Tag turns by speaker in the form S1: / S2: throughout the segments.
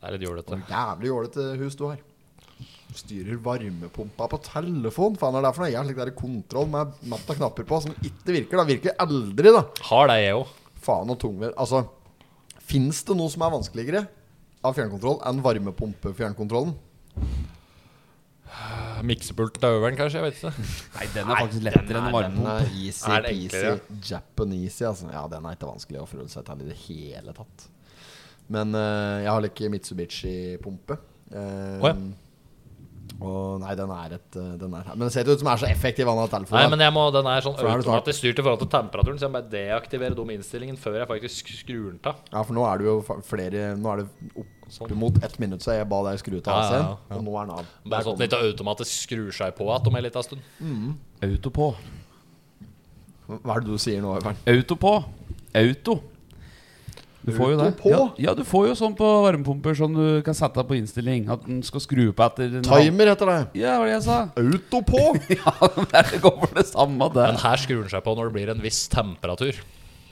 S1: Det er litt jålete.
S2: Og jævlig jålete hus du har. Styrer varmepumpa på telefon. Faen, er det for noe jævlig der kontroll med matta knapper på som ikke virker? da Virker aldri, da.
S1: Har det, jeg òg.
S2: Faen og tungvær. Altså, fins det noe som er vanskeligere av fjernkontroll enn varmepumpefjernkontrollen?
S1: Eh, Miksepult til øveren, kanskje. Jeg vet ikke.
S3: Nei, den er faktisk lettere enn
S2: Den
S3: varmepump.
S2: er easy
S1: Er det
S2: peasy.
S1: enklere?
S2: Japanese, altså. Ja, den er ikke vanskelig å forholde seg til i det hele tatt. Men eh, jeg har ikke Mitsubishi-pumpe. Eh,
S1: Åja.
S2: Og nei, den er et eh, den er, Men det ser ikke ut som den er så effektiv han har telefon.
S1: Nei,
S2: da.
S1: men jeg må, den er sånn
S2: For da er det snart-
S1: automatisk styrt i forhold til temperaturen, så jeg må bare deaktivere dum innstillingen før jeg faktisk skrur den av.
S2: Ja, for nå er det jo fa- flere Nå er det
S1: Sånn.
S2: oppimot ett minutt siden jeg ba deg skru ut
S1: Ja,
S2: AC-en,
S1: ja, ja.
S2: og nå er den av.
S1: Bare
S2: Der
S1: sånn at
S2: kom
S1: den
S2: den.
S1: ikke automatisk skrur seg på igjen om en liten stund.
S3: Auto på.
S2: Hva er det du sier nå, Øyvind?
S3: Auto på. Auto. Du får jo det.
S2: Auto på?
S3: Ja, ja, du får jo sånn på varmepumper som du kan sette på innstilling. At den skal skru på etter en halv-
S2: Timer heter det.
S3: Ja, hva var det jeg sa?
S2: Auto på!
S3: Ja, men det går for det samme, det.
S1: Men her skrur den seg på når det blir en viss temperatur.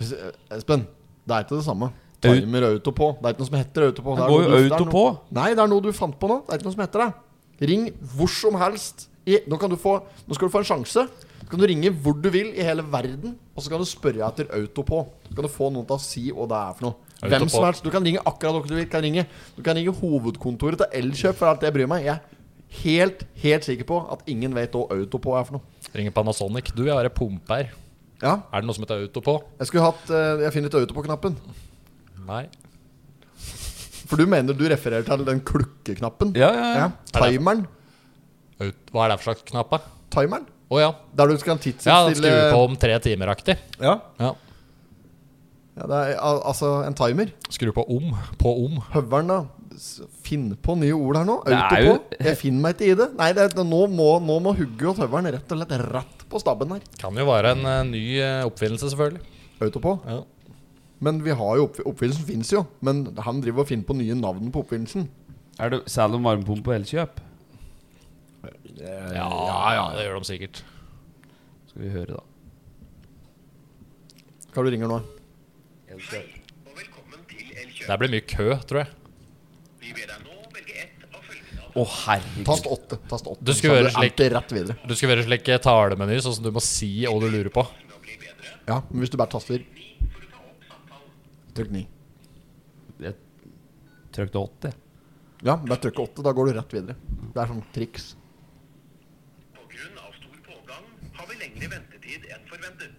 S2: Hvis- eh, Espen, det er ikke det samme. Timer auto på. Det er ikke noe som heter auto på.
S3: Det
S2: er
S3: går
S2: noe
S3: jo
S2: du- det er
S3: auto
S2: noe-
S3: på.
S2: Nei, det er noe du fant på nå. Det er ikke noe som heter det. Ring hvor som helst. I, nå, kan du få, nå skal du få en sjanse. Så kan du ringe hvor du vil i hele verden, og så kan du spørre etter auto på. Så kan du få noen til å si hva det er for noe.
S1: Auto
S2: Hvem
S1: på.
S2: som helst. Du kan ringe akkurat dere du vil. Kan ringe. Du kan ringe hovedkontoret til Elkjøp for alt jeg bryr meg. Jeg er helt, helt sikker på at ingen vet hva auto på er for noe.
S1: Ringer Panasonic. Du, jeg har ei pumpe her.
S2: Ja,
S1: Er det noe som heter auto på?
S2: jeg skulle hatt eh, Jeg finner ut auto på-knappen.
S1: Nei.
S2: For du mener du refererer til den klukkeknappen?
S3: Ja, ja, ja.
S2: Ja. Timeren.
S1: Aut Hva er det for slags knapp, da?
S2: Timeren.
S1: Å ja.
S2: Der du
S1: Ja,
S2: skal
S1: den
S2: tidsutstille
S1: skrur på om tre timer-aktig.
S2: Ja.
S1: Ja.
S2: ja, det er al- altså en timer.
S1: Skru på om. På om.
S2: Høveren, da. S- Finn på nye ord her nå.
S3: Det
S2: Auto
S3: er
S2: på.
S3: jo-
S2: Jeg finner meg ikke i det. Nei, det, er- nå må, nå må hugget og høveren rett og slett rett på stabben her.
S1: Kan jo være en eh, ny eh, oppfinnelse, selvfølgelig.
S2: Auto på.
S1: Ja.
S2: Men vi har jo oppf oppfinnelsen fins jo. Men han driver og finner på nye navn på oppfinnelsen.
S3: Er det selv om varmepumpe og elkjøp?
S1: Ja, det gjør de sikkert.
S3: Skal vi høre, da.
S2: Hva er det du ringer nå?
S4: og velkommen til Elkjøp.
S1: Det blir mye kø, tror jeg.
S4: Vi ber deg nå velge ett av følgende
S3: Å, herregud.
S2: Tast åtte. Tast åtte.
S1: Du skulle
S2: Så
S1: høre slik-
S2: endte rett videre.
S1: Du skal være slik eh, talemeny, sånn som du må si hva du lurer på.
S4: alternativ å bli bedre.
S2: Ja, men hvis du bare taster Trykk ni.
S3: Jeg trykte 80.
S2: Ja, bare trykk åtte. Da går du rett videre. Det er sånn triks.
S4: På grunn av stor pågang har vi lengre ventetid enn forventet.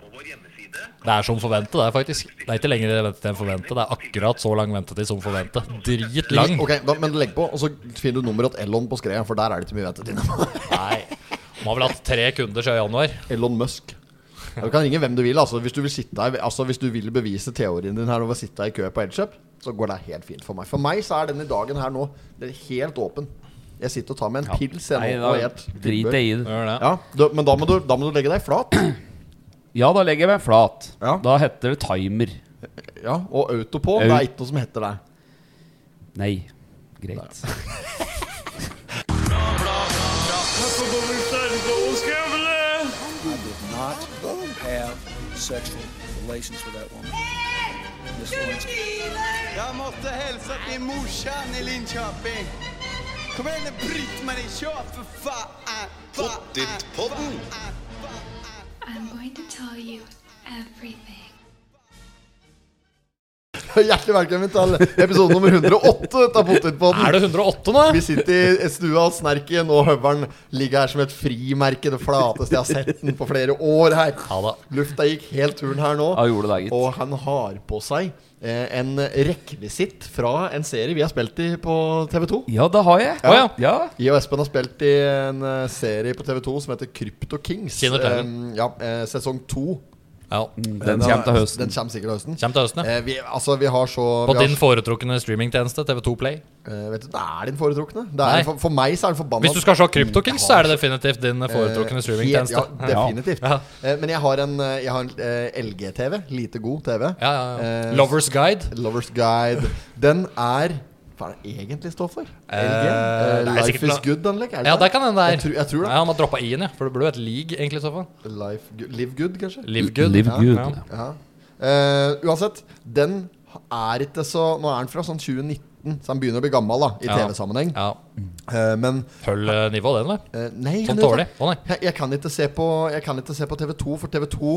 S4: På vår hjemmeside
S1: Det er som forventet, det er faktisk. Det er ikke lenger ventetid enn forventet. Det er akkurat så lang ventetid som forventet. Dritlang.
S2: Ok, da, men legg på, og så finner du nummeret til Elon på skreia, for der er det ikke mye ventetid.
S1: Nei. Man har vel hatt tre kunder siden januar.
S2: Elon Musk. Ja, Du kan ringe hvem du vil. Altså, hvis, du vil sitte her, altså, hvis du vil bevise teorien din her over å sitte her i kø på Elkjøp, så går det helt fint for meg. For meg så er denne dagen her nå Det er helt åpen. Jeg sitter og tar meg en pils. Jeg,
S3: Nei,
S2: nå, og
S3: da
S2: jeg-
S3: driter jeg i det.
S1: Gjør det.
S2: Ja, du, men da må, du, da må du legge deg flat.
S3: Ja, da legger jeg meg flat.
S2: Ja.
S3: Da heter det timer.
S2: Ja, Og auto på. Det er ikke noe som heter det.
S3: Nei. Greit.
S5: not have sexual relations with that woman. Miss Lewinsky.
S6: Jeg måtte hilse til morsan i Linköping. Kom igjen, Britt-Marie, kjør, for faen!
S4: Pottit-podden.
S7: I'm going to tell you everything.
S2: Hjertelig velkommen til episode nummer 108 av Potetpodden.
S1: Er det 108 nå?
S2: Vi sitter i stua og snerken, og høveren ligger her som et frimerke. Det flateste jeg har sett den på flere år her.
S1: Ja da.
S2: Lufta gikk helt turen her nå.
S3: Ja, gjorde det, gitt.
S2: Og han har på seg eh, en rekvisitt fra en serie vi har spilt i på TV2.
S3: Ja, det har jeg.
S1: Å, ja.
S3: ja.
S2: Jeg og Espen har spilt i en eh, serie på TV2 som heter Krypto Kings.
S1: Kjenner til den.
S2: Eh, ja, eh, sesong to. Eh,
S1: Ja.
S3: Mm, Den kommer til høsten.
S2: Den kommer sikkert til høsten.
S1: Kjem til høsten, ja.
S2: Eh, vi, altså, vi har så
S1: På
S2: vi har
S1: din foretrukne streamingtjeneste, TV2 Play.
S2: Eh, vet du, Det er din foretrukne. Det
S1: Nei.
S2: er, for, for meg så er den forbanna Mm.
S1: Hvis du skal se CryptoKings, så er det definitivt din foretrukne
S2: altså, Eh,
S1: streamingtjeneste.
S2: helt- Ja, definitivt.
S1: Ja.
S2: Eh, Men jeg har en, eh, jeg har en eh, LG-TV. Lite god TV.
S1: Ja, ja, ja.
S2: Eh,
S1: Lovers Guide.
S2: Lovers Guide. Den er Hva er det egentlig står for? LG? Eh,
S1: det er
S2: Life
S1: sikkert
S2: is
S1: noe-
S2: good-anlegg? er
S1: Ja, det kan hende det
S2: Jeg,
S1: er.
S2: tror- jeg tror det.
S1: Ja, han har droppa i-en, ja. For det burde jo hett league, egentlig, i så fall.
S2: Life good, live good, kanskje?
S1: Live good.
S3: Live good.
S1: Ja.
S2: Ja. Eh, uansett, den er ikke så Nå er han fra sånn 2019, så han begynner å bli gammel da i
S1: Ja.
S2: TV-sammenheng.
S1: Ja.
S2: Eh, men
S1: Følg eh, nivå, den, vel.
S2: eh, Nei,
S1: Sånn
S2: jeg kan
S1: dårlig.
S2: ikke-
S1: Å, nei.
S2: Jeg, jeg, kan ikke se på, jeg kan ikke se på TV2, for TV2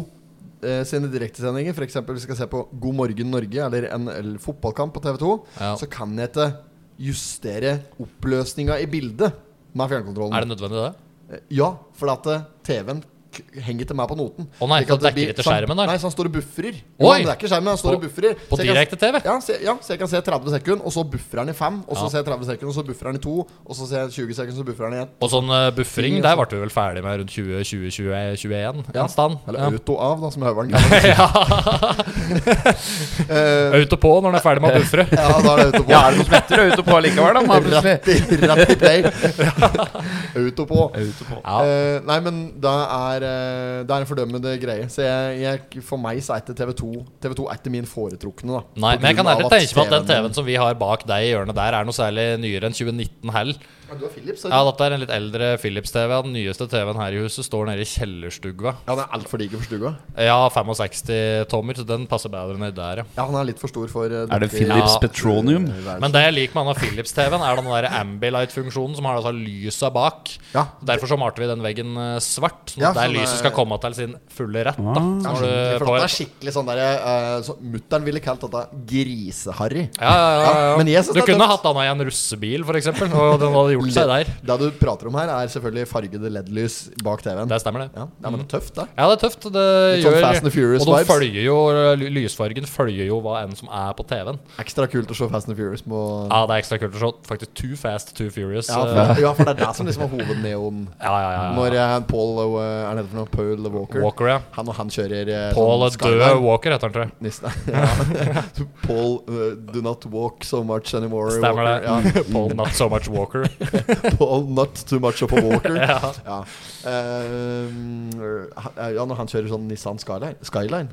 S2: eh, sine direktesendinger, f.eks. hvis jeg skal se på God morgen Norge eller NL fotballkamp på TV2,
S1: Ja.
S2: så kan jeg ikke justere oppløsninga i bildet med fjernkontrollen.
S1: Er det nødvendig, det?
S2: Eh, Ja, for at eh, TV-en k- henger ikke meg på noten.
S1: Å nei,
S2: Slik at
S1: for den dekker
S2: det blir-
S1: ikke skjermen,
S2: så han-
S1: da?
S2: Nei, så han står og bufferer. Jo,
S1: Oi!
S2: men det er ikke skjermen, han står og
S1: På-
S2: bufferer.
S1: på
S2: Så jeg kan-
S1: direkte-TV?
S2: Ja, se- ja, så jeg kan se 30 sekunder, og så buffer han i 5, og så
S1: Ja.
S2: ser jeg 30 sekunder, og så buffer han i 2, og så ser jeg 20 sekunder, og så buffer han i 1.
S1: Og sånn eh, buffering, der ble vi vel ferdig med rundt 2020-2021? En stand.
S2: Eller
S1: Ja.
S2: auto-av, da, som høveren kaller det. Eh,
S1: Auto på når den er ferdig med å buffre.
S2: ja, da er det auto på.
S3: Ja, er det noe som heter auto på likevel, da? Man har plutselig
S2: Rett i- rett i play. auto på.
S3: Auto på.
S1: Ja.
S2: Eh, nei, men det er, eh, det er en fordømmende greie. Så jeg, jeg, for meg så er ikke TV2 TV2 er ikke min foretrukne. da
S1: Nei,
S2: På
S1: men jeg kan
S2: grunn av
S1: ærlig
S2: at
S1: tenke meg at den
S2: TV-en
S1: TV-en som vi har bak deg i hjørnet der, er noe særlig nyere enn 2019 hell.
S2: Ja, du har Philips,
S1: Ja,
S2: eller?
S1: dette er en litt eldre Philips-TV. Den nyeste TV-en her i huset står nede i kjellerstugva.
S2: Ja, den er altfor diger for stua.
S1: Ja, 65 tommer, så den passer bedre nedi der, ja.
S2: Ja, han er litt for eh, stor for
S3: Er det Philips
S1: Ja.
S3: Petronium?
S1: Men
S2: sånn?
S1: det jeg liker med denne Philips-TV-en, er den der Ambilight-funksjonen som har altså lysa bak.
S2: Ja.
S1: Derfor så malte vi den veggen eh, svart, sånn
S2: Ja,
S1: at der
S2: sånn,
S1: lyset
S2: eh,
S1: skal komme til sin fulle rett. Da. Så når du
S2: er skikkelig flott.
S1: på,
S2: Det er skikkelig sånn derre uh, Mutter'n ville kalt dette griseharry.
S1: ja, ja, ja, ja.
S2: Ja, men jeg synes
S1: Du
S2: det er
S1: kunne
S2: tøft.
S1: hatt den i en russebil, for eksempel, og den hadde gjort seg der.
S2: Det du prater om her, er selvfølgelig fargede LED-lys bak TV-en.
S1: Det Mm. stemmer, det.
S2: Ja, ja, men det er tøft, det.
S1: Ja, det er tøft. Det
S2: Litt sånn
S1: gjør,
S2: Fast and Furious
S1: og de
S2: vibes.
S1: følger jo, ly- lysfargen følger jo hva enn som er på TV-en.
S2: Ekstra kult å se Fast and Furious på
S1: Ja, det er ekstra kult å se. Faktisk Too Fast, Too Furious.
S2: Ja,
S1: eh,
S2: for, ja, for det er det som liksom er hovedneonen.
S1: ja, ja, ja, ja.
S2: Når eh, Paul eh, Er det for noe? Paul Walker?
S1: Walker, ja.
S2: Han og han kjører eh,
S1: Paul
S2: sånn
S1: Død
S2: Skyline.
S1: Walker heter han, tror jeg.
S2: Nissen, ja. Paul eh, Do not walk so much anymore.
S1: Stemmer
S2: Walker. Ja.
S1: det. Paul Not So Much Walker.
S2: Paul not too much of a walker.
S1: Ja.
S2: ja. Ehm, han- ja, når han kjører sånn Nissan Skyline, Skyline.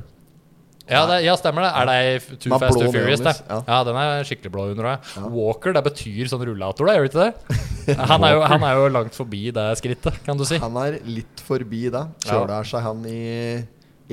S1: Ja, det, ja, stemmer det. Er det ei Too
S2: Den er
S1: Fast,
S2: blå
S1: Too Furious? Det?
S2: neonlys,
S1: Ja.
S2: ja.
S1: den er skikkelig blå under deg. Walker, det betyr sånn rullator, det, gjør det ikke det? Han er, jo, han er jo langt forbi det skrittet, kan du si.
S2: Han er litt forbi da.
S1: Ja.
S2: Kjører seg han i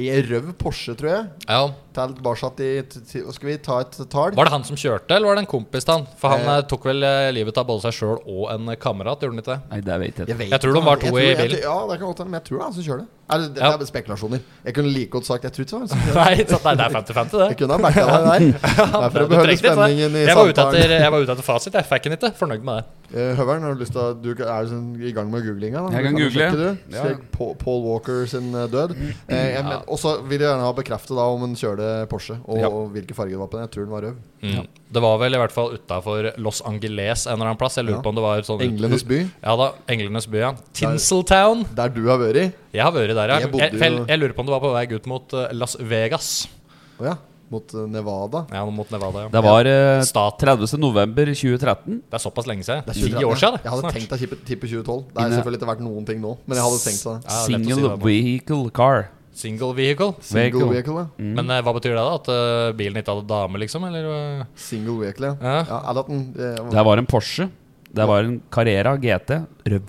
S2: i en røv Porsche, tror jeg.
S1: Ja.
S2: Til Barsatt i t- t- Skal vi ta et tall?
S1: Var det han som kjørte, eller var det en kompis til han? For han
S2: Eh.
S1: eh, tok vel eh, livet av både seg sjøl og en eh, kamerat, gjorde han ikke det?
S3: Nei, det vet jeg ikke.
S2: vet
S1: Jeg tror de
S2: ikke,
S1: var
S2: jeg
S1: to
S2: tror-
S1: i
S2: jeg-
S1: bilen.
S2: Ja, det kan godt hende, men jeg tror det er han som kjører det. Er det, det
S1: Ja.
S2: er spekulasjoner. Jeg kunne like godt sagt jeg tror ikke det var han som kjører.
S1: Nei, ikke sant? Nei, det er 50-50,
S2: Jeg
S1: det.
S2: kunne ha backa deg der. Det
S1: Du
S2: er for å beholde
S1: trengte ikke det.
S2: spenningen i
S1: jeg, var ute etter,
S2: samtalen.
S1: jeg var ute etter fasit, jeg fikk den ikke. Fornøyd med det.
S2: Eh, Høveren, har du lyst til å Du er sånn i gang med googlinga? da?
S3: Jeg kan
S2: Du
S3: google.
S2: sjekke, du.
S3: Ja.
S2: Søk Pa- Paul Walker sin eh, død. Eh, jeg men- Og så vil jeg gjerne ha bekreftet da om han kjørte Porsche, og,
S3: Ja.
S2: og hvilken farge det var på den. Jeg tror den var rød.
S1: Mm. Det var vel i hvert fall utafor Los Angeles en eller annen plass. Jeg lurer
S2: Ja.
S1: på om det var sånn
S2: Englenes by,
S1: Ja da, Englenes by, ja. Tinseltown.
S2: der du har vært.
S1: Jeg har vært der, ja.
S2: Jeg
S1: Jeg,
S2: bodde
S1: jeg, jeg,
S2: jo-
S1: lurer på om det var på vei ut mot eh, Las Vegas.
S2: Å ja. Mot eh, Nevada.
S1: Ja, mot Nevada. Ja.
S3: Det var eh,
S1: Stat.
S3: 30. november 2013.
S1: Det er såpass lenge siden.
S2: Det er
S1: Ti
S2: 2013,
S1: år siden, det.
S2: Jeg hadde
S1: snart.
S2: tenkt å tippe tippe 2012. Det er
S3: Inne-
S2: selvfølgelig ikke vært noen ting nå, men jeg hadde tenkt det.
S1: Ja, lett å si
S3: Single
S1: det, da.
S3: vehicle car.
S1: Single vehicle.
S2: Single
S3: Vehicle. Mm.
S2: vehicle, ja.
S1: Men eh, hva betyr det, da? At eh, bilen ikke hadde dame, liksom? Eller eh,
S2: Single vehicle, ja.
S1: Ja.
S2: ja eller at den, eh,
S3: Det var en Porsche. Det var en Carrera GT. Røv.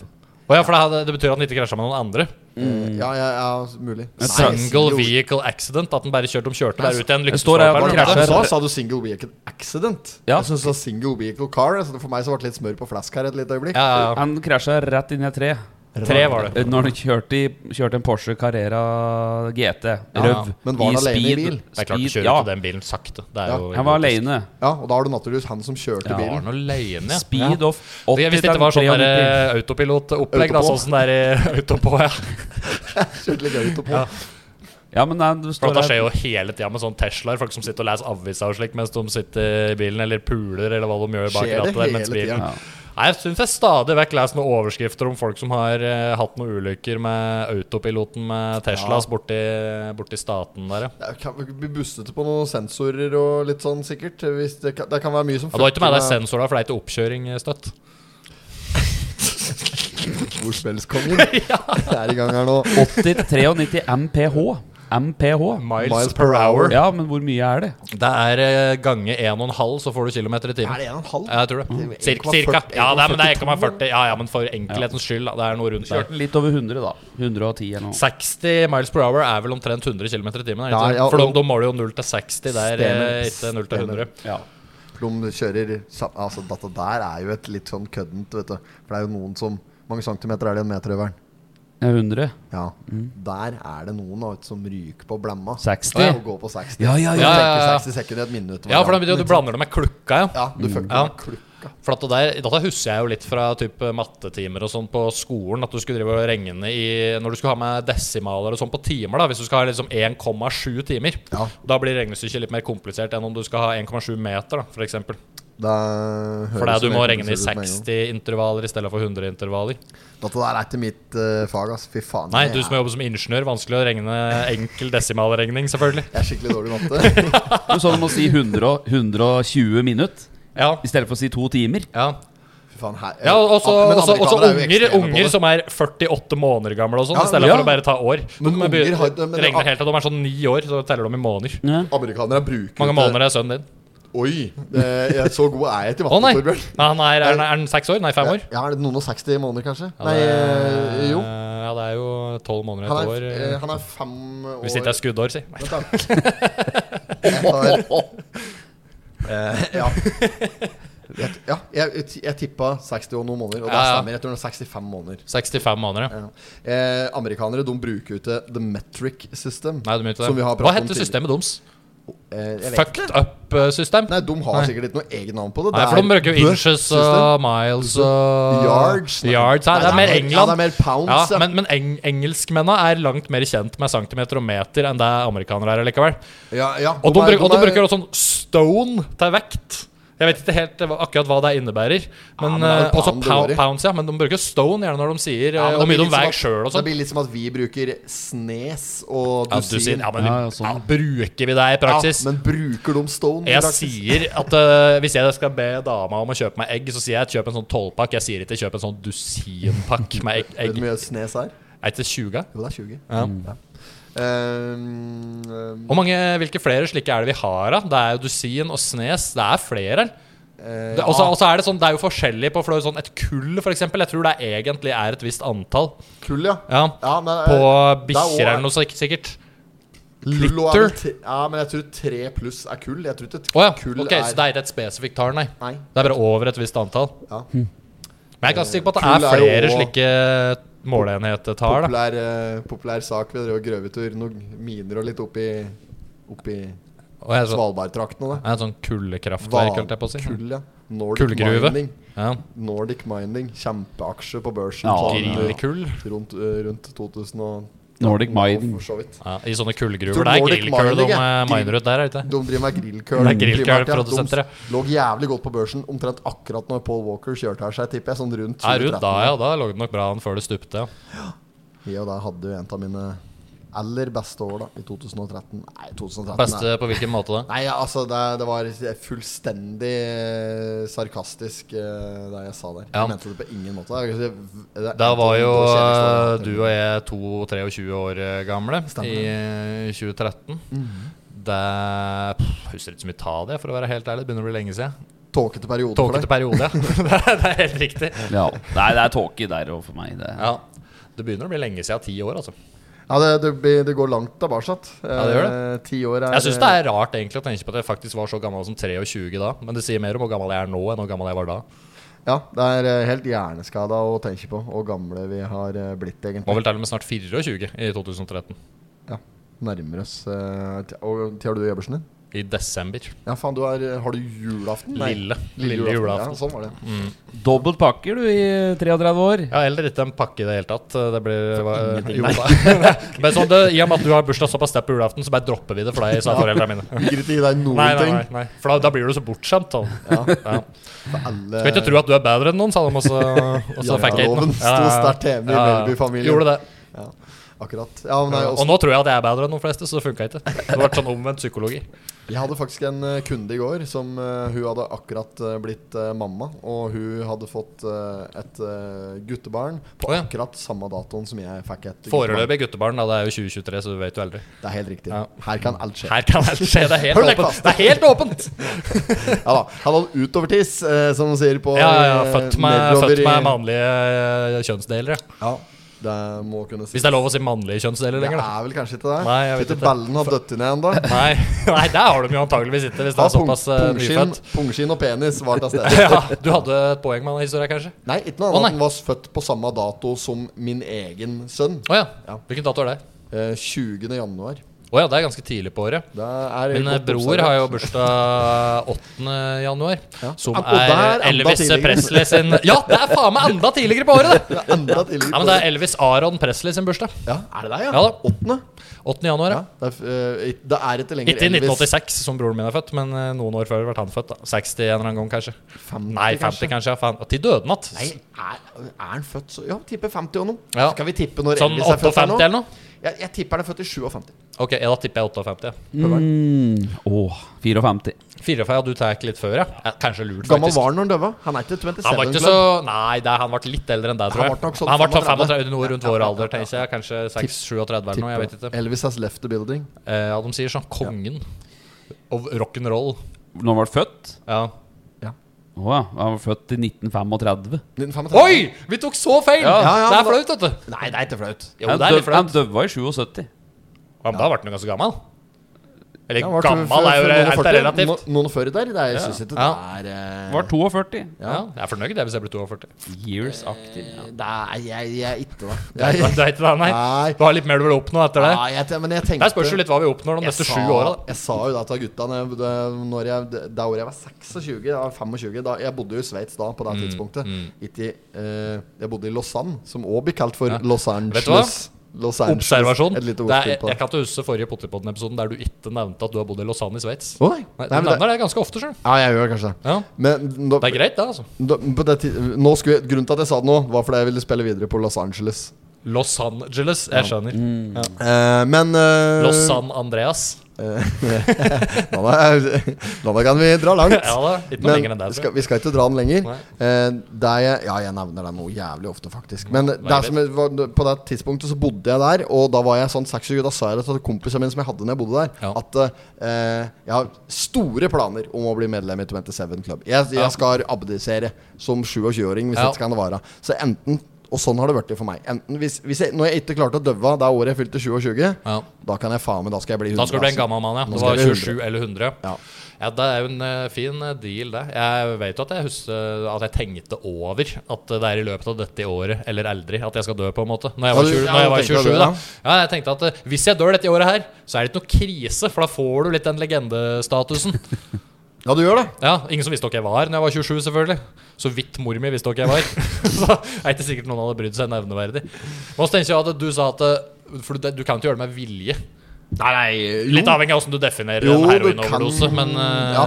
S1: Å ja, for det, hadde, det betyr at den ikke krasja med noen andre.
S2: eh, ja, ja, ja, mulig.
S1: Single vehicle accident. At den bare kjørte om kjørte der ute i en
S3: Det står
S1: lyktestolpe.
S3: her,
S1: eller
S3: bare
S1: noe.
S2: Hva
S3: krasjer.
S2: sa, sa du single vehicle accident?
S3: Ja.
S2: Jeg synes du sa single vehicle car. Så det- for meg så ble det litt smør på flask her et lite øyeblikk.
S1: Ja, ja,
S3: Han krasja rett inn i et tre.
S1: ja. Tre var det.
S3: Eh, Når han kjørte, i- kjørte en Porsche Carrera GT.
S1: ja.
S3: Røv.
S2: Men var han alene i bil?
S1: Det er klart du
S3: speed,
S1: kjører
S3: ja.
S1: ikke den bilen sakte. Det er
S2: Ja.
S1: jo
S3: Han var alene.
S2: Ja, Og da har du naturligvis han som kjørte
S3: Ja,
S1: Var
S2: bilen.
S1: noe leien, ja.
S3: Speed
S1: ja.
S3: off 80
S1: Hvis det ikke var sånn
S3: til
S1: der, eh,
S3: 93.
S1: autopilot-opplegg, da,
S2: Autopå.
S1: sånn som det er i Autopå, ja.
S2: Kjørte litt gøy på.
S3: Ja, men nei, det
S1: For
S3: står
S1: det skjer
S3: her
S1: jo hele tida med sånne Teslaer. Folk som sitter og leser avisa og slik mens de sitter i bilen, eller puler, eller hva de gjør bak
S2: Skjer det
S1: rattet. der mens
S2: hele
S1: bilen
S2: tiden?
S3: Ja.
S1: Nei, Jeg syns jeg stadig vekk leser noen overskrifter om folk som har eh, hatt noen ulykker med autopiloten med Teslas borti, borti staten der, ja.
S2: Det er- kan bli bustete på noen sensorer og litt sånn, sikkert. Hvis det, kan, det kan være mye som
S1: ja du har ikke med deg
S2: fucker
S1: sensorer, for det er ikke oppkjøring eh, støtt.
S2: Ordspillskongen. Jeg er i gang her nå.
S3: 80 til 93 MPH. MPH.
S1: Miles,
S2: Miles
S1: per
S2: per
S1: hour.
S3: Ja, men hvor mye er det?
S1: Det er eh, gange 1,5, så får du kilometer i timen.
S2: Er det 1,5?
S1: Ja, jeg tror det.
S2: Det er
S1: Cirka.
S2: 1,40,
S1: cirka. Ja, det er, men det er
S2: 1,42.
S1: 1,40. Ja, ja, men for enkelhetens skyld, da. Det er noe rundt der.
S3: Kjørte den litt over 100, da. 110 eller noe.
S1: 60 miles per hour er vel omtrent 100 km i timen? er det
S2: Ja,
S1: ikke det?
S2: ja,
S1: For da
S2: og-
S1: da måler jo 0 til 60 der, eh, ikke
S2: Stemmer.
S1: 0 til 100.
S3: Ja.
S2: De kjører sam- Altså, dette der er jo et litt sånn køddent, vet du. For det er jo noen som Mange centimeter er det en meterøveren?
S3: Ja, 100?
S2: Ja. Der er det noen da, vet du, som ryker på blemma.
S3: 60?
S2: Ja, og går på 60.
S3: Ja, ja, ja.
S2: Og tenker
S1: Ja, ja, ja.
S2: 60 sekunder i et minutt.
S1: Ja, for da betyr det at du blander det med klukka, ja.
S2: Ja, du fucker
S1: Ja.
S2: med klukka.
S1: For at det der, Dette husker jeg jo litt fra typ mattetimer og sånn på skolen. At du skulle drive og regne i Når du skulle ha med desimaler og sånn på timer, da hvis du skal ha liksom 1,7 timer,
S2: Ja.
S1: da blir regnestykket litt mer komplisert enn om du skal ha 1,7 meter, da, for eksempel
S2: Da
S1: For det
S2: høres
S1: er du
S2: mer
S1: må regne i
S2: komplisert ut med en
S1: 60
S2: gang.
S1: intervaller i stedet for 100 intervaller.
S2: Dette der er ikke mitt eh, fag, ass. Fy faen.
S1: Nei,
S2: jeg
S1: du som
S2: er-
S1: jobber som ingeniør, vanskelig å regne enkel desimalregning, selvfølgelig.
S2: Jeg er skikkelig dårlig i matte.
S3: Du sa du må si 100 og 120 minutt
S1: Ja,
S3: i stedet for å si to timer.
S1: ja.
S2: Fy faen, her
S1: ja og så
S2: Men
S1: også, også
S2: amerikanere er jo
S1: unger,
S2: ekstreme på
S1: unger
S2: det.
S1: som er 48 måneder gamle og sånn,
S2: Ja,
S1: i stedet
S3: ja.
S1: for å bare ta år.
S2: Men
S1: De er
S2: unger
S1: be-
S2: har- men-
S1: regner helt til de er sånn ni år, så teller de i måneder. Hvor
S3: Ja.
S2: Amerikanere bruker
S1: mange
S2: jo ikke-
S1: måneder er sønnen din?
S2: Oi! det- jeg- Så god er jeg til
S1: Å
S2: matte,
S1: nei!
S2: Torbjørn.
S1: nei han er, er, han- er han seks år? Nei, fem år?
S2: Ja, er det noen og 60 måneder, kanskje?
S1: Ja,
S2: Nei,
S1: det
S2: eh,
S1: er-
S2: jo.
S1: Ja, det er jo tolv måneder i
S2: Han
S1: et
S2: er,
S1: år.
S2: eh,
S1: eh,
S2: han er fem år
S1: Hvis ikke det er skuddår, si. Nei.
S2: Vent da. Jeg tar- Eh, ja. Jeg, ja, jeg, jeg tippa 60 og noen måneder, og det
S1: Ja, ja.
S2: stemmer. Jeg tror det er 65 måneder.
S1: 65 måneder, ja.
S2: Ja. Eh, amerikanere de bruker jo ikke the metric system.
S1: Nei, de gjør
S2: Som
S1: ikke
S2: vi
S1: det.
S2: har
S1: Hva
S2: pratet om
S1: heter
S2: tidligere.
S1: systemet deres?
S2: Eh, jeg vet
S1: Fucked eh, up-system?
S2: Nei, de har
S1: Nei.
S2: sikkert ikke noe eget navn på det.
S1: Nei,
S2: Det
S1: for de
S2: er
S1: bruker jo
S2: the
S1: inches
S2: system.
S1: og miles og
S2: Yards. Nei.
S1: Yards, Nei,
S2: Nei,
S1: det er mer
S2: Ja, det er
S1: England.
S2: mer pounds.
S1: Ja,
S2: ja.
S1: men men eng engelskmennene er langt mer kjent med centimeter og meter enn det amerikanere er likevel.
S2: ja, ja,
S1: Og de,
S2: er-
S1: bruk, og de
S2: er-
S1: bruker også sånn stone til vekt. Jeg vet ikke helt hva- akkurat hva det innebærer. Men,
S2: men det er jo
S1: eh, også
S2: pound det
S1: pound,
S2: går i.
S1: pounds, ja. Men de bruker stone gjerne når de sier
S2: Ja,
S1: eh,
S2: men
S1: hvor
S2: det
S1: mye
S2: blir
S1: de
S2: litt som
S1: veier
S2: at-
S1: sjøl og
S2: Det
S1: sånn.
S2: blir litt som at vi bruker snes og
S1: Ja,
S2: dusin.
S1: du sier, ja, men
S3: Ja, ja, sånn.
S1: ja, bruker vi det i praksis?
S2: Ja, men bruker de stone? i
S1: Jeg
S2: praksis?
S1: sier at eh, hvis jeg skal be dama om å kjøpe meg egg, så sier jeg kjøp en sånn tolvpakk. Jeg sier ikke kjøp en sånn dusinpakk med egg.
S2: Vet du
S1: egg.
S2: hvor mye snes er?
S1: Er ikke det 20?
S2: Jo, det er 20.
S1: Ja.
S2: Ja. Ehm, ehm,
S1: Hvor mange, hvilke flere slike er det vi har av? Det er jo dusin og snes. Det er flere.
S2: eh,
S1: Det- Og så og så er det sånn, det er jo forskjellig på for det er jo sånn et kull, for eksempel. Jeg tror det egentlig er et visst antall.
S2: ja, kull, ja.
S1: Ja,
S2: ja men, eh,
S1: På
S2: det er også-
S1: bikkjer eller noe slik- sikkert.
S2: kull og er vel
S1: Liter.
S2: tre- Ja, men jeg tror tre pluss er kull. Jeg tror ikke
S1: Å ja.
S2: kull
S1: Ok, så det er ikke et spesifikt tall, nei.
S2: Nei.
S1: Det er bare over et visst antall.
S2: Ja.
S1: Men jeg er ganske sikker på at
S2: Eh, Kull
S1: det
S2: er
S1: er
S2: jo
S1: flere
S2: også-
S1: slike måleenhetetall. da.
S2: Populær, eh, populær sak. Vi drev og grøvetur noen miner og litt oppi, oppi
S1: Og jeg er sånn,
S2: Svalbardtraktene. da.
S1: jeg er sånn kullekraftverk, holdt jeg på å si.
S2: Kull, ja. Nordic
S1: Kullgruve.
S2: Mining.
S1: Ja.
S2: Nordic Mining. Kjempeaksje på børsen.
S3: Ja,
S2: sånn, eh,
S1: Grillkull.
S2: Rundt, eh, rundt 2000 og
S3: Nordic Mining.
S2: og For så vidt.
S1: Ja, I sånne kullgruver.
S2: Tror
S1: Det er
S2: Nordic
S1: grillkull de
S2: Mining, ja.
S1: eh, miner ut der, er det ikke?
S2: De driver med grillkøl.
S1: Det er grillkøl,
S2: primært, ja.
S1: produsenter, ja.
S2: De lå jævlig godt på børsen omtrent akkurat når Paul Walker kjørte her seg, tipper jeg. Sånn rundt
S1: Ja, rundt da,
S2: 2013.
S1: ja. Da lå det nok bra an før det stupte. Ja.
S2: Jeg og da hadde jo en av mine aller beste år, da, i 2013. Nei, 2013
S1: Beste på hvilken måte da?
S2: Nei, ja, altså, det, det var fullstendig eh, sarkastisk, eh, det jeg sa der.
S1: Ja.
S2: Jeg mente det på ingen måte. Jeg- jeg- det er
S1: Da
S2: en av
S1: var
S2: de
S1: jo eh,
S2: kjedeligste årene jeg har hatt.
S1: du og jeg 22-23 år eh, gamle i eh, 2013. Det pff, Husker ikke så mye ta det, for å være helt ærlig. Det begynner å bli lenge siden.
S2: Tåkete periode for
S1: Tåkete
S2: deg.
S1: periode, ja. det er- det er helt riktig.
S3: Ja. Nei, det er tåke der òg for meg. Det.
S1: Ja. Det begynner å bli lenge siden. Ti år, altså.
S2: Ja, det, det, blir- det går langt tilbake. Ja,
S1: det gjør
S2: Ti år er
S1: Jeg syns det er rart egentlig å tenke på at jeg faktisk var så gammel som 23 da. Men det sier mer om hvor gammel jeg er nå, enn hvor gammel jeg var da.
S2: Ja, det er eh, helt hjerneskada å tenke på, og gamle vi har eh, blitt,
S1: Var
S2: egentlig.
S1: vel til og med snart 24 i 2013.
S2: Ja, nærmer oss eh, til- Og til har du jobbersen din?
S1: I desember.
S2: Ja, faen, du er, eh, har du julaften?
S1: Lille. Lille
S2: Ja,
S1: julaften.
S2: sånn var det.
S3: Dobbelt pakker, du, i 33 år.
S1: Ja, eller ikke en pakke i det hele tatt. Det blir hva- jo, da. Men sånn, det, I og med at du har bursdag såpass tett på julaften, så bare dropper vi det for deg, sa foreldrene mine.
S2: Gidder ikke gi deg noen
S1: Nei, nei,
S2: ting.
S1: nei, nei. For da, da blir du så bortskjemt. Da. Ja.
S2: For alle
S1: Skal ikke tro at du er bedre enn noen, sa de, og så, og så fikk jeg ikke
S2: Janteloven
S1: noe.
S2: sto sterkt hjemme i Melby-familien.
S1: Gjorde det.
S2: ja, Akkurat. Ja, men nei,
S1: Og
S2: også,
S1: nå tror jeg at jeg er bedre enn de fleste, så det funka ikke. Det ble sånn omvendt psykologi.
S2: Jeg hadde faktisk en eh, kunde i går som eh, hun hadde akkurat eh, blitt eh, mamma. Og hun hadde fått eh, et eh, guttebarn på
S1: Å, ja.
S2: akkurat samme datoen som jeg fikk et guttebarn.
S1: Foreløpig guttebarn, da. Det er jo 2023, så du vet jo aldri.
S2: Det er helt riktig.
S1: Ja.
S2: Her kan alt skje.
S1: Her kan alt skje. Det er helt
S2: Hold deg
S1: åpent.
S2: fast.
S1: Det er helt åpent!
S2: Ja da. Han hadde utovertiss, eh, som de sier på
S1: Ja, ja, ja.
S2: eh,
S1: Født med,
S2: nedover
S1: født
S2: i-
S1: med mannlige eh, kjønnsdeler, ja.
S2: Ja, det må kunne si.
S1: Hvis det er lov å si mannlige kjønnsdeler
S2: Det
S1: lenger, da.
S2: er vel kanskje ikke det?
S1: Nei, jeg vet
S2: Sitter
S1: ikke.
S2: ballen og døtt inn igjen, da?
S1: Nei, nei, der har de jo antageligvis ikke, hvis det
S2: Ja,
S1: er
S2: pung-
S1: såpass eh,
S2: pungskinn-
S1: nyfødt.
S2: Pungskinn og penis var til stede.
S1: Ja, du hadde et poeng med den historien, kanskje?
S2: Nei, ikke noe
S1: Å,
S2: annet.
S1: nei.
S2: Han var født på samme dato som min egen sønn.
S1: Å
S2: Ja.
S1: ja. Hvilken dato er det?
S2: Eh, 20. januar.
S1: Å ja, det er ganske tidlig på året.
S2: Det er
S1: Min eh,
S2: godt
S1: bror
S2: observert.
S1: har jo bursdag 8. januar,
S2: Ja.
S1: som
S2: Og der er
S1: er
S2: enda
S1: Elvis
S2: tidligere.
S1: Presley sin Ja, det er faen meg enda tidligere på året, det!
S2: Enda tidligere
S1: Ja, men det er Elvis Aron Presley sin bursdag.
S2: ja, er det deg, ja?
S1: Ja da.
S2: Åttende?
S1: 8. januar,
S2: Ja.
S1: ja.
S2: Det, er, eh, it- det er ikke lenger
S1: Ikke i 1986, som broren min er født, men eh, noen år før ble han født. da 60 en eller annen gang, kanskje.
S2: 50,
S1: Nei, 50, kanskje. ja, faen. Til dødenatt.
S2: Nei, er, er han født så Ja, tipper 50 og noe.
S1: Ja.
S2: Skal vi tippe når
S1: Sånn
S2: Elvis er født? her
S1: 58
S2: nå?
S1: eller noe?
S2: Jeg, jeg tipper han er født i 57.
S1: Ok, ja, da tipper jeg 58. ja.
S3: Mm. Åh, 54.
S1: 54, ja, du tar ikke litt før, ja. ja. Kanskje lurt, faktisk.
S2: Gammel var han når han døde? Han er ikke 27.
S1: Han var ikke så Nei, det, er- han ble litt eldre enn deg, tror
S2: Han
S1: jeg.
S2: ble nok sånn
S1: Han ble sånn
S2: 35.
S1: 35 noe rundt
S2: Ja, ja,
S1: vår
S2: ja,
S1: alder,
S2: ja, ja.
S1: tenker jeg. Kanskje 6-37 eller noe. Jeg vet ikke.
S2: Elvis has left the building.
S1: Eh, Ja, de sier sånn kongen of rock'n'roll.
S3: Når han ble født?
S1: Ja.
S3: Åh, ja. Han var født i 1935.
S2: 1935.
S1: Oi! Vi tok så feil!
S3: Ja,
S2: ja, ja,
S1: det er
S2: men
S1: flaut, vet du.
S2: Nei, det er ikke flaut.
S1: Jo,
S3: Han
S1: det er litt
S3: døv-
S1: flaut.
S3: han døva i 77.
S1: Ja, men da ble han jo ganske gammel. Eller
S2: Ja, var
S1: gammel
S2: før-
S1: er jo
S2: før
S1: helt
S2: 49.
S1: relativt.
S2: No, noen før i der? Det er, jeg synes ikke
S1: Ja.
S2: det er eh,
S3: Var 42.
S1: Ja, jeg er fornøyd jeg, hvis jeg blir 42.
S3: Years aktiv. Ja.
S2: eh, Det er jeg, jeg er ikke det.
S1: Du er
S2: Jeg,
S1: ikke det, nei.
S2: Nei.
S1: Du har litt mer du vil oppnå etter det.
S2: Nei, jeg, te- men jeg tenkte
S1: Der spørs jo litt hva vi oppnår de
S2: Jeg
S1: neste
S2: sa-
S1: sju åra. da.
S2: Jeg sa jo det til gutta når jeg, det- når jeg, det det året jeg var 26, jeg var 25 da, Jeg bodde jo i Sveits da,
S1: Mm,
S2: på det tidspunktet. Ikke i, eh, jeg bodde i Lausanne, som også blir kalt for Los
S1: Vet
S2: Angeles.
S1: du hva?
S2: Los Angeles.
S1: Observasjon.
S2: Et lite
S1: Det er,
S2: ordspill på
S1: jeg
S2: det.
S1: kan ikke huske forrige Potipodden-episoden der du ikke nevnte at du har bodd i Lausanne i Sveits.
S2: Å, nei.
S1: Nei,
S2: Nei,
S1: Du
S2: men det,
S1: nevner det ganske ofte, sjøl.
S2: ja, jeg gjør kanskje det.
S1: Ja.
S2: Men da,
S1: Det er greit, det, altså.
S2: da, på det tid, nå skulle, jeg- grunnen til at jeg sa det nå, var fordi jeg ville spille videre på Los Angeles.
S1: Los Angeles. Jeg skjønner.
S2: Eh, men eh,
S1: Los San Andreas.
S2: Nå da, nå da kan vi dra langt.
S1: Ja da, ikke noe
S2: Men
S1: lenger enn det.
S2: skal,
S1: tror jeg.
S2: vi skal ikke dra den lenger.
S1: Nei.
S2: Eh, det er jeg, ja, jeg nevner det noe jævlig ofte, faktisk. Men det
S1: greit.
S2: er som, jeg var, på det tidspunktet så bodde jeg der, og da var jeg sånn 26, da sa jeg det til kompisene mine som jeg hadde når jeg bodde der,
S1: Ja.
S2: at eh, jeg har store planer om å bli medlem i 27 Club. Jeg, jeg
S1: Ja.
S2: skal abdisere som 27-åring, hvis
S1: Ja.
S2: dette skal det være. Så enten og sånn har det blitt for meg. Enten hvis, hvis jeg, når jeg ikke klarte å døve av det året jeg fylte 27,
S1: Ja.
S2: da kan jeg faen meg Da skal jeg bli 100.
S1: Da skal du bli en
S2: altså.
S1: gammel mann, ja.
S2: Nå
S1: Det
S2: skal
S1: var
S2: jeg bli 100.
S1: 27 eller 100.
S2: Ja.
S1: Ja, Det er jo en eh, fin eh, deal, det. Jeg vet jo at jeg husker at jeg tenkte over at det er i løpet av dette året eller aldri at jeg skal dø, på en måte. Når jeg
S2: Ja,
S1: var,
S2: du-
S1: 20,
S2: ja,
S1: når jeg
S2: du
S1: var
S2: tenkte
S1: 27,
S2: det,
S1: da.
S2: ja.
S1: Ja, jeg tenkte at eh, hvis jeg dør dette året her, så er det ikke noe krise, for da får du litt den legendestatusen.
S2: Ja, du gjør det.
S1: Ja, Ingen som visste hvem jeg var når jeg var 27, selvfølgelig. Så vidt mor mi visste hvem jeg var. så det er ikke sikkert noen hadde brydd seg nevneverdig. Men også tenker jeg at du sa at eh, For du, du kan ikke gjøre det med vilje.
S2: Nei, nei
S1: Litt avhengig av hvordan du definerer
S2: Jo,
S1: en
S2: du
S1: heroinoverdose,
S2: kan-
S1: men, eh,
S2: ja.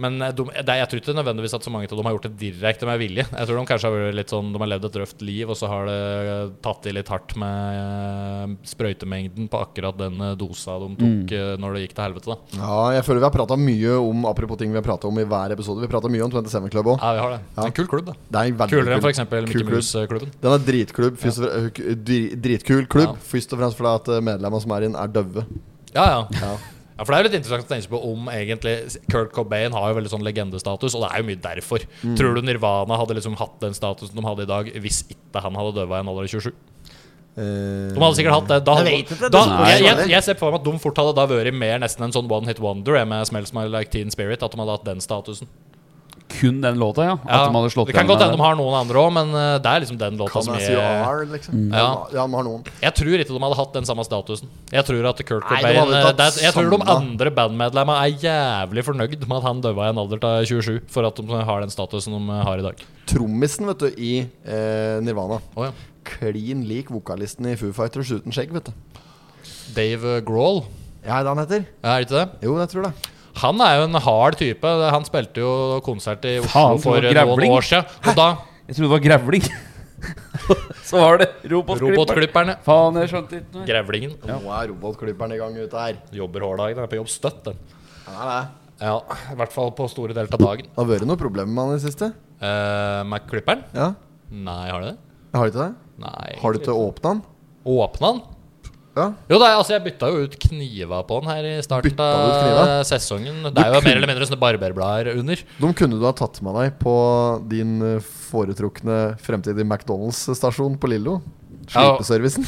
S1: men eh, de, det, jeg tror ikke nødvendigvis at så mange av dem har gjort det direkte med vilje. Jeg tror de kanskje har vært litt sånn De har levd et røft liv, og så har det eh, tatt i litt hardt med eh, sprøytemengden på akkurat den eh, dosa de
S2: Mm.
S1: tok eh, når det gikk til helvete. Da.
S2: Ja, jeg føler vi har prata mye om Apropos ting vi har prata om i hver episode. Vi prater mye om 27 Club òg.
S1: Ja, vi har det. En kul klubb, da.
S2: Det er en veldig
S1: Kulere enn
S2: kul-
S1: f.eks.
S2: kul
S1: Mickey
S2: klubb.
S1: Mouse-klubben.
S2: Den er dritklubb, først og fre- k- dri- dritkul klubb.
S1: Ja.
S2: Først og fremst fordi at eh, medlemmene som er inn, er døve.
S1: Ja, ja. Ja, for Det er jo litt interessant å tenke på om egentlig Kurt Cobain har jo veldig sånn legendestatus, og det er jo mye derfor.
S2: Mm.
S1: Tror du Nirvana hadde liksom hatt den statusen de hadde i dag, hvis ikke han hadde dødd i en alder av 27?
S2: Eh,
S1: De hadde sikkert hatt det. Da, hadde,
S2: Jeg vet ikke, det sånn-
S1: da,
S2: spørs
S1: jeg,
S2: jo
S1: jeg,
S2: aldri.
S1: jeg ser på meg at de fort hadde da vært mer nesten en sånn one hit wonder jeg, med Smells My Like Teen Spirit. At de hadde hatt den statusen.
S3: Kun den låta, ja. At
S1: Ja,
S3: de hadde slått
S1: det kan
S3: igjen eh,
S1: godt hende
S3: med
S1: de har noen andre òg, men eh, det er liksom den låta
S2: Kan
S1: som
S2: jeg si
S1: jeg
S2: R, liksom? Ja,
S1: Ja.
S2: ja, de har noen.
S1: Jeg tror ikke de hadde hatt den samme statusen. Jeg tror at Kurt
S2: Nei, de
S1: Cobain
S2: hadde
S1: eh,
S2: tatt
S1: det, er- Jeg tror de
S2: samme.
S1: andre bandmedlemmene er jævlig fornøyd med at han døde i en alder av 27, for at de har den statusen de eh, har i dag.
S2: Trommisen, vet du, i eh, Nirvana.
S1: Å ja.
S2: Klin lik vokalisten i Foo Fighters uten skjegg, vet du.
S1: Dave eh, Grohl,
S2: Ja, er det han heter?
S1: er det ikke det?
S2: Jo, jeg tror det.
S1: Han er jo en hard type. Han spilte jo konsert i Oslo
S3: Faen, for
S1: for
S3: noe
S1: eh,
S3: grevling.
S1: noen år siden. Og da
S3: det. Jeg trodde det var grevling. Så var det robotklipperen.
S1: Robotklipperne.
S3: Faen, jeg skjønte ikke noe.
S1: Grevlingen.
S2: Nå er robotklipperen i gang ute her.
S1: Jobber hver dag. Den er på jobb støtt, den. Ja, I hvert fall på store deler av dagen.
S2: Har vært noe problem med han i det siste?
S1: Uh, Mac-klipperen?
S2: Ja?
S1: Nei, har det det?
S2: Har du ikke det?
S1: Nei.
S2: Har du ikke åpna den?
S1: Åpna den?
S2: Ja?
S1: Jo, nei, altså jeg bytta jo ut kniva på den her i starten
S2: Bytta du ut
S1: av
S2: kniva?
S1: sesongen. Det er jo
S2: kunne-
S1: mer eller mindre sånne barberblader under.
S2: De kunne du ha tatt med deg på din eh, foretrukne fremtidige McDonald's-stasjon på Lillo.
S1: Ja.
S2: Slipeservicen.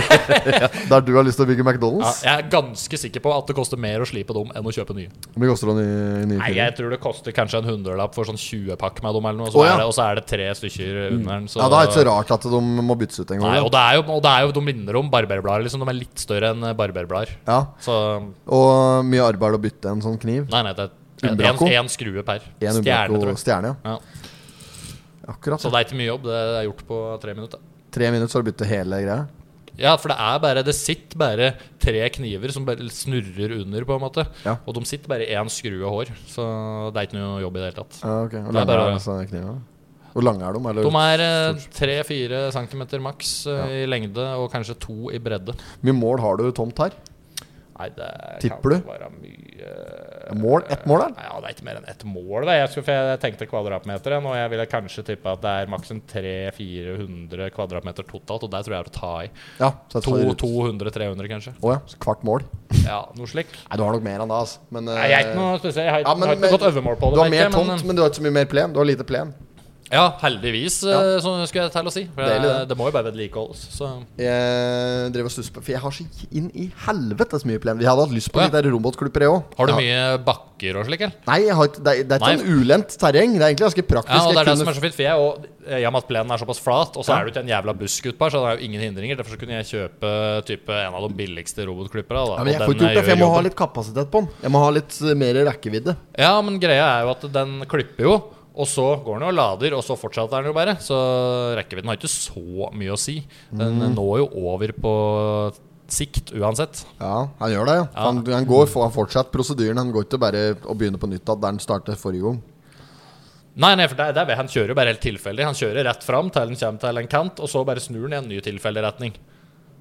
S2: Der du har lyst til å bygge
S1: Ja,
S2: McDonald's.
S1: jeg er ganske sikker på at det koster mer å slipe dem enn å kjøpe nye.
S2: Hvor mye koster det i nye
S1: Nei,
S2: filer?
S1: jeg tror det koster kanskje en hundrelapp for sånn 20 pakk med dem, eller noe, og så,
S2: Å, ja. Mm.
S1: er, det, og så er det tre stykker under den. Så,
S2: Ja, Da er det ikke så rart at de må byttes ut en gang.
S1: Nei,
S2: da.
S1: og det er jo, og det er jo de minner om barberblader. Liksom, de er litt større enn eh, barberblader.
S2: Ja,
S1: Så
S2: Og mye arbeid å bytte en sånn kniv.
S1: nei, nei, det er
S2: Umbraco?
S1: én skrue per. Stjerne,
S2: En Umbraco
S1: tror jeg.
S2: stjerne, ja.
S1: Ja.
S2: Akkurat.
S1: Så det er ikke mye jobb. Det er gjort på tre minutter.
S2: Tre minutter, så har du byttet hele greia.
S1: Ja, for det er bare Det sitter bare tre kniver som bare snurrer under, på en måte.
S2: Ja.
S1: Og de sitter bare i én skrue hår, så det er ikke noe jobb i det hele tatt.
S2: Ja, ok Hvor
S1: Det er
S2: lange
S1: bare-
S2: er disse knivene? Hvor lange er de? Eller?
S1: De er tre-fire centimeter maks eh, i lengde, og kanskje to i bredde.
S2: Mye mål har du tomt her?
S1: Nei, det
S2: Tipper
S1: kan
S2: du?
S1: være mye
S2: Mål? Ett mål, da?
S1: Nei, ja, Det er ikke mer enn ett mål. Da. Jeg, skulle, for jeg tenkte kvadratmeter, jeg, og jeg ville kanskje tippe at det er maks en 300-400 kvadratmeter totalt, og der tror jeg er å ta i.
S2: Ja. Så jeg tar ut.
S1: 200-300, kanskje.
S2: Å ja. Så kvart mål?
S1: Ja, noe slikt.
S2: Nei, du har nok mer enn det, altså. Men,
S1: Nei, jeg er ikke noe spesiell. Jeg har,
S2: Ja,
S1: ikke- har ikke
S2: men-
S1: gått øvemål på det.
S2: Du
S1: merker
S2: har mer
S1: jeg, men-
S2: tomt, men du har ikke så mye mer plen. Du har lite plen.
S1: Ja, heldigvis, eh, så skulle jeg til å si. For
S2: Deilig,
S1: det,
S2: det.
S1: det må jo bare vedlikeholdes. Så
S2: Jeg drev og stusset på For jeg har så inn i helvetes mye plen. Vi hadde hatt lyst på
S1: Å, ja.
S2: de der robotklipper, jeg òg.
S1: Har du mye bakker og slik, eller?
S2: Nei, jeg har ikke, det, er- det er ikke
S1: Nei.
S2: sånn ulendt terreng. Det er egentlig ganske praktisk.
S1: Ja, og det er det
S2: Jeg
S1: som
S2: kunne-
S1: er så fint, for jeg og i og med at plenen er såpass flat, og så
S2: Ja.
S1: er det jo ikke en jævla busk utpå her, så det er jo ingen hindringer. Derfor så kunne jeg kjøpe type en av de billigste robotklipperne. da,
S2: ja,
S1: og
S2: men jeg
S1: den,
S2: får ikke gjort det,
S1: eh,
S2: for
S1: gjør
S2: jeg må ha
S1: jobben.
S2: litt kapasitet på den. Jeg må ha litt eh, mer rekkevidde.
S1: Ja, men greia er jo at den klipper jo, og så går den jo og lader, og så fortsetter den jo bare. Så rekkevidden har ikke så mye å si. Den
S2: Mm.
S1: når jo over på sikt uansett.
S2: Ja, han gjør det, ja.
S1: Ja.
S2: Han, han går for han fortsetter prosedyren. Han går ikke bare og begynner på nytt igjen der han startet forrige gang.
S1: Nei, nei, for det, er- det er, han kjører jo bare helt tilfeldig. Han kjører rett fram til den kommer til en kant, og så bare snur han i en ny tilfeldig retning.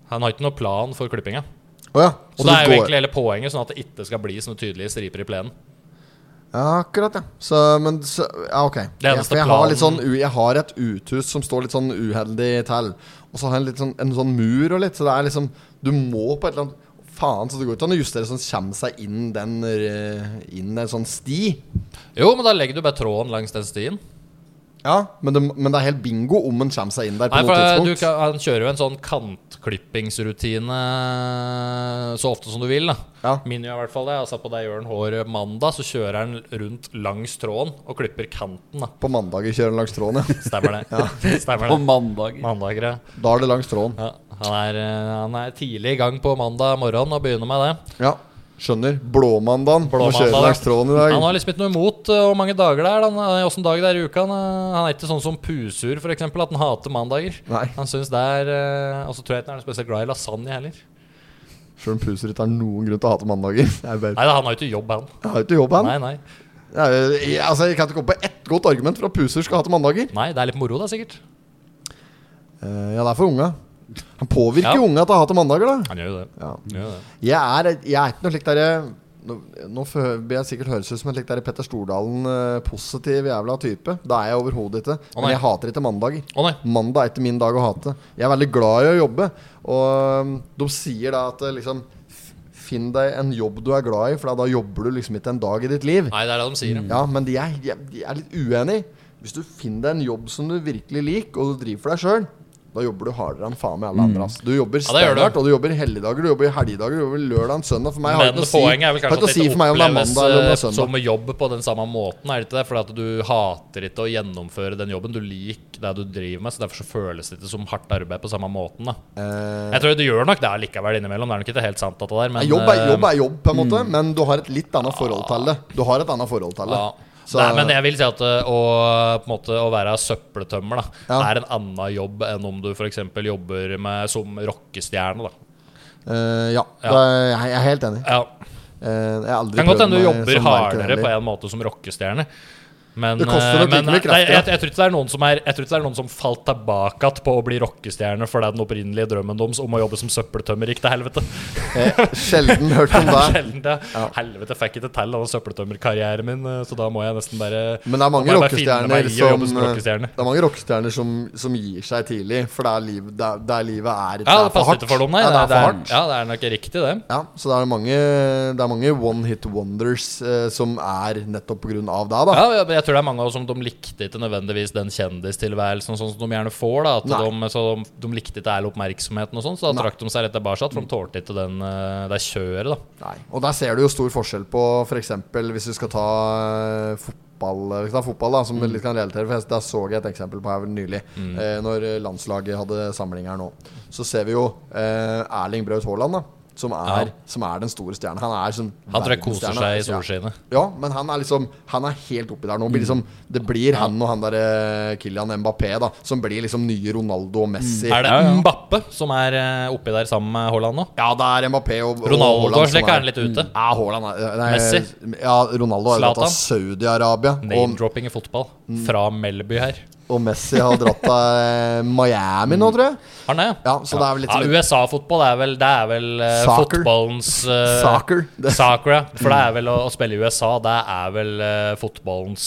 S1: Han har ikke noe plan for klippinga.
S2: Å ja.
S1: Og det er jo
S2: går-
S1: egentlig hele poenget, sånn at det ikke skal bli sånne tydelige striper i plenen.
S2: Ja, akkurat, ja. Så, men så, Ja, ok.
S1: Det
S2: Jeg,
S1: eneste
S2: for jeg, har
S1: planen-
S2: litt sånn, u- jeg har et uthus som står litt sånn uheldig til. Og så har jeg en, litt sånn, en sånn mur og litt, så det er liksom Du må på et eller annet Faen, så det går ikke an å justere sånn kommer seg inn den eh, Inn en sånn sti.
S1: Jo, men da legger du bare tråden langs den stien.
S2: Ja, men det, men det er helt bingo om en kommer seg inn der på
S1: Nei, for eh,
S2: noe
S1: du,
S2: tidspunkt.
S1: kan- Han kjører jo en sånn kantklippingrutine eh, så ofte som du vil. da
S2: Ja.
S1: Min gjør i hvert fall det. Altså På det gjør han hår mandag, så kjører han rundt langs tråden og klipper kanten. da
S2: På mandager kjører han langs tråden, ja.
S1: Stemmer det. Stemmer
S3: På
S1: det.
S3: mandag.
S1: Mandager, ja.
S2: Da er det langs tråden.
S1: Ja, han er, eh, han er tidlig i gang på mandag morgen og begynner med det.
S2: Ja, skjønner. Blåmandagen. Må
S1: Blåmandag,
S2: kjøre
S1: da.
S2: langs tråden i
S1: Han
S2: dag.
S1: har liksom ikke noe imot eh, hvor mange dager det er. da. Han, eh, hvordan dag det er i uka. Han, eh, han er ikke sånn som Pusur, for eksempel at han hater mandager.
S2: Nei.
S1: Han synes det er eh, Og så tror jeg ikke han er noe spesielt glad i lasagne heller.
S2: Sjøl om Puser ikke har noen grunn til å hate mandager. Jeg, bare,
S1: Nei, da, han har jo ikke jobb, han.
S2: jeg har jo ikke jobb, han.
S1: Nei, nei.
S2: Jeg, jeg, altså, jeg kan ikke komme på ett godt argument for at Puser skal hate mandager.
S1: nei, det er litt moro, da, sikkert.
S2: Eh, ja, det er for unga. Han påvirker
S1: Ja.
S2: jo unga til å hate mandager, da.
S1: Han gjør jo det.
S2: Ja.
S1: Han Gjør jo det.
S2: Jeg er, jeg er ikke noe slik derre nå, nå fø- blir jeg sikkert høres ut som en slik derre Petter Stordalen eh, positiv jævla type. Det er jeg overhodet ikke.
S1: Å,
S2: men
S1: nei.
S2: jeg hater ikke mandager.
S1: Å nei.
S2: Mandag er ikke min dag å hate. Jeg er veldig glad i å jobbe. Og um, de sier da at eh, liksom f- Finn deg en jobb du er glad i, for da jobber du liksom ikke en dag i ditt liv.
S1: nei, det er det de sier. ja.
S2: Ja, men de er, de er- de er litt uenige. Hvis du finner deg en jobb som du virkelig liker, og du driver for deg sjøl, da jobber du hardere enn faen med alle andre. ass. Du jobber
S1: Mm. Ja, det gjør du.
S2: standard, og du jobber helligdager, du jobber helgedager, du jobber lørdag og søndag. For meg har det
S1: Men
S2: ikke noe å si,
S1: poenget er vel
S2: har
S1: kanskje at
S2: ikke noe å
S1: det
S2: si
S1: ikke
S2: for meg om det er
S1: oppleves
S2: mandag eller om det er
S1: eh,
S2: søndag.
S1: som jobb på den samme måten, er det ikke det? Fordi at du hater ikke å gjennomføre den jobben. Du liker det du driver med, så derfor så føles det ikke som hardt arbeid på samme måten. da
S2: Eh,
S1: Jeg tror du gjør nok det likevel innimellom. Det er nok ikke helt sant, dette der. Men,
S2: jobb, er,
S1: eh,
S2: jobb er jobb, på en måte, men du har et litt annet forhold til det. Du har et annet forhold til det.
S1: ja.
S2: Så-
S1: Nei, men jeg vil si at eh, å, på en måte, å være søppeltømmer da,
S2: Ja.
S1: er en annen jobb enn om du f.eks. jobber med, som rockestjerne. Da.
S2: Eh, ja,
S1: Ja.
S2: Det er, jeg er helt enig.
S1: Ja.
S2: Eh, jeg har aldri
S1: Kan godt
S2: prøvd
S1: hende du
S2: meg
S1: jobber
S2: eh, som verken
S1: hardere
S2: eller.
S1: på en måte som rockestjerne, Men,
S2: Det koster
S1: eh,
S2: nok
S1: men,
S2: like mye krefter,
S1: nei, jeg,
S2: ja.
S1: jeg, tror ikke det er noen som er Jeg tror ikke det er noen som falt tilbake igjen på å bli rockestjerne fordi den opprinnelige drømmen deres om å jobbe som søppeltømmer gikk til helvete.
S2: Eh, sjelden hørt om det.
S1: Sjelden det. Helvete, fikk ikke til all søppeltømmerkarrieren min, eh, så da må jeg nesten bare
S2: Men det er mange
S1: må jeg bare finne meg
S2: rockestjerner
S1: i å
S2: som, eh,
S1: jobbe som rockestjerne.
S2: det er mange rockestjerner som, som gir seg tidlig, for det er liv, det er, det er livet er,
S1: Ja,
S2: er
S1: det passer ikke for dem, nei.
S2: Ja, det er for
S1: det er,
S2: hardt.
S1: ja, det er nok riktig, det.
S2: Ja, så det er mange, det er mange one hit wonders eh, som er nettopp på grunn av det, da.
S1: Ja, ja, men jeg tror det er mange av oss som de likte ikke nødvendigvis den kjendistilværelsen sånn som de gjerne får. da At
S2: Nei.
S1: de, så de, de likte ikke all oppmerksomheten og sånn, så da
S2: Nei.
S1: trakk de seg rett tilbake. For de tålte ikke den, eh, det kjøret, da.
S2: Nei. Og der ser du jo stor forskjell på f.eks. hvis du skal ta eh, fotball, hvis det er fotball da,
S1: Mm.
S2: som litt kan relatere For jeg- der så jeg et eksempel på her nylig, eh, når landslaget hadde samling her nå. Så ser vi jo eh, Erling Braut Haaland, da. Som er,
S1: Ja.
S2: som er den store stjernen. Han er som
S1: Han tror jeg koser
S2: verdensstjerne.
S1: seg i
S2: altså, Ja.
S1: solskinnet.
S2: Ja, men han er liksom Han er helt oppi der nå.
S1: Mm.
S2: Blir liksom, det blir han og han derre Kylian Mbappé, da, som blir liksom nye Ronaldo og Messi.
S1: Er det
S3: Ja, ja.
S1: Mbappe som er eh, oppi der sammen med Haaland nå?
S2: Ja, det er Mbappé og, og
S1: Ronaldo
S2: Haaland
S1: og
S2: som
S1: slik er han litt ute.
S2: Ja, Haaland er nei,
S1: Messi?
S2: Ja, Ronaldo har jo dratt av Saudi-Arabia. Og,
S1: Name-dropping i fotball
S2: Mm.
S1: fra Melby her.
S2: og Messi har dratt av eh, Miami nå, tror jeg.
S1: Har han det?
S2: Ja, så det er vel litt sånn som-
S1: ja, USA-fotball er vel, det er vel eh,
S2: Soccer.
S1: fotballens eh,
S2: Soccer. Det-
S1: Soccer, ja. For det er vel å, å spille i USA, det er vel eh, fotballens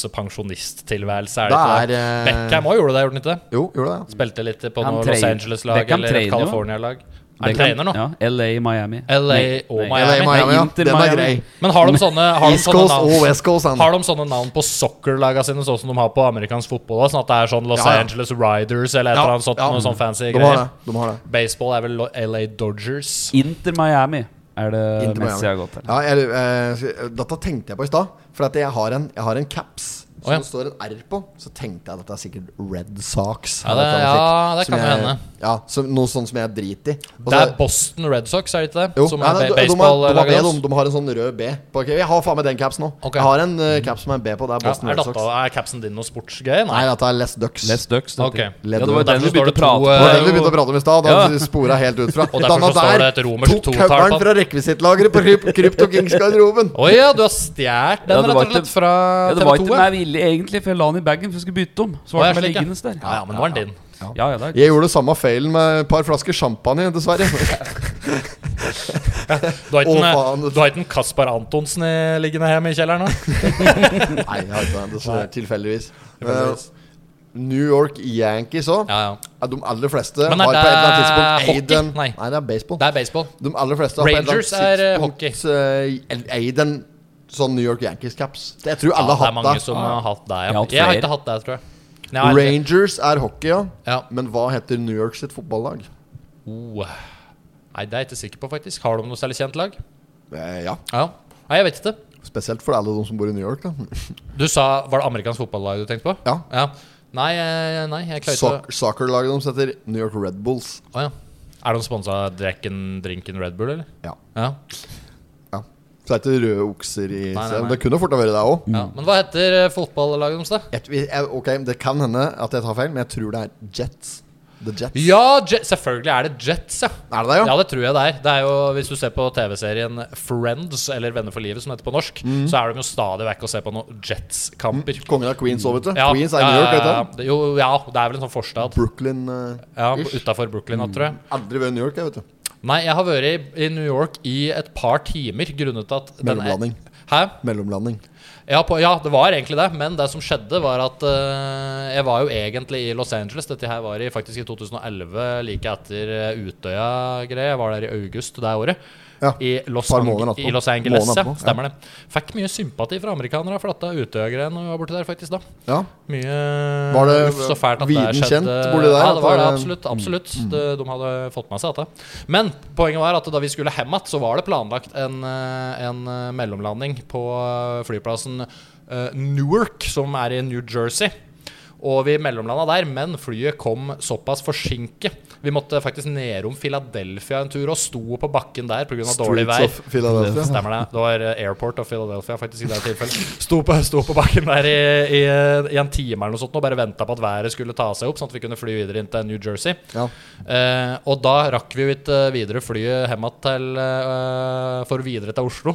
S1: pensjonisttilværelse, er det,
S2: Det
S1: ikke det?
S2: er, eh,
S1: Beckham òg gjorde det, gjorde han ikke det?
S2: Jo, gjorde det.
S1: Spilte litt på
S3: Han
S1: noe
S3: trener-
S1: Los Angeles-lag
S3: Beckham
S1: eller et
S3: trener jo.
S1: California-lag. Er
S3: Det
S1: han
S3: kan-
S1: trener nå?
S3: Ja, LA, Miami.
S1: LA
S3: Nei,
S1: og
S3: nei.
S1: Miami.
S2: LA, Miami, ja.
S3: Inter
S2: Den er
S3: Miami.
S2: grei.
S1: Men har de sånne, har de
S2: East
S1: sånne
S2: Coast
S1: navn?
S2: og West Coast, han.
S1: Har de sånne navn på soccer-lagene sine, sånn som de har på amerikansk fotball? da? Sånn at det er sånn Los
S2: Ja, ja.
S1: Angeles Riders eller et
S2: Ja,
S1: eller annet sånt,
S2: ja.
S1: noe sånn fancy
S2: De har
S1: greier?
S2: det. De har det.
S1: Baseball er vel Lo- LA Dodgers.
S3: Inter Miami er det
S2: Inter
S3: Messi har
S2: Miami.
S3: gått til.
S2: Ja, jeg, eh, dette tenkte jeg på i stad. For at jeg har en, jeg har en caps som
S1: Å, ja.
S2: det står en R på. Så tenkte jeg at dette er sikkert Red Sox.
S1: Ja, det-
S2: Eller noe
S1: ja, det
S2: slikt, som
S1: kan jo
S2: jeg-
S1: hende.
S2: Ja, som, Noe sånt som jeg driter i. Og
S1: Det
S2: så-
S1: er Boston Red Sox, er det ikke det?
S2: jo,
S1: som
S2: nei,
S1: er
S2: nei,
S1: ba-
S2: de- de, har- de, har B,
S1: baseball-laget
S2: de, de har en sånn rød B. På, ok, jeg har faen meg den caps nå.
S1: Ok.
S2: Jeg har en eh, caps med en B på. Det er
S1: Ja,
S2: Boston
S1: er,
S2: Red Sox.
S1: datta, er capsen din noe sportsgøy? Nei.
S2: Nei, dette er Les Ducks.
S3: Les Ducks. dette.
S1: Ok.
S3: Ja, det var jo
S2: Derfor
S3: den vi
S1: står
S3: begynte
S1: det
S3: å
S1: to,
S3: prate
S2: Det var
S1: eh,
S3: om.
S2: den vi begynte å prate om i stad. Da
S3: Ja.
S2: spora helt ut fra.
S1: Og derfor så står det et romersk
S2: tok
S1: totall
S2: høvelen
S1: på-
S2: fra rekvisittlageret på Kryp- Krypto Kings-garderoben.
S1: Å ja, du har stjålet den,
S3: Ja,
S1: rett
S3: det var
S1: og
S3: ikke-
S1: slett, fra
S3: Ja, det var
S1: TV2?
S3: ikke meg villig, egentlig, for jeg la den i bagen for jeg skulle bytte om. Så
S1: Å,
S3: var den bare
S1: jeg slik, ja.
S3: liggende der.
S1: ja, ja, men nå er den din.
S3: Ja, ja, det er
S2: Jeg gjorde samme feilen med et par flasker champagne, dessverre.
S1: Du har ikke
S2: Å,
S1: en, eh,
S2: faen.
S1: du har ikke en Kaspar Antonsen i- liggende hjemme i kjelleren? da?
S2: Nei, jeg har ikke det. Dessverre. Tilfeldigvis. Eh, New York Yankees òg.
S1: Ja, ja.
S2: De aller fleste
S1: Men er
S2: har på et eller annet
S1: det
S2: tidspunkt
S1: hockey?
S2: eid en
S1: Nei.
S2: Nei, det er baseball.
S1: Det er baseball.
S2: De aller fleste har
S1: Rangers
S2: på et eller
S1: er, eh,
S2: annet tidspunkt eh, eid en sånn New York Yankees-caps. Jeg tror alle
S1: Ja, det
S2: har
S1: er mange
S2: hatt det.
S1: som har hatt det. Ja.
S3: Jeg har hatt
S1: Jeg har
S3: flere.
S1: ikke hatt det, tror jeg. Nei, jeg har ikke-
S2: Rangers er hockey, ja.
S1: Ja.
S2: Men hva heter New York sitt fotballag?
S1: Oh. Nei, det er jeg ikke sikker på, faktisk. Har de noe særlig kjent lag?
S2: Eh, ja,
S1: Ja. Nei, jeg vet ikke.
S2: spesielt for alle de som bor i New York. da
S1: Du sa Var det amerikansk fotballag du tenkte på?
S2: Ja.
S1: Nei, eh, nei, jeg klarer ikke å
S2: Soc- Soccerlaget deres heter New York Red Bulls.
S1: Å ja. Er de sponsa av Drekken Drinken Red Bull, eller?
S2: Ja.
S1: Ja.
S2: ja. Så det er ikke røde okser i
S1: Nei, nei, nei.
S2: Det kunne fort ha vært det òg.
S3: Mm.
S1: ja. Men hva heter eh, fotballaget deres, da?
S2: Jeg- vi- jeg- Ok, Det kan hende at jeg tar feil, men jeg tror det er Jets. The Jets.
S1: Ja, Jet, selvfølgelig er det Jets, ja.
S2: Er det det, ja?
S1: Ja, det tror jeg det er. Det er jo, Hvis du ser på TV-serien Friends, eller Venner for livet, som det heter på norsk,
S2: Mhm.
S1: så er de jo stadig vekk og ser på noen Jets-kamper.
S2: Kongen av Queens òg, vet du.
S1: Ja,
S2: Mm. Queens er i New York, vet
S1: ja,
S2: du.
S1: ja. jo, ja, det er vel en sånn forstad.
S2: Brooklyn eh,
S1: Ja,
S2: ish. Mm.
S1: Utafor Brooklyn, da, tror jeg.
S2: Aldri vært i New York, jeg, vet du.
S1: Nei, jeg har vært i- i New York i et par timer grunnet at den er-
S2: Mellomlanding.
S1: Hæ?
S2: Mellomlanding.
S1: Ja, på, ja, det var egentlig det, men det som skjedde, var at eh, jeg var jo egentlig i Los Angeles. Dette her var i, faktisk i 2011, like etter eh, Utøya-greia. Jeg var der i august det året.
S2: Ja,
S1: I, Los
S2: par
S1: Ang-
S2: måneder etterpå.
S1: I Los Angeles,
S2: Måned
S1: ja.
S2: etterpå, ja.
S1: Stemmer det. Fikk mye sympati fra amerikanere for dette Utøya-greien når jeg var borte der, faktisk, da.
S2: Ja.
S1: Mye
S2: Var det
S1: Uff, så fælt at det
S2: viden
S1: skjedde.
S2: kjent borti der,
S1: Ja,
S2: at
S1: det var det,
S2: det- Mm.
S1: absolutt. absolutt. Det, de hadde fått med seg dette. Men poenget var at da vi skulle hjem igjen, så var det planlagt en, eh, en eh, mellomlanding på eh, flyplassen eh, Newark, som er i New Jersey. Og vi mellomlanda der, men flyet kom såpass forsinket. Vi måtte faktisk nedom Philadelphia en tur og sto på bakken der pga. dårlig
S2: Streets
S1: vei.
S2: of Philadelphia.
S1: Stemmer det. Det var eh, Airport of Philadelphia faktisk i det tilfellet. Sto på, sto på bakken der i, i, eh, i en time eller noe sånt og bare venta på at været skulle ta seg opp, sånn at vi kunne fly videre inn til New Jersey.
S2: Ja.
S1: Eh, og da eh, rakk vi jo ikke videre flyet hjem igjen til, eh, for videre til Oslo.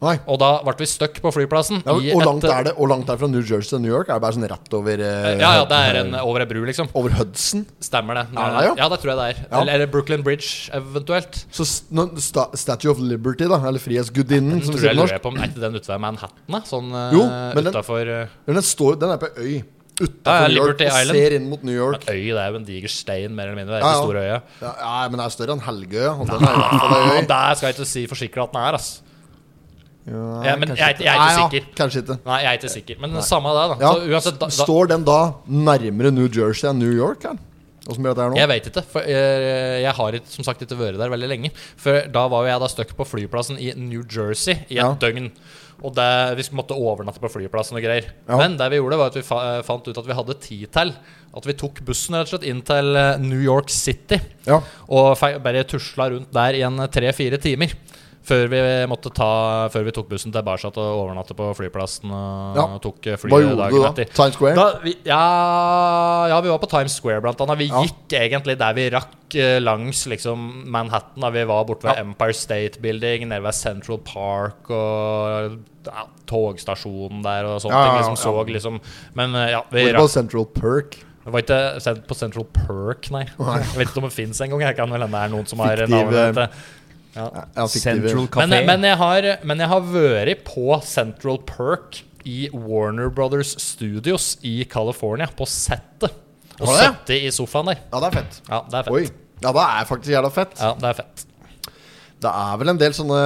S2: Nei.
S1: Og da ble vi stuck på flyplassen.
S2: Ja,
S1: i
S2: hvor,
S1: et-
S2: langt er det, hvor langt er det fra New Jersey til New York? Er det bare sånn rett over eh,
S1: Ja, ja, det er en over ei bru, liksom.
S2: Over Hudson?
S1: Stemmer det.
S2: Er det, ja?
S1: ja, det tror jeg det er.
S2: Ja.
S1: Eller, eller Brooklyn Bridge, eventuelt.
S2: Så s- nå- sta, Statue of Liberty, da? Eller Frihetsgudinnen,
S1: Den
S2: Mm, som vi
S1: tror
S2: sier
S1: jeg
S2: på
S1: lurer
S2: norsk.
S1: på om Er ikke den ute ved Manhattan? da? Sånn eh,
S2: Jo,
S1: jo,
S2: men den-
S1: utafor en
S2: Men Den, står, den er på øy
S1: Ja,
S2: utafor
S1: ja,
S2: New York
S1: Liberty
S2: og
S1: Island.
S2: ser inn mot New York.
S1: øy. Det er jo en diger stein, mer eller mindre. Det er
S2: Ja,
S1: ja,
S2: ja.
S1: store øya.
S2: Ja, ja, men det er større enn Helgøya. og den er i hvert fall ei
S1: Ja,
S2: øy.
S1: der skal jeg ikke si for sikker at den er, ass. Ja, men jeg er ikke- jeg er ikke
S2: Nei, ja,
S1: sikker.
S2: Kanskje ikke.
S1: Nei, jeg er ikke sikker. Men samme det, da.
S2: Ja.
S1: Så uansett, da, da
S2: Står den da nærmere New Jersey enn New York? Her? Hvordan blir det her nå?
S1: jeg veit ikke, for jeg, jeg har ikke, som sagt ikke vært der veldig lenge. For da var jo jeg da stuck på flyplassen i New Jersey i et
S2: Ja.
S1: døgn. Og det, vi måtte overnatte på flyplassen og greier.
S2: Ja.
S1: Men det vi gjorde, var at vi fa eh, fant ut at vi hadde tid til. At vi tok bussen rett og slett inn til eh, New York City.
S2: Ja.
S1: Og fe- bare tusla rundt der i en eh, tre-fire timer. Før vi, måtte ta, før vi tok bussen tilbake og overnatte på flyplassen. Og
S2: Ja.
S1: tok eh,
S2: Hva
S1: flyet
S2: gjorde du
S1: dagen
S2: da?
S1: etter.
S2: Times Square?
S1: Da, vi, ja, ja, vi var på Times Square, blant annet. Vi
S2: Ja.
S1: gikk egentlig der vi rakk eh, langs liksom, Manhattan. Da. Vi var borte ved Empire State Building, nede ved Central Park og ja, togstasjonen der og sånne
S2: Ja, ja,
S1: ting. Liksom,
S2: ja.
S1: så, liksom. Men eh, ja, vi
S2: Hvor på
S1: rakk
S2: Central Perk?
S1: Det var ikke sendt på Central Perk, nei. Jeg vet ikke om det fins engang. Jeg kan vel hende det er noen som har
S2: Fiktiv,
S1: navnet
S2: eh,
S1: etter.
S2: Ja, fiktive-
S3: Central
S1: Men,
S3: Café.
S1: men, jeg har, men jeg har vært på Central Perk i Warner Brothers Studios i California, på settet. Og
S2: Har det?
S1: sittet i sofaen der.
S2: Ja, det er fett.
S1: Ja, det er fett.
S2: Oi. Ja, det er faktisk jævla fett.
S1: Ja, det er fett.
S2: Det er vel en del sånne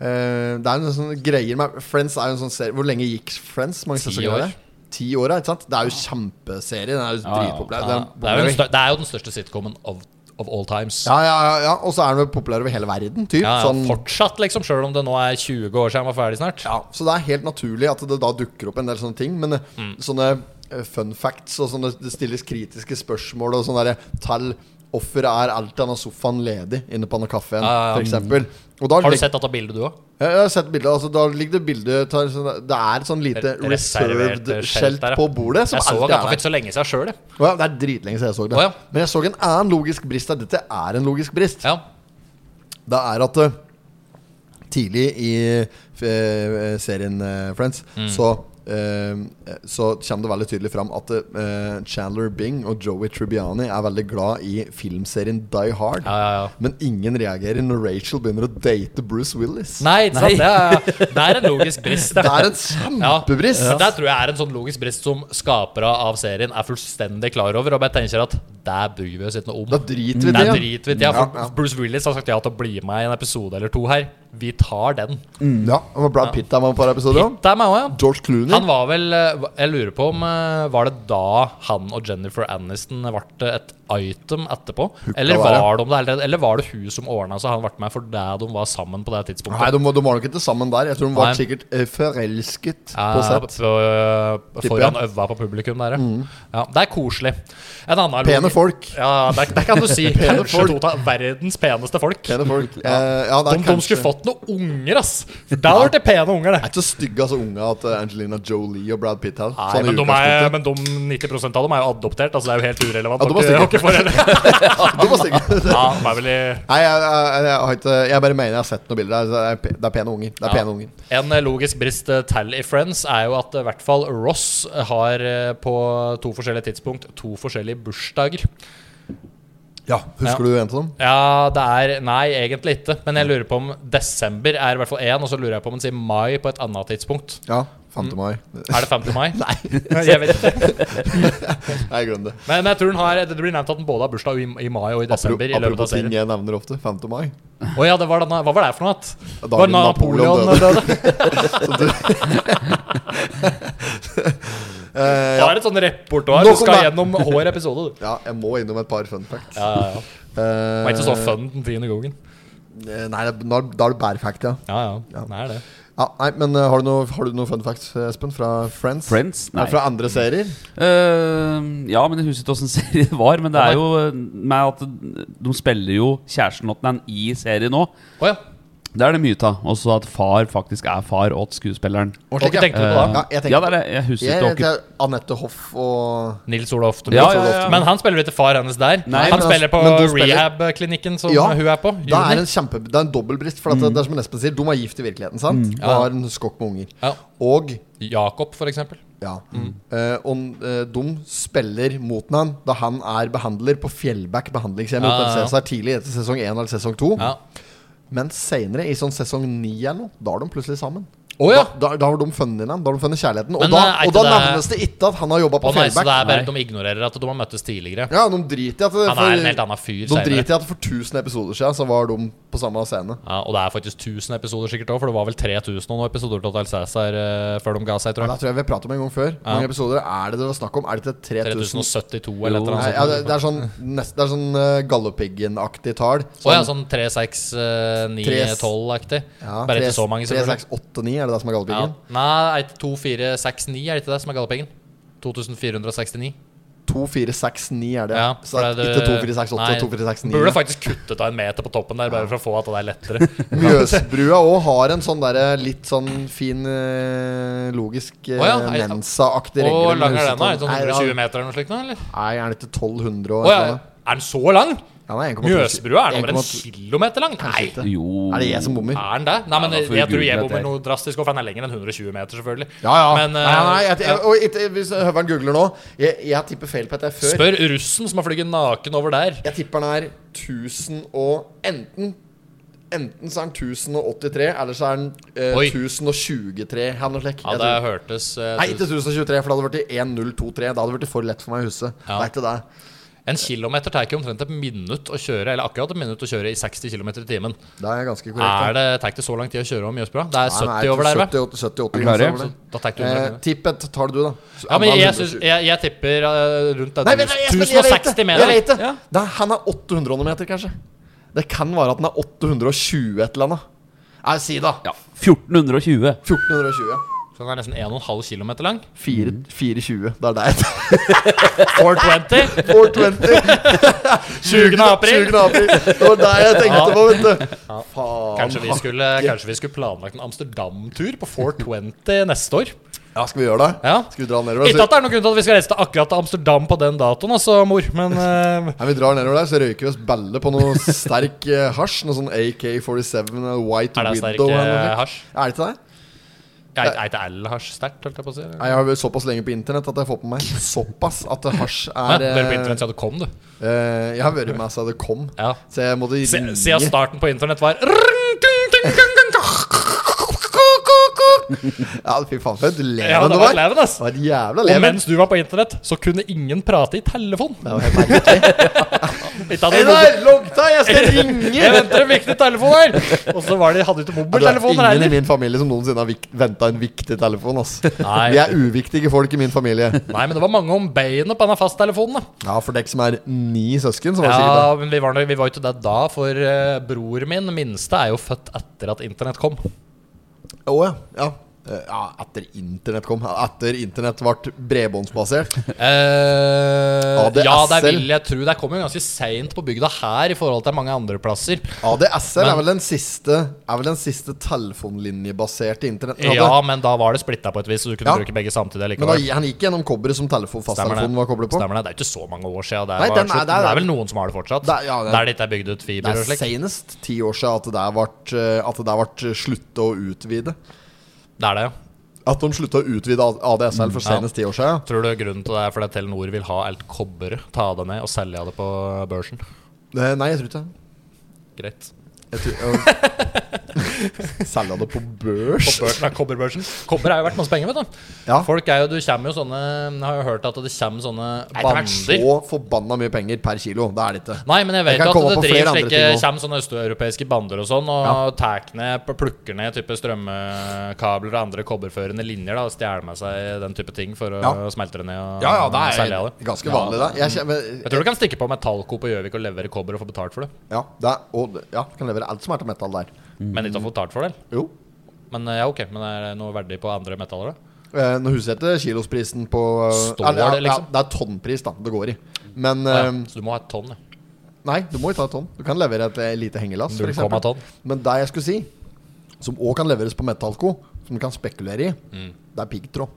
S2: eh, Det er en sånn greier med Friends er jo en sånn serie Hvor lenge gikk Friends? Mange
S1: Ti
S2: sesonger er
S1: år.
S2: det? Ti år, ja, ikke sant? Det er jo kjempeserie. Den er jo
S3: Ja, ja.
S2: dritpopulær.
S1: Ja,
S2: Den
S1: det, er jo den
S2: populær-
S1: stør- det er jo den største sitcomen of, of all times.
S2: ja, ja, ja, ja. Og så er den vel populær over hele verden, typ.
S1: Ja, ja,
S2: sånn,
S1: Fortsatt, liksom, sjøl om det nå er 20 år siden jeg var ferdig snart.
S2: ja, så det er helt naturlig at det da dukker opp en del sånne ting. Men eh,
S1: Mm.
S2: sånne eh, fun facts og sånne det stilles kritiske spørsmål og sånne der tall Offeret er alltid han har sofaen ledig inne på denne kaffen,
S1: Ja, ja,
S2: for eksempel Og da
S1: Har du
S2: legger-
S1: sett dette bildet, du òg?
S2: Ja, jeg har sett bildet. Altså, da ligger det bildet tar, sånn, Det er et sånn lite reserved skjelt på bordet. Som
S1: Jeg så
S2: alltid
S1: det for ikke
S2: er der.
S1: så lenge siden sjøl, jeg.
S2: Å ja, det er dritlenge siden jeg så det.
S1: Å ja.
S2: Men jeg så en annen logisk brist der. Dette er en logisk brist.
S1: Ja.
S2: Det er at eh, tidlig i eh, serien eh, Friends
S1: Mm.
S2: så eh, så kommer det veldig tydelig fram at eh, Chandler Bing og Joey Tribbiani er veldig glad i filmserien Die Hard.
S1: Ja, ja, ja.
S2: Men ingen reagerer når Rachel begynner å date Bruce Willis.
S1: Nei, ikke sant? Det, er, det er en logisk brist.
S2: Det er en kjempebrist!
S1: Ja. Det tror jeg er en sånn logisk brist som skapere av serien er fullstendig klar over. Og bare tenker at der bryr vi oss ikke noe om.
S2: Da driter vi i
S1: Der
S2: det.
S1: driter vi i det.
S2: Ja,
S1: For
S2: ja.
S1: Bruce Willis har sagt ja til å bli med i en episode eller to her. Vi tar den.
S2: Ja, det var Brad Pitt er med på et par episoder også.
S1: Pitt er med også, ja.
S2: George Clooney.
S1: Han var vel eh, Jeg lurer på om eh, Var det da han og Jennifer Aniston ble et item etterpå? Eller
S2: være.
S1: var, de det, allerede- eller var det hun som ordna så han ble med fordi de var sammen på det tidspunktet?
S2: Nei, de, var- de var nok ikke sammen der. Jeg tror de var
S1: Nei.
S2: sikkert eh, forelsket på
S1: Ja,
S2: sett.
S1: Eh, på- eh,
S2: Tipper
S1: Foran
S2: jeg. Mm.
S1: øva på publikum der, ja. ja. Det er koselig. En annen
S2: Pene folk.
S1: Ja, det, det kan du si.
S2: Pene
S1: Kanskje
S2: folk.
S1: to av verdens peneste folk.
S2: Pene folk. Ja. ja,
S1: De,
S2: det er
S1: de skulle fått noen unger, ass! For Da hadde det vært pene unger,
S2: Det er
S1: det.
S2: ikke så stygge altså, unge at eh, Angelina Jolie og Brad Pitt her. Sånn
S1: Nei, men de, er, men de 90 av dem er jo adoptert, altså det er jo helt urelevant.
S2: Ja, de var
S1: Dere-
S2: sikkert-
S1: dere får heller-
S2: Ah, de var stygge.
S1: ja, de er vel i
S2: Nei, jeg, jeg, jeg, har ikke, jeg bare mener jeg har sett noen bilder. Det er, det er pene unger. Det er
S1: Ja.
S2: pene unger.
S1: En eh, logisk brist eh, til i Friends er jo at eh, i hvert fall Ross har eh, på to forskjellige tidspunkt to forskjellige bursdager.
S2: Ja, Husker du en sånn? av dem?
S1: Ja, det er Nei, egentlig ikke. Men jeg lurer på om desember er i hvert fall én, og så lurer jeg på om den sier mai på et annet tidspunkt.
S2: Ja.
S1: Mm.
S2: Fante mai.
S1: Er det 5. mai? nei. Jeg vet ikke.
S2: Nei, glem det.
S1: Men, men jeg tror den har Det blir nevnt at den både har bursdag i, i mai og i desember. i løpet av
S2: Apropos ting
S1: serien
S2: jeg nevner ofte. 5. mai.
S1: Å ja, det var denne, Hva var det for noe? at?
S2: Dagen
S1: Var Napoleon,
S2: Napoleon
S1: Napoleon døde?
S2: Eh,
S1: Det er et sånn repertoar.
S2: Nå
S1: Du skal
S2: kommer-
S1: gjennom hver episode, du.
S2: ja, jeg må innom et par fun facts.
S1: Ja, ja, ja. Det var ikke så fun den tiende gangen.
S2: Eh, Nei, det- da da er det bare fact, ja.
S1: Ja, ja. Det er det.
S2: ja nei, men eh, har du noen noe har du noe fun facts, eh, Espen, fra Friends?
S3: Friends?
S2: Nei.
S3: Nei.
S2: Fra andre serier?
S3: Eh, ja, men jeg husker ikke åssen serie det var. Men det er jo eh, med at de spiller jo kjæresten til den i serien nå.
S1: Å ja.
S3: Det er det mye av. Også at far faktisk er far åt skuespilleren.
S1: Hva tenkte du på da?
S3: Eh,
S2: Ja, jeg tenkte-
S3: ja, det er det. Jeg husker
S2: Jeg
S3: ikke åkke-
S2: heter Anette Hoff og
S1: Nils Ola Oftebro.
S3: Ja, ja, ja.
S1: Men han spiller jo ikke far hennes der.
S3: Nei,
S1: han
S2: men- altså,
S1: spiller på
S2: men du spiller-
S1: rehab-klinikken som
S2: Ja,
S1: hun er på.
S2: Det er
S1: Juni.
S2: en kjempe Det er en dobbeltbrist. For at
S3: Mm.
S2: det, det er som Espen sier, de er gift i virkeligheten. sant? Og har en skokk med unger.
S1: Ja.
S2: Og
S1: Jakob, for eksempel.
S2: ja.
S1: Mm.
S2: Eh, og eh, de spiller mot han da han er behandler på Fjellback behandlingshjem.
S1: Ja,
S2: Ja,
S1: ja, ja.
S2: Cæsar Tidlig etter sesong 1 eller sesong 2.
S1: Ja.
S2: Men seinere, i sånn sesong 9 eller noe, da er de plutselig sammen.
S1: Å, ja.
S2: da, da, da har de funnet inn han, Da har de funnet kjærligheten.
S1: Men,
S2: og da,
S1: eh, er
S2: og da
S1: ikke det-
S2: nevnes det ikke at han har jobba
S1: Å
S2: på
S1: nei, så
S2: Fjellback.
S1: det er bare
S3: Nei.
S1: de ignorerer at de har møttes tidligere.
S2: Ja, de driter i at det,
S1: Han er en helt annen fyr
S2: de
S1: senere.
S2: driter i at for 1000 episoder siden så var de på samme scene.
S1: Ja, og det er faktisk 1000 episoder sikkert òg, for det var vel 3000 og noen episoder til Hotel Cæsar eh, før de ga seg,
S2: Ja,
S1: tror
S2: Det
S1: jeg.
S2: tror jeg vi har pratet om en gang før. Hvor mange episoder er det det var snakk om? Er det ikke 3000?
S1: 3072 eller et eller
S2: Nei,
S1: annet
S2: ja, det,
S1: sånt.
S2: det er sånn, nest, det er sånn uh, Galdhøpiggen-aktig tall.
S1: Å ja, sånn 36912-aktig. Bare ikke så mange, selvfølgelig.
S2: 3689 er det det som er
S1: Ja.
S2: Galdhøpiggen?
S1: Nei, er det 2469 er det ikke det som er gallepengen? 2469.
S2: 2469 er det.
S1: Ja,
S2: så
S1: for
S2: det er
S1: det-
S2: ikke 2468
S1: nei,
S2: og 2469.
S1: Burde faktisk kuttet av en meter på toppen der, bare for å få at det er lettere.
S2: Mjøsbrua òg har en sånn derre litt sånn fin eh, logisk eh,
S1: Å ja, er det-
S2: Mensa-aktig
S1: Og
S2: regel.
S1: hvor
S2: men
S1: lang er
S2: husker
S1: den, da? Er det
S2: ikke
S1: sånn
S2: om- Nei,
S1: 120
S2: han-
S1: meter eller noe slikt? nå, eller?
S2: Nei, er den ikke 1200 og
S1: Å ja, er den så lang?
S2: Ja, den er 1,2
S1: Mjøsbrua er den over en
S2: 1,2
S1: kilometer lang? Nei!
S3: Jo
S2: Er det jeg som bommer?
S1: Er den det? Nei, men
S3: Ja, da får vi
S1: jeg tror
S3: google
S1: jeg
S3: dette her.
S1: bommer noe drastisk, for den er lenger enn 120 meter, selvfølgelig.
S2: Ja, ja.
S1: Men,
S2: nei, nei, jeg,
S1: eh,
S2: jeg, og ikke- hvis Høveren googler nå jeg, jeg tipper feil på dette før.
S1: Spør russen som har flyget naken over der.
S2: Jeg tipper den er 1000 og Enten Enten så er den 1083, eller så er den eh,
S1: Oi.
S2: 1023. eller noe slik.
S1: Ja, det
S2: Jeg tror-
S1: hørtes eh,
S2: Nei, ikke 1023, for da hadde det blitt 1023. Da hadde det blitt for lett for meg å huske.
S1: Ja.
S2: Det er ikke det.
S1: En kilometer tar ikke omtrent et minutt å kjøre, eller akkurat et minutt å kjøre i 60 km i timen.
S2: Det er ganske korrekt. da.
S1: Er det, tar ikke det så lang tid å kjøre om Mjøsbrua? Det er
S2: Nei, nei,
S1: 70 over der, vel?
S2: 70, 70, 80,
S3: Klarer jeg?
S2: over der.
S1: Da tar ikke du
S2: Eh,
S1: under.
S2: Tipp et tall, du, da. Så
S1: Ja, men
S2: er
S1: jeg,
S2: den
S1: syns-
S2: 120.
S1: jeg, jeg tipper eh, rundt
S2: Nei,
S1: dette
S2: vent, jeg, jeg, jeg, vet det!
S1: 1060
S2: Jeg
S1: meter.
S2: vet det. Da, han er 800 meter, kanskje. Det kan være at den er 820 et eller annet. Nei, si da.
S3: Ja, 1420.
S2: 1420. ja.
S1: Så den er nesten 1,5 km lang.
S2: Fire-
S1: Mm.
S2: 420. Det er deg.
S1: 420.
S2: 420.
S1: 20. april.
S2: 20. april. Det var deg jeg tenkte på, vet du. Faen.
S1: Kanskje vi, skulle, kanskje vi skulle planlagt en Amsterdam-tur på 420 neste år?
S2: Ja, skal vi gjøre det?
S1: Ja.
S2: Skal vi dra nedover
S1: Ikke
S2: der?
S1: at det er noen grunn til at vi skal reise til akkurat til Amsterdam på den datoen, altså, mor. Men eh,
S2: Ja, vi drar nedover der, så røyker vi oss balle på noe sterk eh, hasj. Noe sånn AK-47 eh, White
S1: er det sterk
S2: Widow. eller noe
S1: eh,
S2: slikt.
S1: hasj?
S2: Er det ikke det?
S1: Er er ikke L-hasj sterkt, holdt jeg på å si?
S2: Nei, Jeg har vært såpass lenge på internett at jeg får på meg såpass at hasj
S1: Hæ?
S2: er
S1: Dere på
S2: eh,
S1: internett sa det kom, du.
S2: eh, Jeg har vært med siden det kom.
S1: Ja.
S2: Så jeg måtte
S1: Se-
S2: ringe.
S1: Siden starten på internett var
S2: Ja, fy faen, for et leven
S1: Ja, det
S2: det
S1: var
S2: var.
S1: et leven, ass.
S2: Det var et jævla
S1: Og
S2: leven.
S1: mens du var på internett, så kunne ingen prate i telefon. Ikke hadde mobil-
S2: Einar, logg deg, jeg skal ringe!
S1: Jeg venter en viktig telefon her! Og så var de, hadde de ikke
S2: Det er
S1: mobiltelefoner
S2: ingen i
S1: heller.
S2: min familie som noensinne har vik- venta en viktig telefon. ass
S1: Nei.
S2: Vi er uviktige folk i min familie.
S1: Nei, men det var mange om beinet på denne fasttelefonen. da.
S2: Ja, For dere som er ni søsken, så var det sikkert
S1: Ja, men vi var, nok- vi var jo ikke det da, for eh, bror min, minste, er jo født etter at internett kom.
S2: det. Å, ja. Ja. Eh, ja, etter internett kom. Etter internett ble bredbåndsbasert.
S1: Eh,
S2: ADSL.
S1: ja, det vil jeg tro. Det kom jo ganske seint på bygda her i forhold til mange andre plasser.
S2: ADSL er
S1: Men-
S2: vel den siste Er vel den siste telefonlinjebaserte internetten hadde.
S1: Ja, men da var det splitta på et vis, så du kunne
S2: Ja.
S1: bruke begge samtidig
S2: Men da,
S1: likevel.
S2: han gikk gjennom kobberet som telefon,
S1: Stemmer det.
S2: fasttelefonen var koblet på.
S1: Stemmer det. Det er jo ikke så mange år siden. Det,
S2: Nei,
S1: var
S2: den er-
S1: slutt.
S2: det er-
S1: det er vel noen som har det fortsatt.
S2: Det er- ja, det-
S1: Der det ikke er bygd ut
S2: Det
S1: fiber og
S2: er
S1: slik.
S2: senest ti år siden at det der ble, at det der ble sluttet å utvide.
S1: Det er det, ja.
S2: At de slutta å utvide ADSL for
S1: Mm, Ja.
S2: senest ti år siden.
S1: Tror du grunnen til det er fordi Telenor vil ha alt kobberet, ta det ned og selge det på børsen?
S2: Eh, Nei, jeg tror ikke det.
S1: Greit.
S2: Jeg tror, øh. Selge det på
S1: På
S2: børs?
S1: børsen, ja, kobberbørsen. Kobber er jo verdt masse penger, vet du.
S2: Ja.
S1: Folk er jo, du kommer jo sånne Jeg har jo hørt at det kommer sånne
S2: Det er
S1: bander.
S2: så forbanna mye penger per kilo. Det er det ikke.
S1: Nei, men jeg
S2: Jeg
S1: vet
S2: kan
S1: jo at
S2: komme
S1: det
S2: på flere
S1: driver
S2: andre
S1: slike
S2: ting også.
S1: kommer sånne østeuropeiske bander og sånn, og tar ned, pl- plukker ned type strømkabler og andre kobberførende linjer, da, og stjeler med seg den type ting for å
S2: Ja.
S1: smelte det ned og selge det.
S2: ganske vanlig, det. Jeg kjenner,
S1: Jeg tror du kan stikke på Metallco på Gjøvik og levere kobber og få betalt for det.
S2: ja, det er, og, ja, kan levere alt som er til metall der.
S1: Men ikke få betalt for det.
S2: Jo.
S1: Men eh, ja, ok, men er det noe verdig på andre metaller, da?
S2: Eh, Nå husker jeg ikke kilosprisen på eh,
S1: Står
S2: eller, ja,
S1: det, liksom?
S2: ja, det er tonnpris, da. Det går i. Men
S1: Ah, ja.
S2: eh,
S1: Så du må ha et tonn, ja.
S2: Nei, du må jo ta et tonn. Du kan levere et eh, lite hengelass. for
S1: 0,1
S2: eksempel.
S1: tonn.
S2: Men det jeg skulle si, som òg kan leveres på Metalco, som du kan spekulere i,
S1: Mm.
S2: det er piggtråd.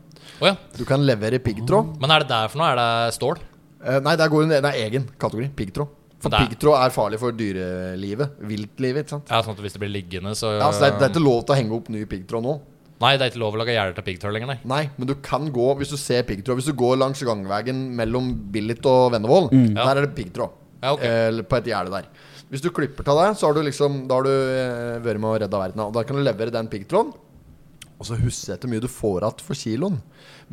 S1: Å ja.
S2: Du kan levere piggtråd.
S1: Men er det der for noe? Er det stål?
S2: Eh, nei, der går en, det er egen kategori. Piggtråd. For
S1: Det er-
S2: piggtråd er farlig for dyrelivet. Viltlivet, ikke sant.
S1: Ja, sånn at hvis det blir liggende, så
S2: Ja, så det, er, det er ikke lov til å henge opp ny piggtråd nå.
S1: Nei, det er ikke lov å lage gjerder til piggtråd lenger, nei.
S2: Nei, men du kan gå Hvis du ser piggtråd Hvis du går langs gangveien mellom Billit og Vennevoll,
S1: Ja.
S2: der er det piggtråd.
S1: Ja, ok.
S2: Eller på et gjerde der. Hvis du klipper av deg, så har du liksom Da har du eh, vært med å redde verden. Og da kan du levere den piggtråden. Og så husker jeg ikke hvor mye du får igjen for kiloen.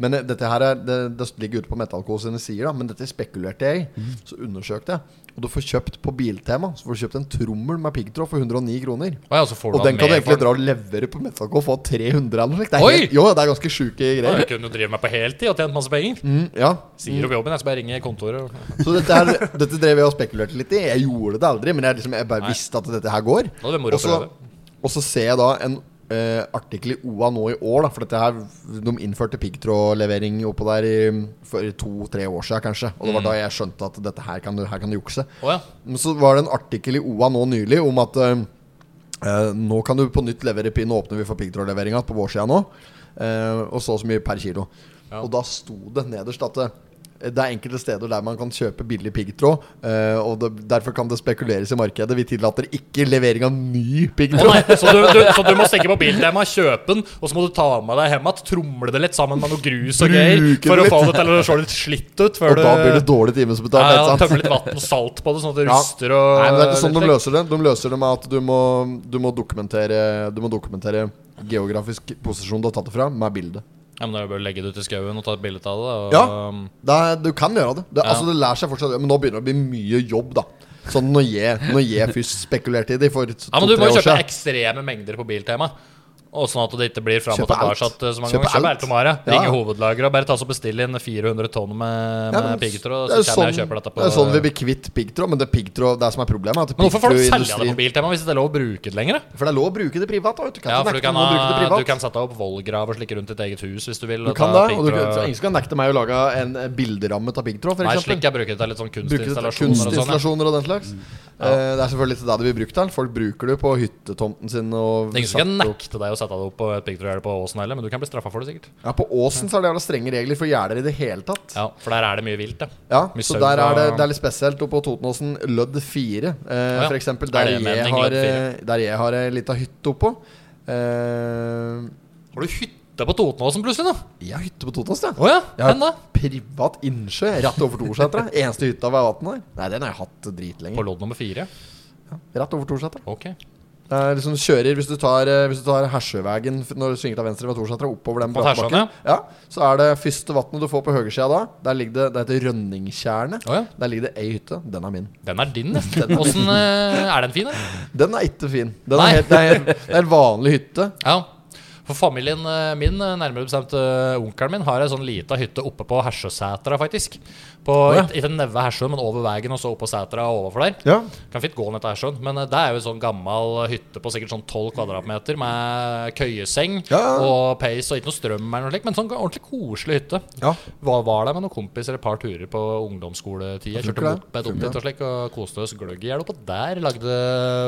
S2: Men eh, dette her er, det, det ligger ute på Metallco sine sider, da. Men dette spekulerte jeg i. Så undersøkte jeg. Og du får kjøpt på Biltema Så får du kjøpt en trommel med piggtråd for 109 kroner.
S1: Å ja, så får du
S2: Og den
S1: ha
S2: kan
S1: mer
S2: du egentlig
S1: for
S2: dra og levere på Metallco og få 300 eller noe slikt. Det er
S1: Oi!
S2: helt- Jo, det er ganske sjuke
S1: Ja,
S2: greier.
S1: Jeg kunne jo drive meg på heltid og tjent masse penger.
S2: Mm, ja.
S1: Sier opp jobben, jeg skal bare ringe kontoret. og-
S2: Så dette, her, dette drev jeg og spekulerte litt i. Jeg gjorde det aldri, men jeg, liksom, jeg bare
S1: Nei.
S2: visste at dette her går.
S1: hadde vært moro
S2: Og så-
S1: å prøve.
S2: Og så ser jeg da en eh, artikkel i OA nå i år, da, for dette her, de innførte piggtrådlevering oppå der i, for to-tre år siden, kanskje. Og
S1: Mm.
S2: det var da jeg skjønte at dette her kan du, her kan du jukse.
S1: Å ja.
S2: Men så var det en artikkel i OA nå nylig om at eh, eh, nå kan du på nytt levere pi- Nå åpner vi for piggtrådleveringa på vår side nå. eh, og så og så mye per kilo.
S1: Ja.
S2: Og da sto det nederst at eh, det er enkelte steder der man kan kjøpe billig piggtråd. eh, og det, derfor kan det spekuleres i markedet. Vi tillater ikke levering av ny
S1: Å
S2: piggtråd.
S1: nei, så du, du, så du må stikke på Biltema, kjøpe den, og så må du ta med deg hjem igjen, tromle det litt sammen med noe grus og greier,
S2: Bruke det
S1: for å
S2: litt.
S1: få det til å se litt slitt ut. Før
S2: og da blir det
S1: du
S2: dårlig timesbetalt.
S1: ja,
S2: ikke sant?
S1: tømme litt vann og salt på det, sånn at det
S2: Ja.
S1: ruster og
S2: Nei, men det er ikke sånn
S1: litt
S2: de
S1: slik.
S2: løser det. De løser det med at du må, du må dokumentere Du må dokumentere geografisk posisjon du har tatt det fra, med bilde.
S1: Ja, men da er det bare å legge det ut i skauen og ta et bilde av det. Og,
S2: Ja.
S1: um,
S2: Det er, du kan gjøre det. Det,
S1: Ja.
S2: altså, det lærer seg fortsatt å gjøre, Men nå begynner det å bli mye jobb, da. Sånn når jeg, når jeg først spekulerte i det for
S1: ja,
S2: to-tre
S1: men du må jo
S2: år
S1: kjøpe
S2: siden.
S1: ekstreme mengder på Biltema. Og sånn at det ikke blir fram og
S2: Kjøpe
S1: tilbake eh,
S2: alt.
S1: så mange
S2: Kjøpe
S1: ganger. Kjøp
S2: alt.
S1: alt om året.
S2: Ja.
S1: Ringe hovedlageret og bare ta så bestille inn 400 tonn med,
S2: Ja,
S1: med
S2: men
S1: piggtråd,
S2: det er
S1: eh, og så kommer jeg og
S2: sånn-
S1: kjøper dette på
S2: Det er sånn vi blir kvitt piggtråd, men det er piggtråd det som er problemet.
S1: Men
S2: At
S1: hvorfor får du selge det
S2: piggtrådindustri-
S1: på Biltema hvis det ikke er lov å bruke det lenger? da?
S2: For det er lov å bruke det privat. da, Vet du. Kan
S1: Ja,
S2: ikke
S1: for du
S2: nekte
S1: kan,
S2: noen å bruke
S1: ha,
S2: det privat.
S1: du kan sette deg opp vollgrav og slikke rundt ditt eget hus hvis du vil.
S2: Du
S1: og
S2: kan
S1: ta
S2: det, og du,
S1: piggtråd.
S2: så ingen skal nekte meg å lage en eh, bilderamme av piggtråd,
S1: Nei,
S2: f.eks.
S1: slik jeg bruker det til litt sånn
S2: Bruker det
S1: kunstinstallasjoner
S2: til
S1: og sånn. ja.
S2: kunstinstallasjoner og den slags. Eh, det er selvfølgelig ikke det det blir brukt til. Folk bruker det på hyttetomten sin. Og
S1: Det er Ingen som kan
S2: satt opp-
S1: nekte deg å sette deg opp på et piggtrådgjerde på Åsen heller, men du kan bli straffa for det, sikkert.
S2: Ja, På Åsen så er det jævla strenge regler for gjerder i det hele tatt. Ja,
S1: Ja, For der er det mye vilt, da. Mye
S2: Så
S1: sau
S2: der er det,
S1: og-
S2: det er litt spesielt oppe på Totenåsen, Lødd 4. Eh,
S1: ja.
S2: For eksempel
S1: Er
S2: der
S1: det
S2: jeg,
S1: mening,
S2: har,
S1: Lødd
S2: eh, der jeg har ei lita hytte oppå. Eh,
S1: Har du hytte på Totenåsen plutselig, da?
S2: jeg har hytte på Totenåsen, jeg.
S1: Å ja,
S2: Jeg har
S1: hen da?
S2: privat innsjø rett overfor Torsetra. Eneste hytta ved vann her. Nei, den har jeg hatt dritlenge.
S1: På lodd nummer fire?
S2: Rett over Torsetra.
S1: Ok.
S2: Det er liksom kjører Hvis du tar, eh, hvis du tar Hersjøvegen f- når du svinger til venstre ved Torsetra, oppover den
S1: Mot Hersjøen,
S2: brattbakken, ja, så er det første vannet du får på høyresida da. Der ligger det, det heter Rønningtjernet.
S1: Å ja.
S2: Der ligger det ei hytte. Den er min.
S1: Den er din, ja. Åssen eh, er den fin, da?
S2: Den er ikke fin. Den
S1: Nei.
S2: er helt, det er helt, det er en vanlig hytte.
S1: Ja. For familien eh, min, eh, nærmere bestemt eh, onkelen min, har ei sånn lita hytte oppe på Hersjøsetra, faktisk. På,
S2: Å ja.
S1: Ikke ikke neve Hersjøen, men over veien og så oppå Sætra og overfor der.
S2: Ja.
S1: Kan fint gå ned til Hersjøen, men eh, det er jo en sånn gammel hytte på sikkert sånn 12 kvadratmeter med køyeseng
S2: Ja, ja.
S1: og peis og ikke noe strøm eller noe slikt, men sånn ordentlig koselig hytte.
S2: Ja.
S1: Var, var der med noen kompiser et par turer på ungdomsskoletida.
S2: Funker
S1: Kjørte
S2: det?
S1: moped opp
S2: Funker
S1: dit og slik og koste oss gløgg i hjel oppå der. Lagde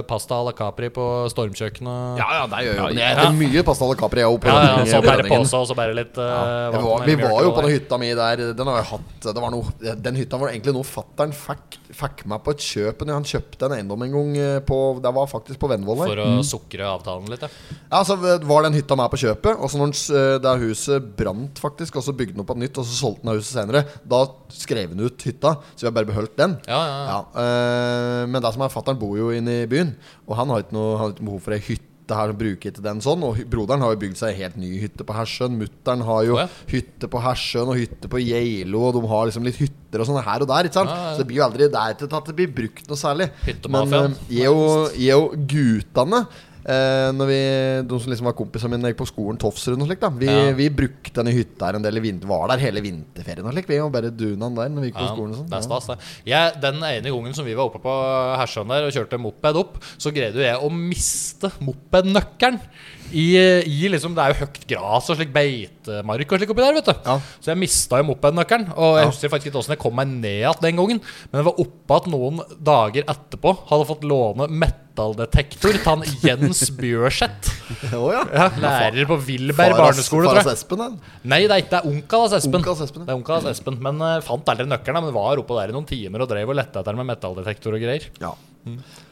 S1: pasta à la Capri på stormkjøkkenet.
S2: ja, det gjør jo
S1: ja.
S2: Det er mye Pastal og Capri jeg har oppe i
S1: Ja, ja,
S2: Rønningen-
S1: så bare
S2: Rønningen.
S1: påse og så bare litt eh,
S2: Vi
S1: vann
S2: var,
S1: eller
S2: vi
S1: mjølk
S2: var jo
S1: eller hva
S2: på den
S1: det er.
S2: hytta mi der Den har jeg hatt det var noe, Den hytta var egentlig noe fatteren fikk, fikk meg på et kjøp Når han kjøpte en eiendom en gang eh, på, Det var faktisk på Vennvoll der
S1: For å sukre avtalen litt, ja.
S2: Ja, så var den hytta med på kjøpet Og så når den s- eh, det huset brant faktisk Og så bygde den opp på nytt Og så solgte den av huset senere Da skrev den ut hytta Så vi har bare beholdt den
S1: Ja, ja, ja.
S2: eh, Men det som er fatteren bor jo inne i byen Og han har ikke noe, han har ikke behov for en hytte her og bruker ikke den sånn Og hy- broderen har jo bygd seg en helt ny hytte på Hersjøen Mutteren har jo
S1: Å, ja.
S2: hytte på Hersjøen og hytte på Geilo Og de har liksom litt hytter og sånn her og der, ikke sant?
S1: Ja, ja, ja.
S2: Så det blir jo aldri der til at det blir brukt noe særlig
S1: Hyttemafiaen.
S2: Men eh, jeg og, jeg og guttene eh, når vi, De som liksom var kompisene mine gikk på skolen Tofsrud og slik da Vi,
S1: Ja.
S2: vi brukte denne hytta her en del i vinter Var der hele vinterferien og slik Vi var bare dunan der når vi gikk på skolen og sånn
S1: det er
S2: Ja.
S1: stas, det. Jeg, den ene gangen som vi var oppe på Hersjøen der og kjørte moped opp, så greide jo jeg å miste mopednøkkelen. I, i liksom, Det er jo høyt gras og slik beitemark og slik oppi der, vet du.
S2: Ja.
S1: Så jeg mista jo mopednøkkelen. Og
S2: Ja.
S1: jeg husker faktisk ikke åssen jeg kom meg ned igjen den gangen. Men jeg var oppe igjen noen dager etterpå, hadde fått låne Mette metalldetektor til han Jens Bjørseth.
S2: Å ja.
S1: Lærer på Wilberg barneskole, tror
S2: Faras
S1: jeg.
S2: Espen, den.
S1: Nei, det er ikke det er onkelen hans Espen.
S2: Onkelen hans Espen, ja.
S1: Det er onkelen hans Espen Men eh, fant aldri nøkkelen, da, men var oppå der i noen timer og drev og lette etter den med metalldetektor og greier.
S2: Ja.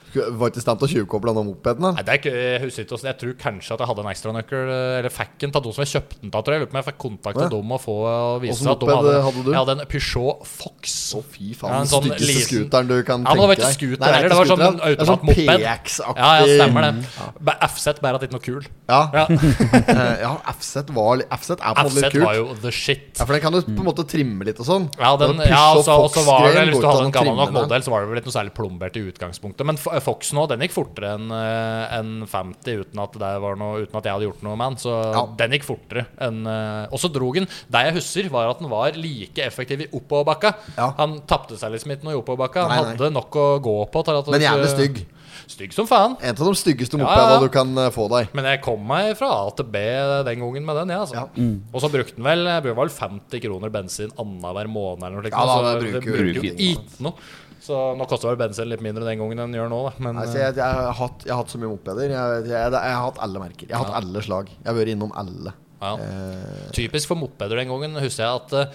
S2: Skulle- Var ikke i stand til å tjuvkoble den mopeden?
S1: Mm. Nei,
S2: Den.
S1: det er ikke, eh, jeg husker ikke hvordan- Jeg tror kanskje at jeg hadde en ekstranøkkel, eh, eller fikk den av de som jeg kjøpte den av, tror jeg. Jeg Lurer på om jeg fikk kontakt
S2: Ja.
S1: av dem og få eh, og vise
S2: Hvordan
S1: at de
S2: moped
S1: hadde,
S2: hadde du?
S1: Jeg hadde en Peugeot Fox.
S2: Å, fy faen.
S1: Ja, en
S2: den
S1: sånn
S2: styggeste
S1: liten-
S2: scooteren du kan
S1: Ja, men det var
S2: tenke
S1: ikke
S2: deg.
S1: scooter
S2: Nei,
S1: heller,
S2: det er
S1: det
S2: ikke
S1: var sånn
S2: scooter, det er sånn
S1: automatmoped.
S2: PX-aktig
S1: Ja, ja, stemmer det. Bare FZ bare at det ikke er noe kul.
S2: Ja.
S1: Ja.
S2: Eh, ja, FZ var li- FZ er på en måte litt
S1: FZ var
S2: kult.
S1: jo the shit.
S2: Ja, for den kan du på en måte trimme litt og sånn.
S1: Ja, den,
S2: Push
S1: ja
S2: og
S1: også, også var det,
S2: Fox-greien
S1: Hvis du
S2: går
S1: hadde
S2: ikke an
S1: en
S2: å
S1: gammel nok
S2: trimme den.
S1: modell, så var det vel ikke noe særlig plombert i utgangspunktet. Men F- Fox nå, den gikk fortere enn eh, enn 50 uten at, det var noe, uten at jeg hadde gjort noe med den. Så
S2: Ja.
S1: den gikk fortere. enn, eh, Og så drog den. Det jeg husker, var at den var like effektiv i oppoverbakka.
S2: Ja.
S1: Han tapte seg liksom ikke noe i oppoverbakka. Han
S2: Nei, nei.
S1: hadde nok å gå på. til at
S2: Men
S1: du-
S2: jævlig stygg.
S1: Stygg som faen.
S2: En av de styggeste
S1: Ja, ja,
S2: mopedene
S1: ja.
S2: du kan eh, få deg.
S1: Men jeg kom meg fra A til B den gangen med den. Ja, altså.
S2: Ja.
S1: Og så brukte den vel jeg brukte vel 50 kroner bensin annenhver måned. Eller noe, slikt,
S2: Ja, da,
S1: så
S2: det
S1: det
S2: bruker jo
S1: bruker jo
S2: ingenting.
S1: ikke noe. Så nå koster vel bensin litt mindre den gangen enn den gjør nå. Da. Men
S2: Nei, så jeg, jeg, har hatt, jeg har hatt så mye mopeder. Jeg, jeg, jeg, jeg har hatt alle merker. Jeg har hatt alle slag. Jeg har vært innom alle.
S1: ja.
S2: Eh,
S1: typisk for mopeder den gangen husker jeg at eh,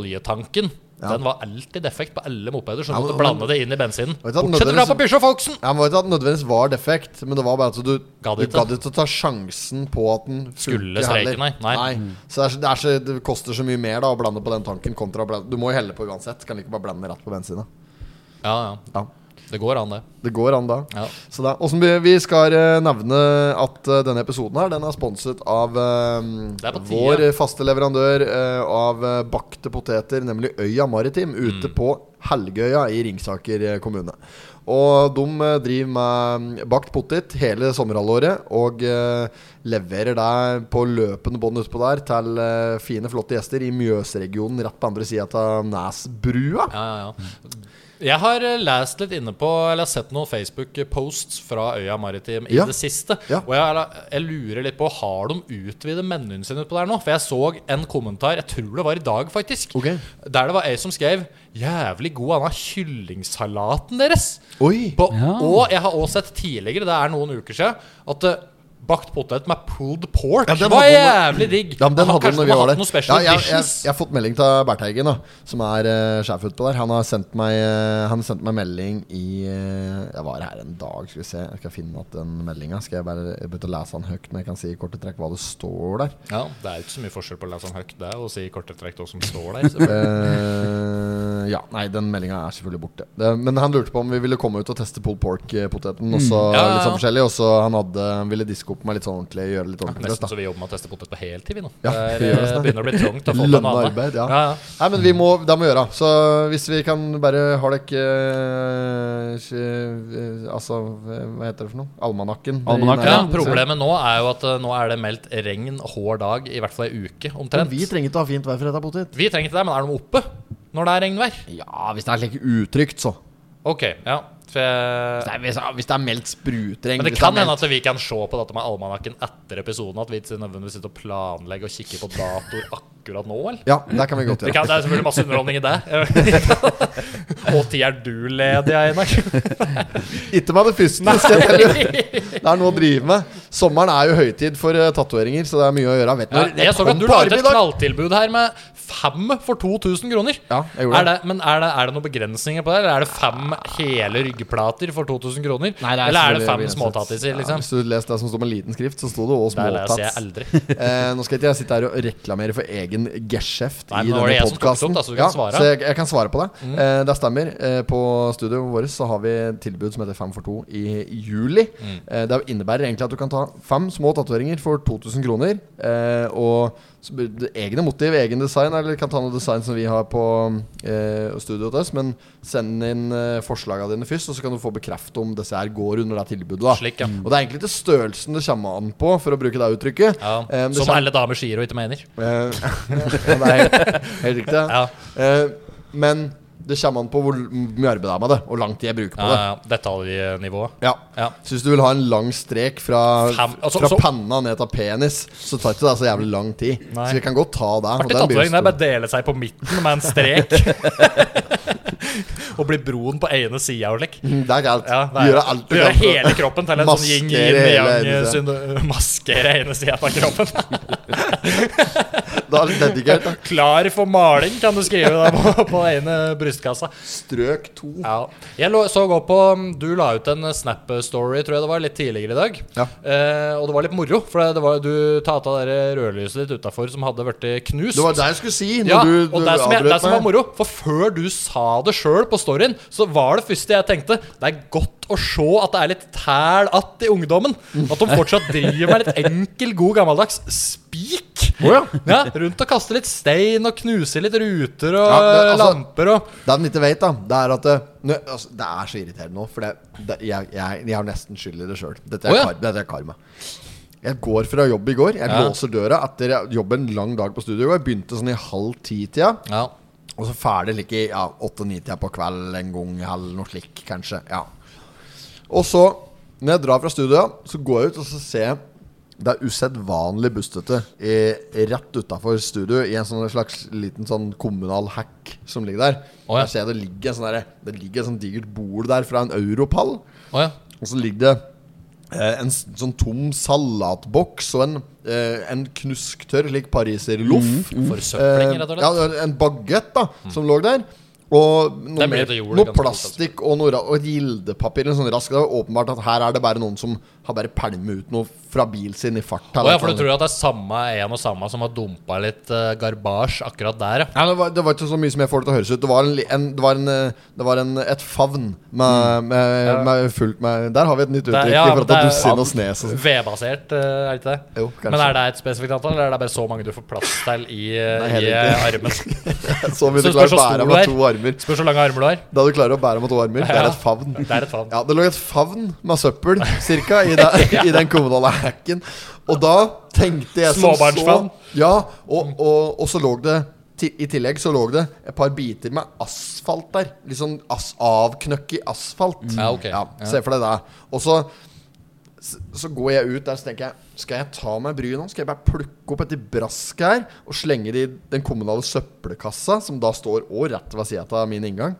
S1: oljetanken Den var alltid defekt på alle mopeder, så du
S2: Ja,
S1: måtte
S2: men-
S1: blande det inn i bensinen.
S2: Vet du at
S1: Bortsett fra
S2: nødvendigvis-
S1: på Pysjå Foxen!
S2: ja, men vet du at nødvendigvis var defekt, men det var bare at du
S1: Gadd
S2: du
S1: ikke.
S2: gadd ikke å ta sjansen på at den
S1: Skulle
S2: funker
S1: streike,
S2: heller.
S1: nei. Nei.
S2: Så, det er, så- det er så det koster så mye mer da å blande på den tanken kontra å blande Du må jo helle på uansett. Kan ikke bare blande rett på bensina.
S1: Ja, ja.
S2: Ja.
S1: Det går an, det.
S2: Det går an da.
S1: Ja.
S2: Så da åssen vi, vi skal eh, nevne at eh, denne episoden her Den er sponset av eh,
S1: Det er på tide.
S2: vår eh, faste leverandør eh, av eh, bakte poteter, nemlig Øya Maritim,
S1: Mm.
S2: ute på Helgøya i Ringsaker eh, kommune. Og de eh, driver med mm, bakt potet hele sommerhalvåret, og eh, leverer deg på løpende bånd utpå der til eh, fine, flotte gjester i Mjøsregionen rett på andre sida av Nesbrua.
S1: Ja, ja, ja. Jeg har eh, lest litt inne på Eller jeg har sett noen Facebook-posts fra Øya Maritim i
S2: Ja.
S1: det siste.
S2: Ja.
S1: Og jeg, jeg lurer litt på Har de utvidet menyen sin utpå der nå? For jeg så en kommentar, jeg tror det var i dag, faktisk.
S2: Ok.
S1: Der det var ei som skrev 'Jævlig god anna kyllingsalaten deres'.
S2: Oi!
S1: På, Og jeg har også sett tidligere, det er noen uker siden, at eh, Bakt potet med pulled pork
S2: Ja, den
S1: var
S2: hadde
S1: jævlig digg.
S2: Ja, men den hadde
S1: Kanskje
S2: hun
S1: de
S2: når vi
S1: har
S2: var
S1: hatt
S2: der.
S1: noen special
S2: ja, jeg, jeg,
S1: editions.
S2: jeg har fått melding til Bertheigen, da, som er eh, sjef utpå der. Han har sendt meg eh, Han sendte meg melding i eh, Jeg var her en dag, skal vi se. Jeg skal finne at den meldinga. Skal jeg bare jeg begynte å lese den høyt, men jeg kan si i korte trekk hva det står der.
S1: Ja, Det er jo ikke så mye forskjell på å lese den høyt der og si i korte trekk hva som står der. selvfølgelig.
S2: Eh, ja, nei, den meldinga er selvfølgelig borte. Det, men han lurte på om vi ville komme ut og teste pulled pork-poteten. Og så
S1: Ja, ja, Mm. ja.
S2: litt sånn forskjellig Og så han hadde, han ville diske opp meg litt sånn ordentlig. Gjøre det litt ordentlig for oss,
S1: Nesten
S2: da.
S1: så vi jobber med å teste potet på heltid, vi nå.
S2: Ja,
S1: Det er,
S2: vi gjør det
S1: eh,
S2: snart.
S1: begynner å bli trangt å få
S2: Lønna
S1: på noe annet.
S2: arbeid, ja.
S1: Ja, ja.
S2: Nei, men vi må, det må vi gjøre. Så hvis vi kan bare Har dere ikke eh, ikke, eh, Altså, hva heter det for noe? Almanakken?
S3: Almanakken,
S1: Ja,
S3: ja.
S1: problemet nå er jo at eh, nå er det meldt regn hver dag, i hvert fall ei uke
S2: Men
S1: omtrent.
S2: vi trenger ikke å ha fint vær for dette, potet.
S1: Vi trenger ikke det, men er de oppe når det er regnvær?
S2: Ja, hvis det er like utrygt, så.
S1: Ok, ja. For jeg,
S2: Nei, hvis, hvis det er meldt sprutregn
S1: men det
S2: hvis
S1: kan
S2: er
S1: hende
S2: meldt-
S1: at vi kan se på dette med almanakken etter episoden, at vi ikke nødvendigvis sitter og planlegger og kikker på datoer akkurat nå, vel?
S2: Ja, det kan vi godt
S1: Det,
S2: gjøre.
S1: kan, det er selvfølgelig masse underholdning i det. Og tid er du ledig, Einar?
S2: Ikke med det første. skal jeg telle. Det er noe å drive med. Sommeren er jo høytid for eh, tatoveringer, så det er mye å gjøre. Vet du
S1: Ja,
S2: når-
S1: jeg så at
S2: kom
S1: du
S2: på
S1: la ut et
S2: arbeid i dag.
S1: knalltilbud her med fem for 2000 kroner.
S2: Ja, jeg gjorde
S1: Er det, men er det, er det noen begrensninger på det? Eller er det fem hele ryggplater for 2000 kroner? eller er det fem småtattiser,
S2: Ja,
S1: liksom?
S2: hvis du leser det som står med liten skrift, så sto det òg
S1: det leser jeg
S2: småtats.
S1: aldri.
S2: Eh, nå skal ikke jeg sitte her og reklamere for egen geskjeft
S1: Nei,
S2: i
S1: men nå var det
S2: denne
S1: jeg som tok det
S2: podkasten.
S1: opp, da, så du kan
S2: ja,
S1: svare. Mm.
S2: så jeg, jeg kan svare på det. Eh, det stemmer. Eh, på studioet vårt så har vi et tilbud som heter Fem for to i juli.
S1: Mm.
S2: Eh, det innebærer egentlig at du kan ta fem små tatoveringer for 2000 kroner. Eh, og så blir det egne motiv, egen design, eller du kan ta noe design som vi har på eh, studioet til oss. Men send inn eh, forslagene dine først, og så kan du få bekreftet om disse her går under det tilbudet. Da.
S1: Slik, ja.
S2: Og det er egentlig ikke størrelsen det kommer an på, for å bruke det uttrykket.
S1: ja.
S2: Eh, det
S1: Som
S2: kommer-
S1: alle damer sier og ikke mener.
S2: Eh, ja, det er helt, helt riktig.
S1: Ja.
S2: Eh, men Det kommer an på hvor mye arbeid det er med det, og lang tid jeg bruker på det.
S1: Ja, ja, Detaljnivået.
S2: Ja.
S1: Ja.
S2: Så hvis du vil ha en lang strek fra,
S1: Fem- altså,
S2: fra
S1: så-
S2: panna ned til penis, så tar ikke det så jævlig lang tid.
S1: Nei.
S2: Så vi kan godt ta der. og
S1: Artig
S2: den blir jo
S1: tatovering. Det er
S2: stor.
S1: bare å dele seg på midten med en strek. og bli broen på ene sida og lekk.
S2: Mm, Det er galt.
S1: Ja, det er-
S2: Gjøre alt du
S1: Gjøre
S2: kan.
S1: hele kroppen til en sånn yin
S2: Maskere
S1: yin
S2: hele
S1: yang
S2: ene
S1: synd- Maskere ene sida av kroppen.
S2: Det er litt dedikert. da.
S1: Klar for maling, kan du skrive der på, på ene brystkassa.
S2: Strøk to.
S1: Ja. Jeg lå- så gå på mm, Du la ut en eh, Snap-story, tror jeg det var, litt tidligere i dag.
S2: Ja.
S1: Eh, og det var litt moro, for det- det var, du ta av det rødlyset ditt utafor som hadde blitt knust.
S2: Det var det jeg skulle si. Når
S1: Ja,
S2: du,
S1: og
S2: du
S1: det som, jeg, det
S2: avbrøt
S1: som var
S2: meg.
S1: moro, for før du sa det sjøl på storyen, så var det første jeg tenkte Det er godt å se at det er litt tæl att i ungdommen. At de fortsatt driver med litt enkel, god gammeldags spik. ja, rundt og kaster litt stein og knuser litt ruter og
S2: Ja, det- altså-
S1: lamper og
S2: Det de ikke vet, da, det er at det, nå, altså, det er så irriterende nå. For det, det, jeg, jeg, jeg har nesten skyld i det sjøl. Dette,
S1: Å,
S2: er
S1: ja.
S2: kar- dette er karma. Jeg går fra jobb i går. Jeg
S1: Ja.
S2: låser døra etter jeg- jobben lang dag på studio i går. Jeg Begynte sånn i halv ti-tida.
S1: Ja.
S2: Og så ferdig like i ja, 8-9-tida på kveld en gang eller noe slik, kanskje. Ja. Og så, når jeg drar fra studioet, så går jeg ut og så ser jeg det er usedvanlig bustete i, rett utafor studio i en sånn slags liten sånn kommunal hack som ligger der.
S1: Å, ja.
S2: Der ser jeg det ligger en sånn derre- Det ligger et sånt digert bord der fra en europall.
S1: Å ja.
S2: Og så ligger det eh, en s- sånn tom salatboks og en, eh, en knusktørr lik pariserloff.
S1: Forsøpling, rett og slett. Mm.
S2: Eh, ja, en bagett da, som lå der. Og
S1: Det
S2: noe,
S1: er mye
S2: mer,
S1: til jord,
S2: noe
S1: ganske altså.
S2: plastikk og noe ra- og et gildepapir. En sånn rask, det var åpenbart at her er det bare noen som har bare pælmet ut noe fra bilen sin i fart.
S1: Å
S2: eller
S1: ja, for
S2: noe
S1: du tror at det er samme en og samme som har dumpa litt uh, garbasj akkurat der, ja.
S2: Ja, det, var, det var ikke så mye som jeg får det til å høres ut. Det var, en, li- en, det var, en, eh, det var en, et favn med, med, med fullt med Der har vi et nytt
S1: er-
S2: uttrykk.
S1: Mm. ja,
S2: for at
S1: det
S2: det er
S1: er-
S2: dussin og snes og sånn.
S1: Vedbasert, eh, er det ikke det?
S2: Jo, kanskje.
S1: Men er det et spesifikt antall, eller er det bare så mange du får plass til i, eh,
S2: Nei, helt
S1: i eh, armen?
S2: Så vil
S1: Så det
S2: du klare
S1: spørs
S2: å
S1: hvor stor du
S2: bære med
S1: er.
S2: to armer.
S1: Spørs hvor lange armer du har.
S2: Da du klarer å bære med to armer, det er
S1: Ja.
S2: et favn.
S1: Det er et favn.
S2: Ja, det lå et favn med søppel cirka, i, den- i den kommunale hacken. Og da tenkte jeg som
S1: Småbarnsfavn.
S2: så Ja, og, og, og så lå det ti- i tillegg så lå det et par biter med asfalt der. Litt sånn as, avknøkk i asfalt.
S1: Mm. Ja, ok.
S2: Se for deg det. Og så, s- så går jeg ut der så tenker jeg Skal jeg ta meg bryet nå? Skal jeg bare plukke opp etter brasket her og slenge det i den kommunale søppelkassa, som da står og rett ved sida av min inngang?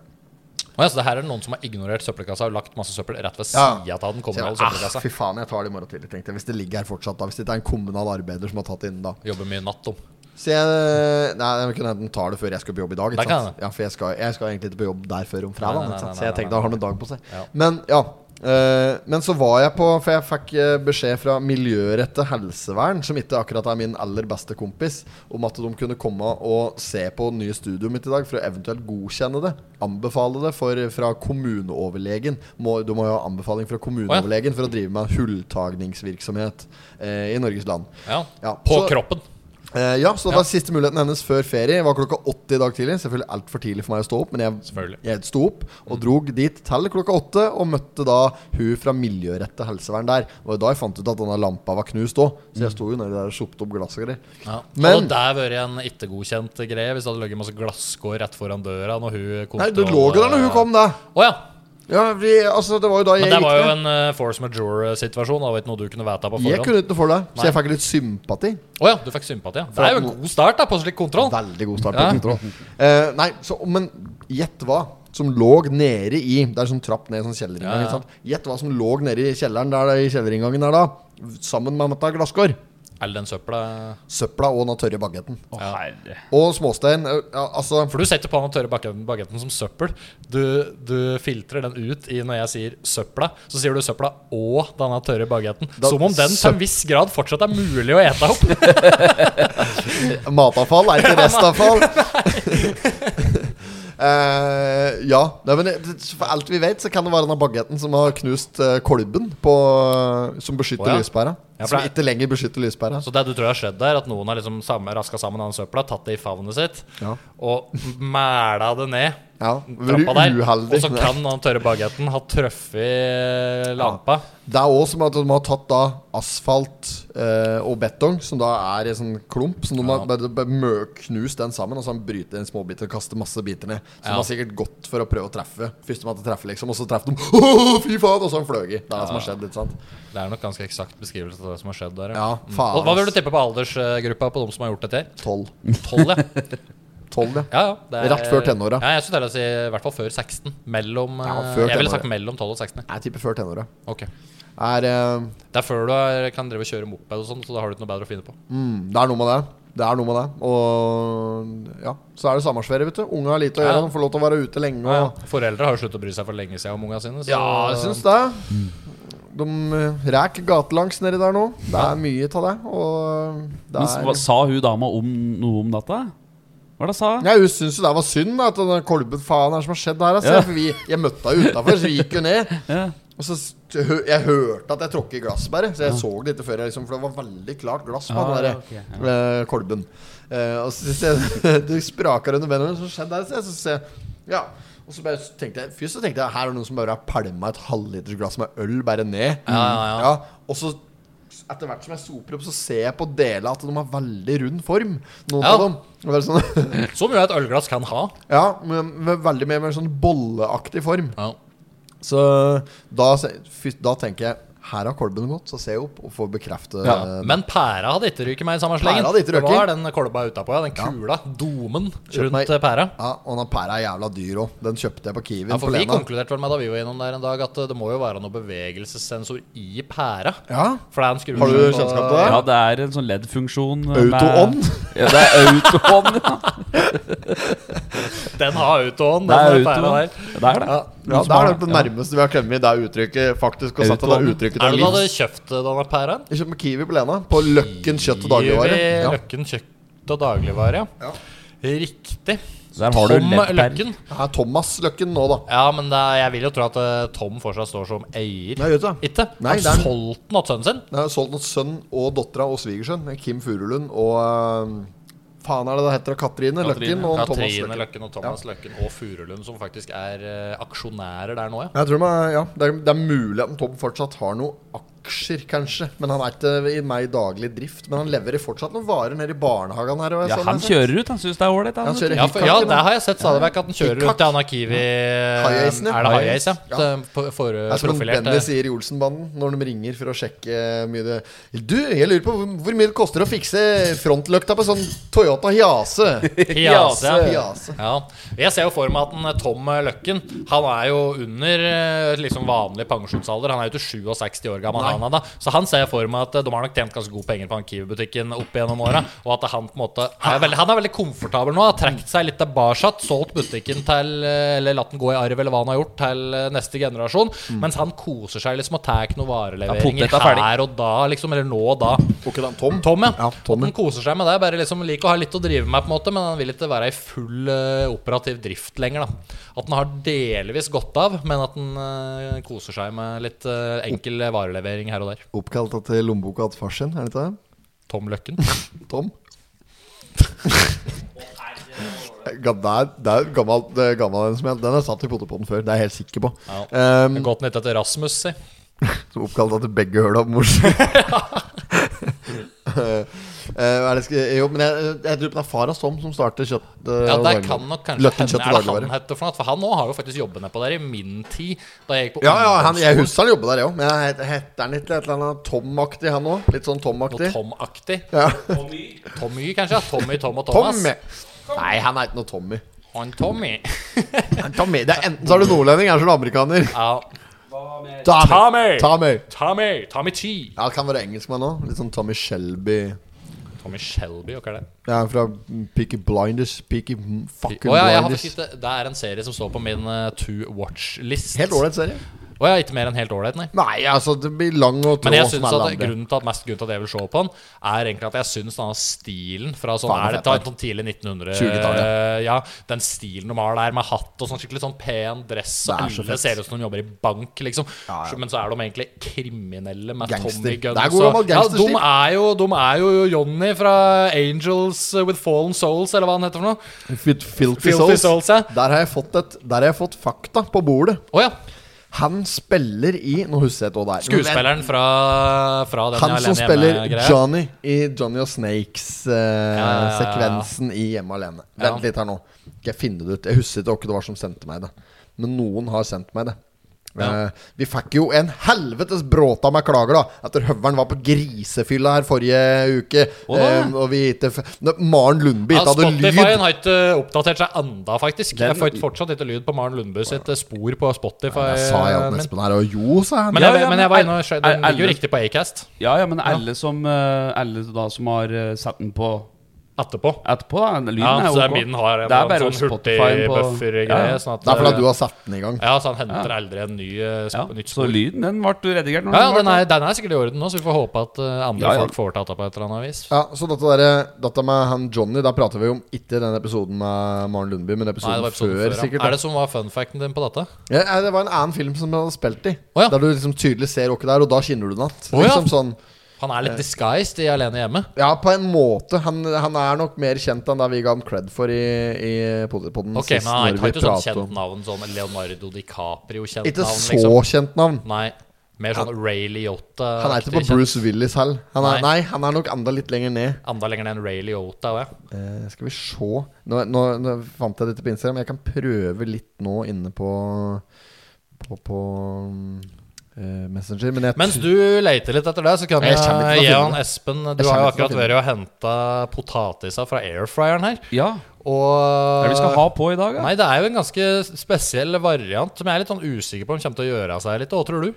S1: Å ja, så det her er noen som har ignorert søppelkassa og lagt masse søppel rett ved
S2: Ja.
S1: sida av den
S2: Så jeg,
S1: kommunale
S2: ah,
S1: søppelkassa.
S2: fy faen, jeg tar det i morgen tidlig, tenkte jeg. Hvis det ligger her fortsatt, da. Hvis det ikke er en kommunal arbeider som har tatt det inn da.
S1: Jobber mye natt om.
S2: Så jeg Nei, jeg kunne enten ta det før jeg skal på jobb i dag.
S1: Det
S2: Ikke
S1: kan
S2: sant? Ja, for jeg skal, jeg skal egentlig ikke på jobb der før om fredag.
S1: Nei, nei,
S2: ikke sant?
S1: nei,
S2: Så jeg
S1: nei,
S2: tenkte
S1: nei,
S2: jeg har noen dag på seg.
S1: Ja.
S2: Men ja. eh, men så var jeg på For jeg fikk eh, beskjed fra Miljørettet helsevern, som ikke akkurat er min aller beste kompis, om at de kunne komme og se på det nye studioet mitt i dag for å eventuelt godkjenne det. Anbefale det for, fra kommuneoverlegen. Må, du må jo ha anbefaling fra kommuneoverlegen for å drive med hulltagningsvirksomhet eh, i Norges land.
S1: Ja.
S2: Ja,
S1: På
S2: så-
S1: kroppen.
S2: Eh, ja, så det
S1: Ja.
S2: var siste muligheten hennes før ferie. Det var klokka åtte i dag tidlig. Selvfølgelig altfor tidlig for meg å stå opp, men jeg,
S1: Selvfølgelig. Mm.
S2: jeg sto opp og drog dit til klokka åtte. Og møtte da hun fra miljørettet helsevern der. Og det var da jeg fant ut at denne lampa var knust òg. Så
S1: Mm.
S2: jeg sto jo nedi der og sopte opp glass og greier.
S1: Ja.
S2: Men-
S1: Hadde det der vært en ikke-godkjent greie hvis det hadde ligget masse glasskår rett foran døra når hun kontroll...
S2: Nei, du lå jo der når hun kom, da.
S1: Å ja.
S2: Ja, vi, altså, det var jo da
S1: Men
S2: jeg
S1: det var jo
S2: gikk ned.
S1: en eh, force majeure-situasjon. Det var ikke noe du kunne vite på
S2: Jeg
S1: forhånd.
S2: kunne ikke noe for det, så jeg
S1: Nei.
S2: fikk litt sympati.
S1: Å ja, du fikk sympati. Ja. Det er jo en god start da på slik kontroll.
S2: Veldig god start på
S1: Ja.
S2: kontroll. Eh, nei, så, men gjett hva som lå nede i Det er sånn trapp ned, sånn
S1: Ja,
S2: kjellerinngang.
S1: ja.
S2: ikke sant? Gjett hva som lå nede i kjelleren der, da, i kjellerinngangen der da. Sammen med dette glasskår.
S1: Eller den søpla
S2: Søpla og den tørre bagetten.
S3: Å, herre.
S2: Og småstein. eh, Ja, altså
S1: For du setter på den tørre bagetten, bagetten som søppel. Du, du filtrer den ut i når jeg sier søpla. Så sier du søpla og denne tørre bagetten.
S2: Da-
S1: Som om den til en viss grad fortsatt er mulig å ete opp.
S2: Matavfall er ikke restavfall. Eh, ja, Nei, men det- for alt vi vet, så kan det være den bagetten som har knust eh, kolben på, eh, som beskytter
S1: Å, ja.
S2: lyspæra.
S1: Ja, for
S2: som
S1: det-
S2: ikke lenger beskytter lyspæra.
S1: Så det du tror har skjedd der, at noen har liksom raska sammen den søpla, tatt det i favnet sitt
S2: Ja.
S1: og mæla det ned.
S2: Ja,
S1: trappa der.
S2: veldig uheldig.
S1: Og så kan han tørre bagetten ha truffet lampa.
S2: Det er òg som at de har tatt da asfalt eh, og betong, som da er en sånn klump. Som de
S1: Ja.
S2: har bare- bare mø- knust den sammen, og så har de bryter en småbiter og kaster masse biter ned. Så
S1: Ja.
S2: de har sikkert gått for å prøve å treffe. Førstemann til å treffe, liksom. Og så treffer de «Åh, Fy faen! Og så har de fløyet. Det er det som har skjedd, ikke sant?
S1: Det er nok ganske eksakt beskrivelse av det som har skjedd der.
S2: Ja,
S1: Mm.
S2: faen,
S1: Og Hva vil du
S2: ass.
S1: tippe på aldersgruppa på de som har gjort dette? her?
S2: Tolv.
S1: Tolv, ja.
S2: Tolv, ja.
S1: ja, ja det
S2: Rett før tenåra.
S1: Ja, jeg skulle til å si i hvert fall før 16. Mellom
S2: Ja,
S1: eh,
S2: før
S1: Jeg ville
S2: tenåra.
S1: sagt mellom 12 og 16. ja.
S2: Jeg tipper før tenåra.
S1: Ok
S2: Er eh,
S1: Det er før du er, kan drive og kjøre moped og sånn, så da har du ikke noe bedre å finne på.
S2: Mm, det er noe med det. Det er noe med det. Og ja, så er det sommerferie, vet du. Unge har lite å gjøre.
S1: Ja.
S2: De får lov til å være ute lenge. Og...
S1: Foreldre har jo sluttet å bry seg for lenge siden om unga sine. så-
S2: Ja, jeg syns det. De eh, ræk gatelangs nedi der nå. Det er mye av det. Og eh, det
S3: Men s- hva,
S2: er
S3: sa hun dama om noe om dette? Hva er det hun sa?
S2: ja, Hun syns jo det var synd da, at den kolben faen er som har skjedd her. Altså.
S3: Ja.
S2: For vi, jeg møtte henne utafor, så vi gikk jo ned.
S3: Ja.
S2: Og så s- hø- Jeg hørte at jeg tråkket i glass, bare. Så jeg så det ikke før. Jeg liksom, for det var veldig klart glass på
S3: Ah,
S2: den der,
S3: ok,
S2: eh, kolben. Eh, og så, så det spraker under beina mine. Så skjedde det. Så jeg, så, ser jeg- ja. Og så bare tenkte jeg Først så tenkte jeg her er det noen som bare har pælma et halvliters glass med øl bare ned.
S1: ja, ja.
S2: Og så etter hvert som jeg soper opp, så ser jeg på deler at de har veldig rund form. Noen
S1: Ja.
S2: av dem. Og bare sånn,
S1: Som jo et ølglass kan ha.
S2: ja, men, men veldig mer, mer sånn bolleaktig form.
S1: Ja.
S2: Så da, se- fy- da tenker jeg her har kolben gått, så ser jeg opp og får bekrefte
S3: Ja,
S2: eh,
S1: Men pæra hadde ikke ryket meg i samme slengen.
S2: Pæra hadde ikke
S1: Det
S2: røket.
S1: var den kolba utapå, ja. Den kula, domen,
S2: Kjøp
S1: rundt
S2: meg-
S1: eh, pæra.
S2: ja, Og den pæra er jævla dyr òg. Den kjøpte jeg på Kiwi.
S1: Ja, for
S2: på
S1: Vi
S2: Lena.
S1: konkluderte vel med da vi var innom der en dag, at eh, det må jo være noe bevegelsessensor i pæra.
S2: Ja,
S1: For det er en skru-
S2: Har du kjennskap til det?
S3: Ja, det er en sånn LED-funksjon. eh,
S2: Auto-on?
S3: med- Ja, det er auto-on, ja.
S1: Den har autoen.
S3: Det er
S1: Den pæra
S3: auto-on.
S1: der.
S3: Det er det.
S2: ja, ja Det er det nærmeste vi har kommet det uttrykket. Faktisk og satt det
S3: Autoen.
S2: uttrykket
S1: Er det
S2: til
S1: du hadde
S2: livs.
S1: kjøpt eh, denne pæra?
S2: Jeg kjøpte med Kiwi på Lena. På Løkken kjøtt og dagligvare.
S1: Kiwi,
S2: Ja.
S1: Løkken kjøtt og dagligvare, ja.
S2: Ja.
S1: Riktig.
S3: Der har du
S1: Tom
S3: LED-per.
S1: Løkken.
S2: Det er Thomas Løkken nå, da.
S1: Ja, men det er, jeg vil jo tro at eh, Tom fortsatt står som eier.
S2: Nei, vet du. det.
S1: Ikke?
S2: Nei,
S1: Han
S2: det er-
S1: solgte den til sønnen sin.
S2: Det er jo solgt mot sønn og dattera og svigersønn. Kim Furulund og eh, Faen er det det heter? Katrine, Løkken og Thomas
S1: Katrine
S2: Løkken.
S1: Løkken og Thomas Løkken og Furulund, som faktisk er eh, aksjonærer der nå, ja.
S2: Jeg tror man, ja, det, er, det er mulig at Tom fortsatt har noen aksjer, kanskje. Men han er ikke i meg i daglig drift. Men han leverer fortsatt noen varer nede i barnehagen her. Og altså.
S3: Ja, han kjører ut. Han syns det er ålveit.
S2: sånn, Han kjører
S1: Ja, for, ja,
S2: hikkak,
S1: der
S2: men-
S1: har jeg sett stadig vekk at den kjører
S2: Hikkak.
S1: rundt i Anakiwi Er
S2: High-acen,
S1: det
S2: ja.
S1: High-Ace,
S2: High-ace,
S1: ja?
S2: ja.
S1: Det- For, for,
S2: Det er som
S1: profilert,
S2: Benny
S1: eh,
S2: sier i Olsenbanden, når de ringer for å sjekke mye det Du, jeg lurer på hvor, hvor mye det koster å fikse frontløkta på sånn Toyota Hiase?
S1: Hiase.
S2: Hiase.
S1: Ja. Jeg ser jo for meg at den eh, Tom Løkken Han er jo under eh, liksom vanlig pensjonsalder. Han er jo til 67 år gammel, han er da. Så han ser jeg for meg at eh, de har nok tjent ganske gode penger på han Kiwi-butikken opp gjennom åra. Og at han på en måte er veldig, Han er veldig komfortabel nå. Har trukket seg litt tilbake. Solgt butikken til eh, Eller latt den gå i arv, eller hva han har gjort, til eh, neste generasjon. Mens han koser seg liksom og tar noen vareleveringer
S3: poteta Mm. er ferdig.
S1: her og da, liksom. Eller nå og da.
S2: Og ikke da, Tom?
S1: Tom, ja.
S2: Ja, Tom,
S1: At han koser seg med det. Bare liksom liker å ha litt å drive med, på en måte men han vil ikke være i full eh, operativ drift lenger. da At han har delvis gått av, men at han eh, koser seg med litt eh, enkel varelevering her og der.
S2: Oppkalt etter lommeboka til far sin, er det ikke det?
S1: Tom Løkken.
S2: Tom? Ja, det er, det er gammel, det er gammel en som jeg, Den har jeg satt i potetpotten før, det er jeg helt sikker på.
S1: Ja.
S2: Um,
S1: Gått litt etter Rasmus, si.
S2: Som oppkalt etter begge høla på morsen. eh, er det, sk- jo, men jeg, jeg tror det er far av Tom som starter kjøtt... eh,
S1: Ja,
S2: og
S1: der
S2: dagligvare.
S1: kan nok kanskje
S2: Løkken
S1: hende er
S2: kjøtt og
S1: det han
S2: dagligvare.
S1: heter for noe. For han nå har jo faktisk jobbet nedpå der i min tid. Da jeg gikk på
S2: Ja, ja, han, jeg
S1: ungdomsskolen.
S2: husker han jobber der, jeg òg. Men jeg het- heter han ikke et eller annet Tom-aktig, han òg? Litt sånn
S1: Noe
S2: Tom-aktig.
S1: Tom-aktig.
S2: Ja.
S1: Tommy, kanskje? ja. Tommy, Tom og Thomas.
S2: Tommy! Nei, han er ikke noe Tommy.
S1: Han Tommy.
S2: Han er Tommy. Det er enten så er du nordlending, eller så er du amerikaner.
S1: Ja. Tommy!
S2: Tommy! Tommy.
S1: Tommy Tommy Chi.
S2: Ja, han kan være engelskmann òg. Litt sånn Tommy Shelby.
S1: Tommy Shelby, hva er det?
S2: Ja, han er fra Peaky Blinders. Peaky fucking
S1: Å ja, jeg har
S2: Blinders.
S1: faktisk ikke Det er en serie som står på min eh, to watch-list.
S2: Helt ålreit serie.
S1: Og jeg er ikke mer enn helt ålreit, nei.
S2: Nei, altså, det blir lang og trå
S1: Men jeg synes
S2: som alle
S1: at
S2: andre.
S1: grunnen til at mest grunnen til at jeg vil se på den, er egentlig at jeg syns denne stilen fra sånn
S2: Faen,
S1: er det
S2: fett,
S1: sånn tidlig 1900
S2: 20-tallet.
S1: eh, Ja, den stilen de har der med hatt og sånn skikkelig sånn pen dress, og
S2: Det er så
S1: alle
S2: fett.
S1: ser ut som de jobber i bank, liksom.
S2: Ja, ja.
S1: Så- Men så er de egentlig kriminelle med
S2: Gangster.
S1: Tommy Guns.
S2: Det er god gammel
S1: og- ja,
S2: gangsterstil.
S1: de, er jo, de er jo Johnny fra Angels With Fallen Souls, eller hva han heter for noe.
S2: Fil- Filthy
S1: Filthy
S2: Souls.
S1: Souls, ja.
S2: Der har jeg fått et Der har jeg fått fakta på bordet.
S1: Å ja.
S2: Han spiller i Nå husker jeg ikke hva det er.
S1: Skuespilleren fra, fra den
S2: Han
S1: jeg er
S2: som
S1: alene
S2: spiller
S1: hjemme-greia.
S2: Johnny i Johnny og
S1: ja, ja.
S2: Snakes-sekvensen i Hjemme alene.
S1: Ja.
S2: Vent litt her nå. Skal jeg finne det ut? Jeg husker ikke hvem det var som sendte meg det. Men noen har sendt meg det.
S1: Ja.
S2: Eh, vi fikk jo en helvetes bråta med klager, da. Etter høveren var på grisefylla her forrige uke.
S3: Å, da.
S2: Eh, og vi ikke f- Nå, Maren Lundby
S1: Ja,
S2: ikke hadde lyd.
S1: Spotify har ikke oppdatert seg enda, faktisk. jeg
S2: Den-
S1: får fortsatt ikke lyd på Maren Lundbø sitt eh, spor på Spotify.
S2: Jeg sa jeg
S1: eh,
S2: at
S1: min.
S2: Espen her Og jo, sa han.
S1: men,
S3: Ja,
S1: jeg,
S3: ja,
S1: men
S3: men
S1: jeg var inne og
S3: er-
S1: sjø- Den
S3: er-
S1: ligger
S3: er-
S1: jo riktig på Acast
S3: Ja, ja, men alle som eh, Alle da som har eh, satt den på
S1: etterpå.
S3: etterpå, da. Lyden
S1: Ja,
S3: er
S1: så
S3: ok.
S1: min har en
S3: Det er bare
S1: sånn
S3: Spotify på
S1: hurtigbuffer-greie.
S3: Ja, ja.
S1: Sånn at
S2: Det er fordi at du har satt den i gang.
S1: Ja, så han henter aldri en ny eh,
S3: Ja,
S1: sp nytt spor.
S3: så lyden, den ble redigert? Når
S1: Ja, ja
S3: ble-
S1: den, er, den er sikkert i orden nå, så vi får håpe at eh, andre
S3: Ja, ja.
S1: folk får tatt det på et eller annet vis.
S2: Ja, så dette, der, dette med han Johnny, da prater vi om ikke den episoden med Maren Lundby, men
S1: Nei, det
S2: episoden,
S3: sånn
S1: var episoden
S2: før,
S1: før, ja.
S2: sikkert.
S1: Er det som var funfacten din på dette?
S2: Ja, nei, det var en annen film som han hadde spilt i.
S1: Å, ja.
S2: Der du liksom tydelig ser åkke der, og da kjenner du den
S1: Å,
S2: igjen.
S1: ja.
S2: liksom sånn,
S1: Han er
S3: Eh.
S1: litt disguised i Alene hjemme.
S2: ja, på en måte. Han, han er nok mer kjent enn det vi ga ham cred for i, i podden
S1: Ok, men han har ikke
S2: vi
S1: sånn
S2: pratet om-
S1: kjent navn som Leonardo DiCaprio-kjent
S2: Ikke
S1: navn,
S2: så
S1: liksom.
S2: kjent navn.
S1: Nei. Mer sånn Ray Liotta.
S2: Han er ikke på Bruce Willis heller. Han
S1: Nei.
S2: er, nei, han er nok enda litt lenger ned.
S1: Enda lenger ned enn Ray Liotta. og jeg.
S2: Eh, skal vi se nå, nå, nå fant jeg dette på Instagram. Jeg kan prøve litt nå inne på På, på eh, Messenger. Men jeg
S1: Mens du leter litt etter det, så kan
S2: Jeg
S1: jeg,
S2: kjenner ikke
S1: gi
S2: til å finne
S1: han
S2: det.
S1: Espen
S2: Jeg
S1: Du har jo
S2: kjenner ikke til å
S1: akkurat
S2: finne
S1: vært og henta potetisa fra airfryeren her.
S3: ja.
S1: Og
S3: Hva er det vi skal ha på i dag, da?
S1: Nei, det er jo en ganske spesiell variant som jeg er litt sånn usikker på om kommer til å gjøre av seg litt. Hva tror du?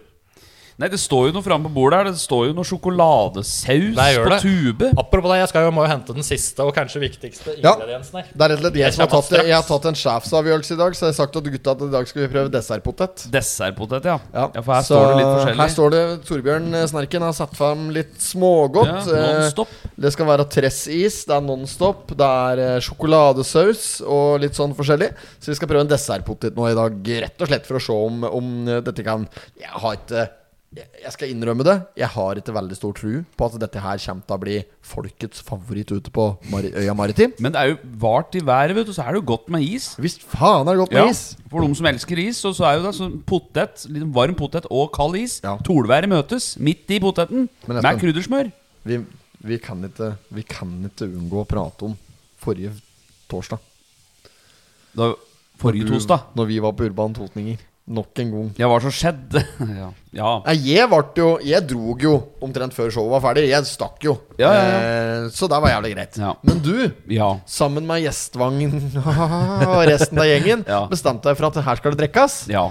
S3: Nei, det står jo noe framme på bordet her. Det står jo noe sjokoladesaus
S1: Det gjør
S3: på
S1: det.
S3: tube.
S1: Apropos det, jeg skal jo, må jo hente den siste og kanskje viktigste
S2: Ja.
S1: ingrediensen her.
S2: Det er rett og slett jeg
S1: Jeg
S2: som har
S1: kommer
S2: tatt, jeg har
S1: straks.
S2: tatt en sjefsavgjørelse i dag, så jeg har sagt at gutta at i dag skal vi prøve dessertpotet.
S3: Dessertpotet, ja. ja.
S2: Ja.
S3: For her
S2: Så
S3: står det litt forskjellig.
S2: Her står det Torbjørn eh, Snerken har satt fram litt smågodt.
S3: ja,
S2: Eh,
S3: Nonstop.
S2: det skal være tressis, det er Nonstop, det er eh, sjokoladesaus og litt sånn forskjellig. Så vi skal prøve en dessertpotet nå i dag, rett og slett for å se om, om eh, dette kan Jeg har ikke jeg jeg skal innrømme det. Jeg har ikke veldig stor tro på at dette her kommer til å bli folkets favoritt ute på Mari øya Maritim.
S3: Men det er jo vart i været, vet du, så er det jo godt med is.
S2: Visst faen er det godt med is!
S3: For de som elsker is, så, så er jo det sånn potet, litt varm potet og kald is.
S2: Ja.
S3: Tolværet møtes midt i poteten
S2: Men Espen-
S3: med kryddersmør.
S2: Vi, vi, kan ikke, vi kan ikke unngå å prate om forrige torsdag.
S3: Da, forrige
S2: Du-
S3: torsdag.
S2: Når vi var på Urban Totninger. Nok en gang.
S3: Ja, hva som skjedde? ja. ja.
S2: Nei, jeg vart jo Jeg drog jo omtrent før showet var ferdig. Jeg stakk jo.
S3: Ja, ja,
S2: Eh, så det var jævlig greit.
S3: Ja.
S2: Men du,
S3: ja.
S2: sammen med Gjestvangen og resten av gjengen,
S3: Ja.
S2: bestemte deg for at her skal det drikkes.
S3: Ja.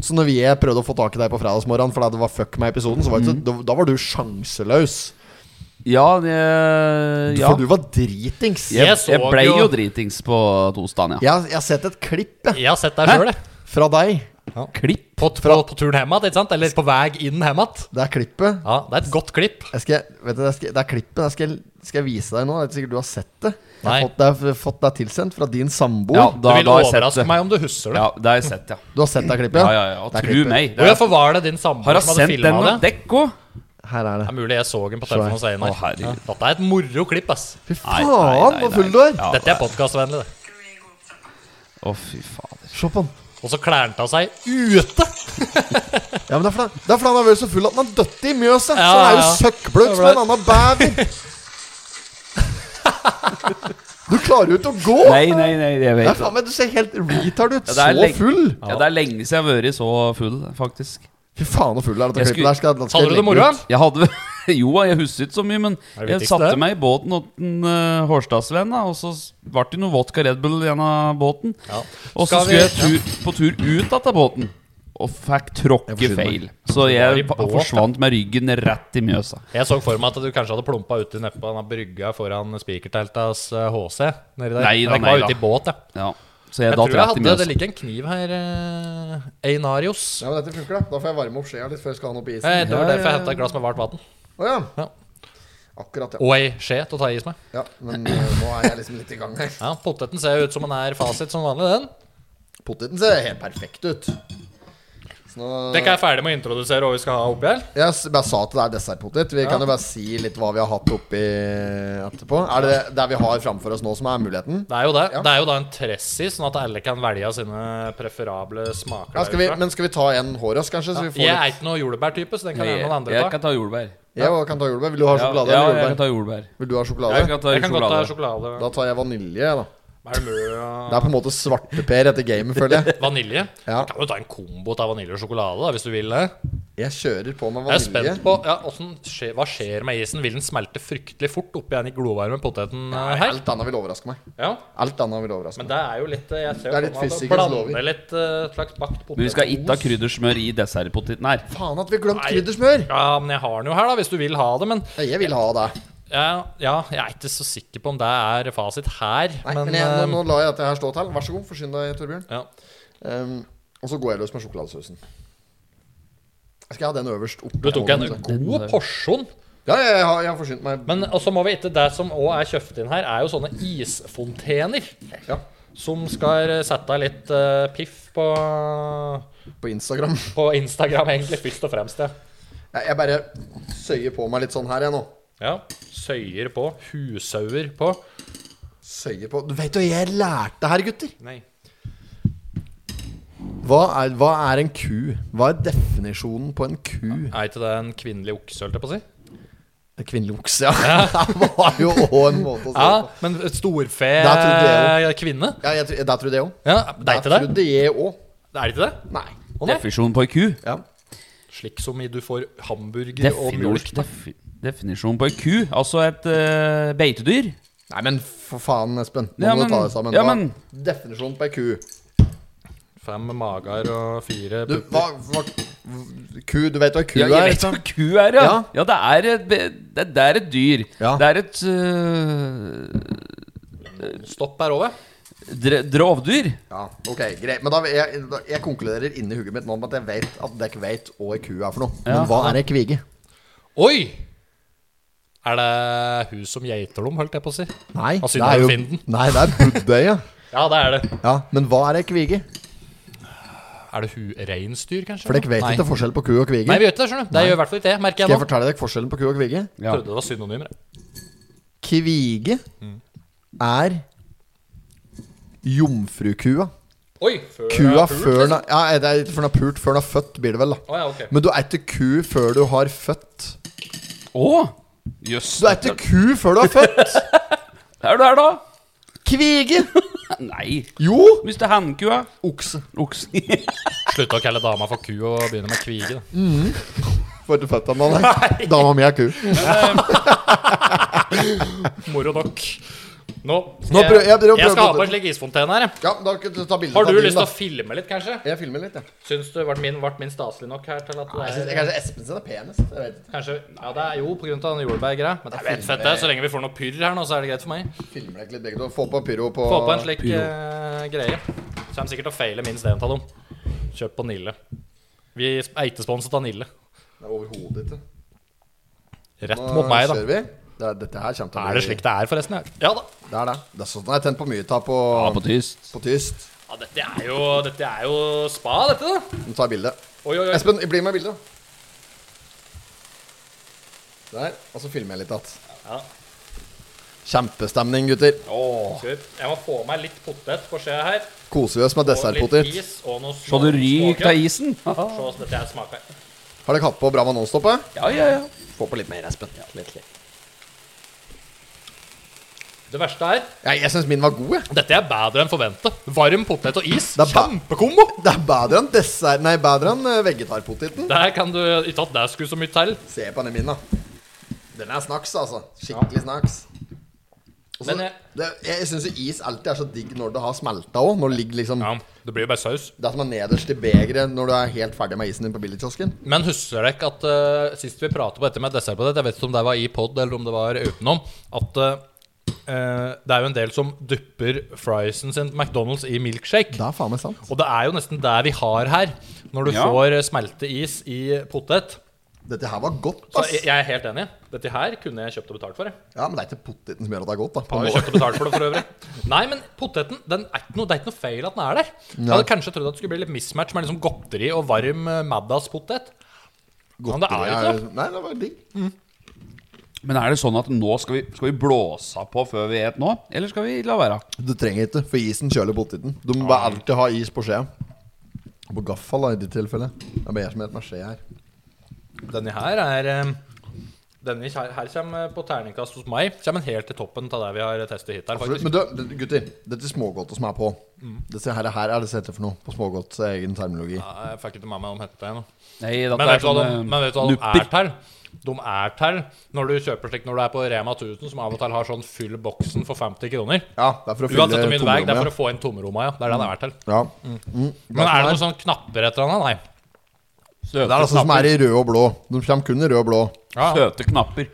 S2: Så når vi prøvde å få tak i deg på fredagsmorgenen fordi det var fuck med episoden, så var
S3: Mm.
S2: det, da, da var du sjanseløs.
S3: Ja, det ja.
S2: For du var dritings.
S1: Jeg
S3: Jeg,
S1: så
S3: jeg ble
S1: jo-
S3: jo dritings på torsdagen, ja.
S2: Jeg, jeg har sett et klipp jeg,
S1: Jeg har sett deg sjøl, jeg.
S2: fra deg.
S3: Klipp.
S1: På, på, på turen hjem igjen, ikke sant? Eller på vei inn hjem igjen.
S2: Det er klippet.
S1: Ja, det er et godt klipp.
S2: Jeg skal, vet du, jeg skal, det er klippet. Jeg skal, skal jeg vise deg nå. Det er ikke sikkert du har sett det. Jeg har
S1: Nei.
S2: fått det, fått det tilsendt fra din samboer.
S3: Ja,
S1: Du
S3: da,
S1: vil
S3: da har jeg sett
S1: overraske
S3: det.
S1: meg om du husker det.
S3: Ja, det har jeg sett, ja.
S2: Du har sett det klippet?
S3: Ja, ja, ja.
S2: Det er
S3: Tro
S2: klippet.
S3: meg.
S1: Og
S3: Det er,
S1: Hvorfor var det din samboer
S3: har jeg
S1: som hadde
S3: sendt den
S1: filma
S3: noen
S1: det?
S3: dekk òg?
S2: Her er
S1: Det
S2: det.
S1: er mulig jeg så den på
S2: her.
S1: telefonen senere.
S3: Å, herregud.
S1: Dette er et moro klipp, ass.
S2: Fy faen, så full du er!
S3: Ja,
S1: Dette er podkastvennlig, det.
S3: Å, fy fader.
S2: Se på han.
S1: Og så klær han av seg ute!
S2: Ja, men det er fordi han- det er fordi han har vært så full at han har dødd i mjøset.
S1: Ja,
S2: så han er jo
S1: ja, ja.
S2: søkkbløt som en annen baby. du klarer jo ikke å gå!
S3: Nei, nei, nei, jeg
S2: Det er
S3: vet det.
S2: faen meg, Du ser helt retard ut.
S3: Ja, det er
S2: så
S3: lenge-
S2: full!
S3: Ja, det er lenge siden jeg har vært så full, faktisk.
S2: Fy faen, så full er dette
S3: Jeg
S2: klippet. Der skal, der skal
S1: Hadde du
S2: jeg
S1: det
S2: legge
S1: moro?
S2: ut.
S1: han?
S3: Jeg hadde Jo, jeg husker ikke så mye, men
S1: Er det
S3: jeg
S1: viktigste
S3: satte
S1: det?
S3: meg i båten og en uh, Hårstadsvenn, da, og så s- ble det noe vodka Red Bull igjen av båten.
S1: Ja.
S3: Og så
S1: Skal
S3: skulle
S1: vi-
S3: jeg tur, på tur ut av båten, og fikk tråkke
S2: Jeg forsyner meg.
S3: feil. Så
S1: var i
S3: jeg fa-
S1: båt,
S3: forsvant med ryggen rett i Mjøsa.
S1: Jeg så for meg at du kanskje hadde plumpa uti nedpå denne brygga foran spikerteltas eh, HC. Nedi der.
S3: Nei da,
S1: Men jeg
S3: nei
S1: var ute
S3: da.
S1: i båt, ja.
S3: Ja. Så jeg,
S1: Jeg
S3: da
S1: tror jeg
S3: de
S1: hadde
S3: med
S1: Det
S3: oss.
S1: ligger en kniv her. eh, Einarios.
S2: Ja, men dette funker, da. Da får jeg varme opp skjea litt før jeg skal ha den opp i isen.
S1: Eh, Det var
S3: Ja,
S1: derfor jeg
S3: ja,
S1: henta et glass med varmt vann.
S2: Å ja.
S1: Ja.
S2: Akkurat, ja.
S1: Og ei skje til å ta i is med.
S2: ja. Men eh, nå er jeg liksom litt i gang her.
S1: Ja, Poteten ser jo ut som den er fasit som vanlig, den.
S2: Poteten ser helt perfekt ut. Så nå
S1: Det ikke er ferdig med å introdusere hva vi skal ha oppi her.
S2: Jeg s- bare sa at det er dessertpotet. Vi kan jo bare si litt hva vi har hatt oppi etterpå. Er det der vi har framfor oss nå, som er muligheten?
S1: Det er jo det.
S2: Ja.
S1: Det er jo da en tressi, sånn at alle kan velge av sine preferable smaker.
S2: Ja, skal vi,
S1: derfra.
S2: men skal vi ta en hårrøst, kanskje? Så vi får
S1: jeg
S2: litt
S1: er ikke noe jordbærtype, så den kan
S3: Jeg,
S1: gjerne noen andre
S3: jeg
S1: ta.
S3: kan ta jordbær.
S2: Jeg også kan ta jordbær. Vil du ha
S3: Ja,
S2: sjokolade?
S3: ja,
S2: eller
S3: jeg
S2: jordbær?
S3: kan ta jordbær.
S2: Vil du ha sjokolade?
S3: Jeg kan ta
S1: Jeg kan godt ta
S3: sjokolade.
S1: sjokolade.
S2: Da tar jeg vanilje, da.
S1: Er det mø
S2: Det er på en måte svarteper etter gamet, føler jeg.
S1: og vanilje?
S2: Ja.
S1: Du kan jo ta en kombo av vanilje og sjokolade, da, hvis du vil det.
S2: Jeg kjører på med
S1: Jeg er
S2: vanilje.
S1: spent på ja, hvordan skje, Hva skjer med isen? Vil den smelte fryktelig fort oppi den i glovarme poteten eh, her?
S2: Alt annet vil overraske meg.
S1: Ja,
S2: Alt annet vil overraske
S1: men
S2: meg.
S1: det er jo litt eh, Jeg ser
S2: Det er
S1: jo
S2: litt
S1: for meg at
S2: fysikkens
S1: blande
S2: lover.
S1: litt eh, slags bakt potet.
S3: Men vi skal ikke ha kryddersmør i dessertpoteten her.
S2: Faen at vi glemte
S1: Nei.
S2: kryddersmør!
S1: Ja, men jeg har den jo her, da, hvis du vil ha det. Men
S2: Nei, Jeg vil ha det.
S1: ja, ja, jeg er ikke så sikker på om det er fasit her.
S2: Nei, men,
S1: men
S2: jeg, nå,
S1: eh,
S2: nå lar jeg dette her stå til. Vær så god, forsyn deg, Torbjørn.
S1: ja.
S2: Ehm, og så går jeg løs med sjokoladesausen. Skal jeg ha den øverst oppe?
S1: Du tok en
S2: Ja,
S1: god porsjon.
S2: ja, jeg har, jeg har forsynt meg.
S1: Men også må vi ikke Det som òg er kjøpt inn her, er jo sånne isfontener.
S2: Ja.
S1: Som skal sette deg litt eh, piff på,
S2: På Instagram.
S1: på Instagram, egentlig, først og fremst. Ja.
S2: Jeg, jeg bare søyer på meg litt sånn her, jeg nå.
S1: ja. Søyer på. Husauer på.
S2: Søyer på Du vet jo, jeg lærte her, gutter!
S1: Nei.
S2: Hva er, hva er en ku? Hva er definisjonen på en ku?
S1: Er ikke det en kvinnelig okse, holdt jeg på å si?
S2: Kvinnelig okse, ja. Det var jo også en måte å
S1: Ja,
S2: si det på.
S1: men storfe
S2: Altså- Det trodde
S1: kvinne?
S2: Ja, jeg, tro- det trodde jeg òg.
S1: Ja, det er ikke det?
S2: trodde jeg òg.
S1: Det er ikke det?
S2: Nei.
S1: Å, nei.
S3: Definisjon på ei ku.
S2: Ja.
S1: Slik som i du får hamburger og
S3: Definor-
S1: mulk.
S3: defi- Definisjon på ei ku. Altså et eh, beitedyr.
S2: Nei, men for faen, Espen. Nå
S3: Ja,
S2: må
S3: men-
S2: du ta deg sammen.
S3: ja,
S2: Hva-
S3: men-
S2: Definisjonen på ei ku.
S1: Fem mager og fire
S2: Du, hva, hva Ku, du vet hva ku
S3: Ja,
S2: er?
S3: jeg vet hva ku er, ja.
S2: Ja.
S3: Ja, det er et, be- det, det er et dyr.
S2: Ja.
S3: Det er et øh,
S1: Stopp er over.
S3: dre, drovdyr.
S2: Ja, ok, greit Men da, jeg, da, jeg konkluderer inni hugget mitt nå med at jeg vet at dere ikke vet hva ei ku er for noe.
S3: Ja.
S2: Men hva er ei kvige?
S1: Oi! Er det hun som geiter dem, holdt jeg på å si?
S2: Nei,
S1: Altså,
S2: det er
S1: Synnøve
S2: jo
S1: Finden.
S2: Nei, det er buddøya.
S1: Ja, det er det.
S2: Ja, men hva er ei kvige?
S1: Er det hun reinsdyr, kanskje?
S2: For dere vet
S1: Nei.
S2: ikke forskjell på ku og kvige.
S1: Nei, vi gjør ikke det, skjønner du. Det gjør i hvert fall ikke jeg, merker
S2: Skal jeg
S1: jeg nå.
S2: fortelle dere forskjellen på ku og kvige?
S1: Jeg trodde det var synonymer. jeg.
S2: Kvige er jomfrukua.
S1: Oi! Før
S2: Kua
S1: jeg er pult,
S2: før den
S1: liksom.
S2: er- Ja, det er ikke før den er pult, før den er født, blir det vel, da.
S1: Å, ja, ok.
S2: Men du er ikke ku før du har født.
S3: Å! Jøss.
S2: Du er ikke ku før du har født!
S3: Er du her, da?
S2: Kvige!
S3: Nei.
S2: Jo!
S3: Hvis det er hannkua.
S2: Okse.
S3: Oksen.
S1: Slutt å kalle dama for ku og begynne med kvige. da.
S2: Får ikke født av meg, nei. Dama mi er ku.
S1: Moro nok. Nå skal
S2: Nå prøv- jeg prøver å
S1: jeg skal
S2: prøve
S1: ha på
S2: på-
S1: en slik isfontene her. jeg.
S2: Ja, da kan du ta bilde
S1: Har du
S2: av din,
S1: lyst til
S2: da.
S1: å filme litt, kanskje?
S2: Jeg filmer litt, jeg.
S1: Syns du ble min, ble min staselig nok her til at
S2: Ja. Jeg
S1: det
S2: synes,
S1: er
S2: kanskje Espen sin er penest. Jeg vet ikke.
S1: Kanskje Ja, det er jo på grunn av den jordbærgreia. Men det er fett, fett, det. Så lenge vi får noe pyrr her nå, så er det greit for meg.
S2: Filmer deg litt begge to. Få på pyro på
S1: Få på en slik
S3: Pyro.
S1: eh, greie. Kommer sikkert til å feile minst én av dem. Kjøp på Nille. Vi er ikke sponset av Nille.
S2: Det er Overhodet ikke.
S1: Rett
S2: Nå
S1: mot meg, da.
S2: kjører vi. Det er, dette her kommer til å
S1: Er det slik det er, forresten? her? Ja da.
S2: Det er det. Det er sånn jeg har tent på mye ta på,
S3: Ja, på tyst.
S2: på tyst.
S1: Ja, dette, er jo, dette er jo spa, dette, da.
S2: Nå tar jeg bilde.
S1: Oi, oi, oi.
S2: Espen, bli med i bildet. Der. Og så filmer jeg litt igjen.
S1: Ja.
S2: Kjempestemning, gutter.
S1: Skal vi, jeg må få meg litt potet på skjea her.
S2: Koser vi oss med
S1: Og
S2: dessertpotet.
S1: litt is og noe
S3: Så du ryker av isen.
S1: Se hvordan dette her smaker.
S2: Har dere hatt på Brava Nonstop? eh?
S3: Ja, ja, ja.
S2: Få på litt mer, Espen. litt, litt.
S1: Det verste er
S2: Ja, jeg syns min var god, jeg.
S1: Dette er bedre enn forventet. Varm potet og is.
S2: Det er ba-
S1: Kjempekombo!
S2: Det er bedre enn dessert Nei, bedre enn eh, vegetarpoteten.
S1: Der kan du Ikke at det skulle så mye til.
S2: Se på den min, da. Den er snacks, altså. Skikkelig snacks. Også,
S1: Men jeg-
S2: det, jeg syns jo is alltid er så digg når det har smelta òg. Når det ligger liksom
S1: Ja, det blir jo bare saus.
S2: Det som er nederst i begeret når du er helt ferdig med isen din på billigkiosken.
S1: Men husker dere ikke at eh, sist vi pratet på dette med dessert på det, jeg vet ikke om det var i pod eller om det var utenom, at eh, eh, det er jo en del som dupper friesen sin McDonald's i milkshake.
S2: Det er faen meg sant.
S1: Og det er jo nesten der vi har her. Når du
S3: Ja.
S1: får eh, smelteis i potet.
S2: Dette her var godt,
S1: Så
S2: ass.
S1: jeg, jeg er helt enig. Dette her kunne jeg kjøpt og betalt for. jeg.
S2: Ja, Men det er ikke poteten som gjør at det er godt, da. På
S1: Har
S2: en
S1: jo
S2: måte.
S1: kjøpt og betalt for det for øvrig. Nei, men poteten den er ikke noe, Det er ikke noe feil at den er der. Jeg hadde kanskje trodd at det skulle bli litt mismatch med liksom godteri og varm eh, Maddas-potet. Men det er jo ikke det.
S2: Nei, det var digg.
S3: Men er det sånn at nå skal vi, skal vi blåse på før vi et nå? Eller skal vi la være?
S2: Du trenger ikke, for isen kjøler poteten. Du må bare alltid ha is på skjea. På gaffel, da, i ditt tilfelle. Det er bare jeg som heter meg skje her.
S1: Denne her er eh, Denne her, her kommer eh, på terningkast hos meg. Kommer den helt til toppen av det vi har testet hittil,
S2: Absolutt.
S1: faktisk. Mm.
S2: Men du, det- gutter. Dette smågodtet som er på Dette her, her er det som heter for noe på smågodts egen terminologi.
S1: Ja, eh, Jeg fikk ikke med meg om hetta ennå.
S3: Nei, dette
S1: Men
S3: er
S1: vet du hva
S2: sånn,
S1: de,
S3: sånne
S1: men vet du
S2: eh,
S1: hva de
S3: nupper.
S1: er til? De er til når du kjøper slik når du er på Rema 1000, som av og til har sånn 'fyll boksen for 50 kroner'.
S2: Ja, det er for å fylle
S1: Uansett hvor mye det veier, det er for
S2: tomrommet.
S1: å få inn tomrommet, ja. Det er det den er til.
S2: Ja.
S1: Men er det sånn- noen sånne knapper et eller annet? Nei.
S3: søte
S2: Det er altså som er
S3: knapper.
S2: i rød og blå. De kommer kun i rød og blå.
S1: Ja.
S3: Søte knapper.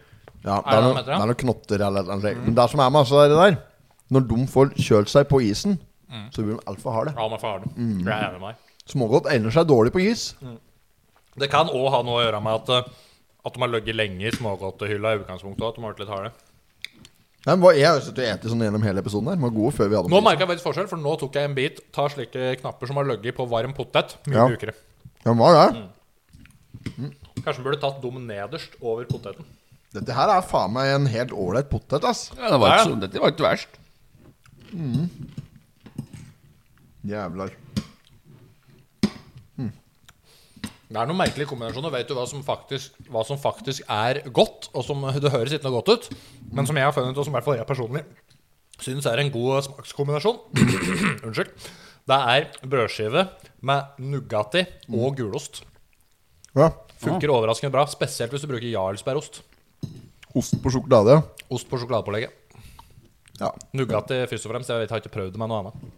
S2: Ja,
S1: Er det
S2: det er,
S1: det de
S2: noe,
S1: heter, ja?
S2: det er noen knotter eller noe. Men det som er med altså, det der Når de får kjølt seg på isen,
S1: Mm.
S2: så blir de altfor harde.
S1: Ja, men faren. Jeg
S2: Mm.
S1: er enig med meg.
S2: Smågodt egner seg dårlig på is.
S1: Mm. Det kan òg ha noe å gjøre med at, eh, at de har ligget lenge i smågodtehylla i utgangspunktet. og At de har vært litt harde.
S2: Nei, men hva- jeg har jo sittet og spist sånn gjennom hele episoden her. De var gode før vi
S1: Nå
S2: hadde dem på isen.
S1: merka jeg faktisk forskjell, for nå tok jeg en bit. Tar slike knapper som har ligget på varm potet. Mye
S2: Ja.
S1: mjukere.
S2: Ja, de var
S1: Mm.
S2: det.
S1: Kanskje de burde tatt dem nederst over poteten.
S2: Dette her er faen meg en helt ålreit potet, ass.
S3: Ja, det var
S1: Ja,
S3: ikke,
S1: ja.
S3: så- dette var ikke verst.
S2: Jævlar.
S1: Det er noen merkelige kombinasjoner. Vet du hva som faktisk, hva som faktisk er godt, og som det høres ikke noe godt ut, men som jeg har funnet ut, og som i hvert fall jeg personlig syns er en god smakskombinasjon Unnskyld. Det er brødskive med Nugatti og gulost.
S2: Ja.
S1: Funker overraskende bra, spesielt hvis du bruker jarlsbergost.
S2: Ost på sjokolade.
S1: Ost på sjokoladepålegget.
S2: Ja.
S1: Nugatti først og fremst. Jeg vet, jeg har ikke prøvd det med noe annet.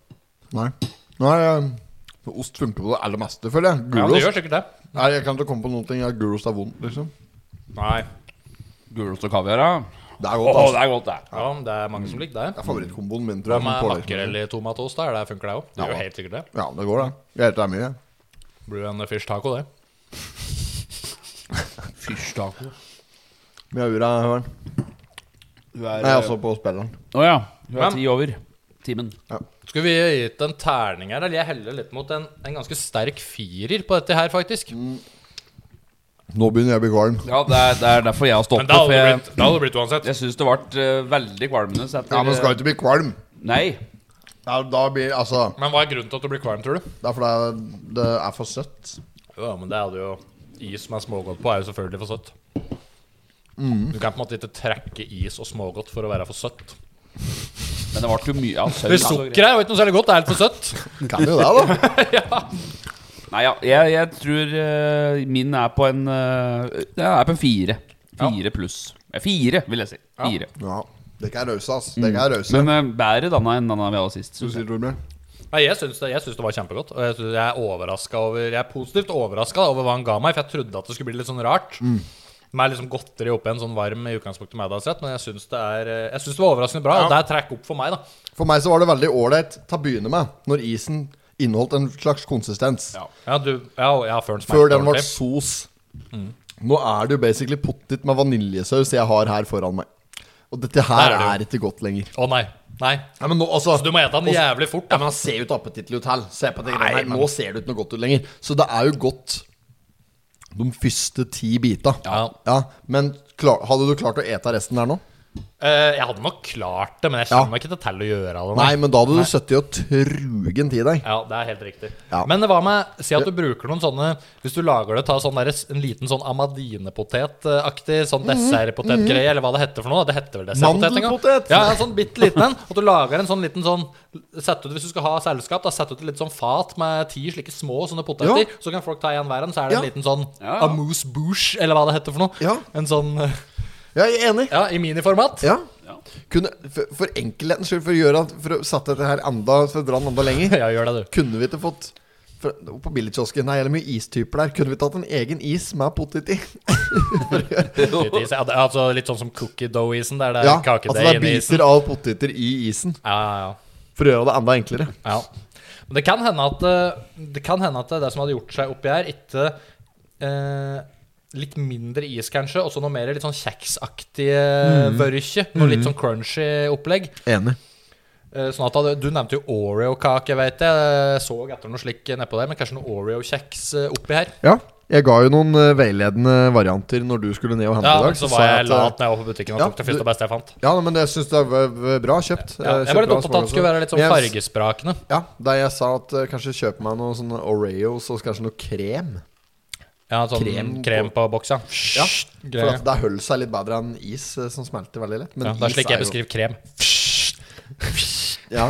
S2: Nei. Nei eh, for Ost funker på det aller meste, føler jeg.
S1: Ja, men det
S2: Gulost.
S1: gjør sikkert det.
S2: Nei, jeg kan ikke komme på noen ting. Ja, gulost er vondt, liksom.
S1: Nei.
S3: Gulost og kaviar, ja.
S2: Det er
S3: Å,
S2: godt, ass.
S3: det er godt, det.
S1: Ja, men det er mange som liker
S2: Det
S1: det.
S2: er favorittkomboen min, tror jeg.
S1: Med
S2: på pålegg.
S1: makrell i tomatost, der, der funker det òg. Det gjør
S2: Ja.
S1: helt sikkert det.
S2: Ja, det går, det. Jeg heter det er mye.
S1: Blir jo en fish taco, det.
S3: Fyrst taco.
S2: Mye ura jeg har.
S3: Hun er
S2: Nei,
S3: eh,
S2: altså på spilleren.
S3: Å ja. Hun
S1: Men-
S3: er ti over timen.
S1: Skulle vi gitt en terning her, eller jeg heller litt mot en, en ganske sterk firer på dette her, faktisk.
S2: Nå begynner jeg å bli kvalm.
S3: Ja, det er, det er derfor jeg har stoppet.
S1: Men det hadde
S3: for
S1: det
S3: jeg
S1: blitt, det hadde det blitt uansett.
S3: jeg syns det ble eh, veldig kvalmende. så etter-
S2: Ja, men skal jo ikke bli kvalm.
S3: Nei.
S2: Ja, da blir Altså,
S1: Men hva er grunnen til at du blir kvalm, tror du?
S2: det er fordi det, det er for søtt.
S1: Jo, men det hadde jo Is som er smågodt på, er jo selvfølgelig for søtt. Du kan på en måte ikke trekke is og smågodt for å være for søtt.
S3: Men det ble jo mye altså, av søvn.
S1: Det Sukkeret er jo ikke noe særlig godt, det er helt for søtt.
S2: Kan jo det, da.
S3: Nei, ja, jeg, jeg tror eh, min er på en eh, Jeg er på en fire. Fire pluss. Eh, Fire, vil jeg si. Fire.
S2: Ja. Dere er rause, ass. Dere er rause.
S3: Men eh, bedre denne enn denne vi hadde sist.
S2: Du
S3: synes jeg.
S2: Mm. sier, Torbjørn.
S1: Nei, jeg syns det, jeg syns det var kjempegodt. Og jeg, syns- jeg er overrasket over Jeg er positivt overraska over hva han ga meg, for jeg trodde at det skulle bli litt sånn rart.
S2: Mm.
S1: Med liksom godteri oppi en sånn varm i utgangspunktet middagsrett, men jeg syns det, er, eh, jeg syns det var overraskende bra. Og det er trekk opp for meg, da.
S2: For meg så var det veldig ålreit til å begynne med, når isen inneholdt en slags konsistens.
S1: Ja, du, ja, og- ja, før den
S2: Før
S1: smakte
S2: den ble
S1: ordentlig.
S2: sos. Nå er det jo basically pottit med vaniljesaus jeg har her foran meg. Og dette her
S1: Der er
S2: er ikke godt lenger.
S1: Å nei. Nei.
S2: Nei, men nå, altså,
S1: Så du må ete den jævlig fort. Da.
S2: Ja, men han ser jo ikke appetittlig ut heller. Se på det greiene her. Nå ser det ikke noe godt ut lenger. Så det er jo godt de første ti bita.
S1: Ja.
S2: men klar, hadde du klart å ete resten der nå?
S1: Eh, jeg hadde nok klart det, men jeg
S2: Ja.
S1: kjenner meg ikke til å gjøre det. nå.
S2: Nei, men da hadde du sittet og trugen til deg.
S1: Ja, det er helt riktig.
S2: Ja.
S1: Men hva med Si at du bruker noen sånne Hvis du lager det, ta sånn der, en liten sånn amadinepotet-aktig sånn
S2: Mhm.
S1: dessertpotetgreie, eller hva det heter for noe. Det heter vel dessertpotet? en gang.
S2: Mandelpotet!
S1: Ja, en sånn bitte liten en. Og du lager en sånn liten sånn Sett ut, Hvis du skal ha selskap, da sett ut et litt sånn fat med ti slike små sånne poteter.
S2: Ja.
S1: Så kan folk ta en hver en. Så er det en
S2: Ja.
S1: liten sånn
S3: Ja.
S1: amuse bouche, eller hva det heter for noe.
S2: Ja.
S1: En sånn
S2: Ja, jeg er enig.
S1: Ja, i miniformat.
S2: Ja. Kunne, for, for enkelhetens skyld, for å, gjøre, at- for å sette dette her enda For å dra den enda lenger,
S1: Ja, gjør det, du.
S2: kunne vi ikke fått For, på billigkiosken her gjelder mye istyper der. Kunne vi tatt en egen is med potet i?
S1: Litt is. Ja, det- altså, litt sånn som cookie dough-isen der. Det er
S2: Ja, altså det
S1: kakedeig
S2: er
S1: inni isen.
S2: biter av poteter i isen.
S1: Ja, ja, ja.
S2: For å gjøre det enda enklere.
S1: Ja. Men det kan hende at eh, det, kan hende at det som hadde gjort seg oppi her, ikke eh, Litt mindre is, kanskje, og så noe mer litt sånn kjeksaktige mm. vørkje. Noe litt sånn crunchy opplegg.
S2: Enig.
S1: Eh, Sånn at hadde- Du nevnte jo Oreo-kake, vet jeg. Jeg Så etter noe slik nedpå der, men kanskje noe Oreo-kjeks eh, oppi her.
S2: Ja. Jeg ga jo noen eh, veiledende varianter når du skulle ned og hente
S1: Ja,
S2: i dag.
S1: men så
S2: sa
S1: var jeg
S2: at, eh,
S1: lat når jeg var på butikken og
S2: Ja,
S1: tok det første
S2: du-
S1: og beste jeg fant.
S2: Ja, men jeg syns det var var bra kjøpt.
S1: Ja, jeg
S2: Eh,
S1: var litt
S2: kjøpte bra
S1: opptatt av at det skulle være litt sånn
S2: smaker også. Men jeg-
S1: fargesprakende.
S2: Ja, da jeg sa at eh, kanskje kjøp meg noen sånne Oreos og kanskje noe krem.
S1: Ja, sånn krem
S2: Krem
S1: på, boks, ja.
S2: Ja, For
S1: Greie.
S2: at det holder seg litt bedre enn is, eh, som smelter veldig lett. Men
S1: Ja, det er
S2: is
S1: slik jeg
S2: jo-
S1: beskriver krem.
S2: Ja.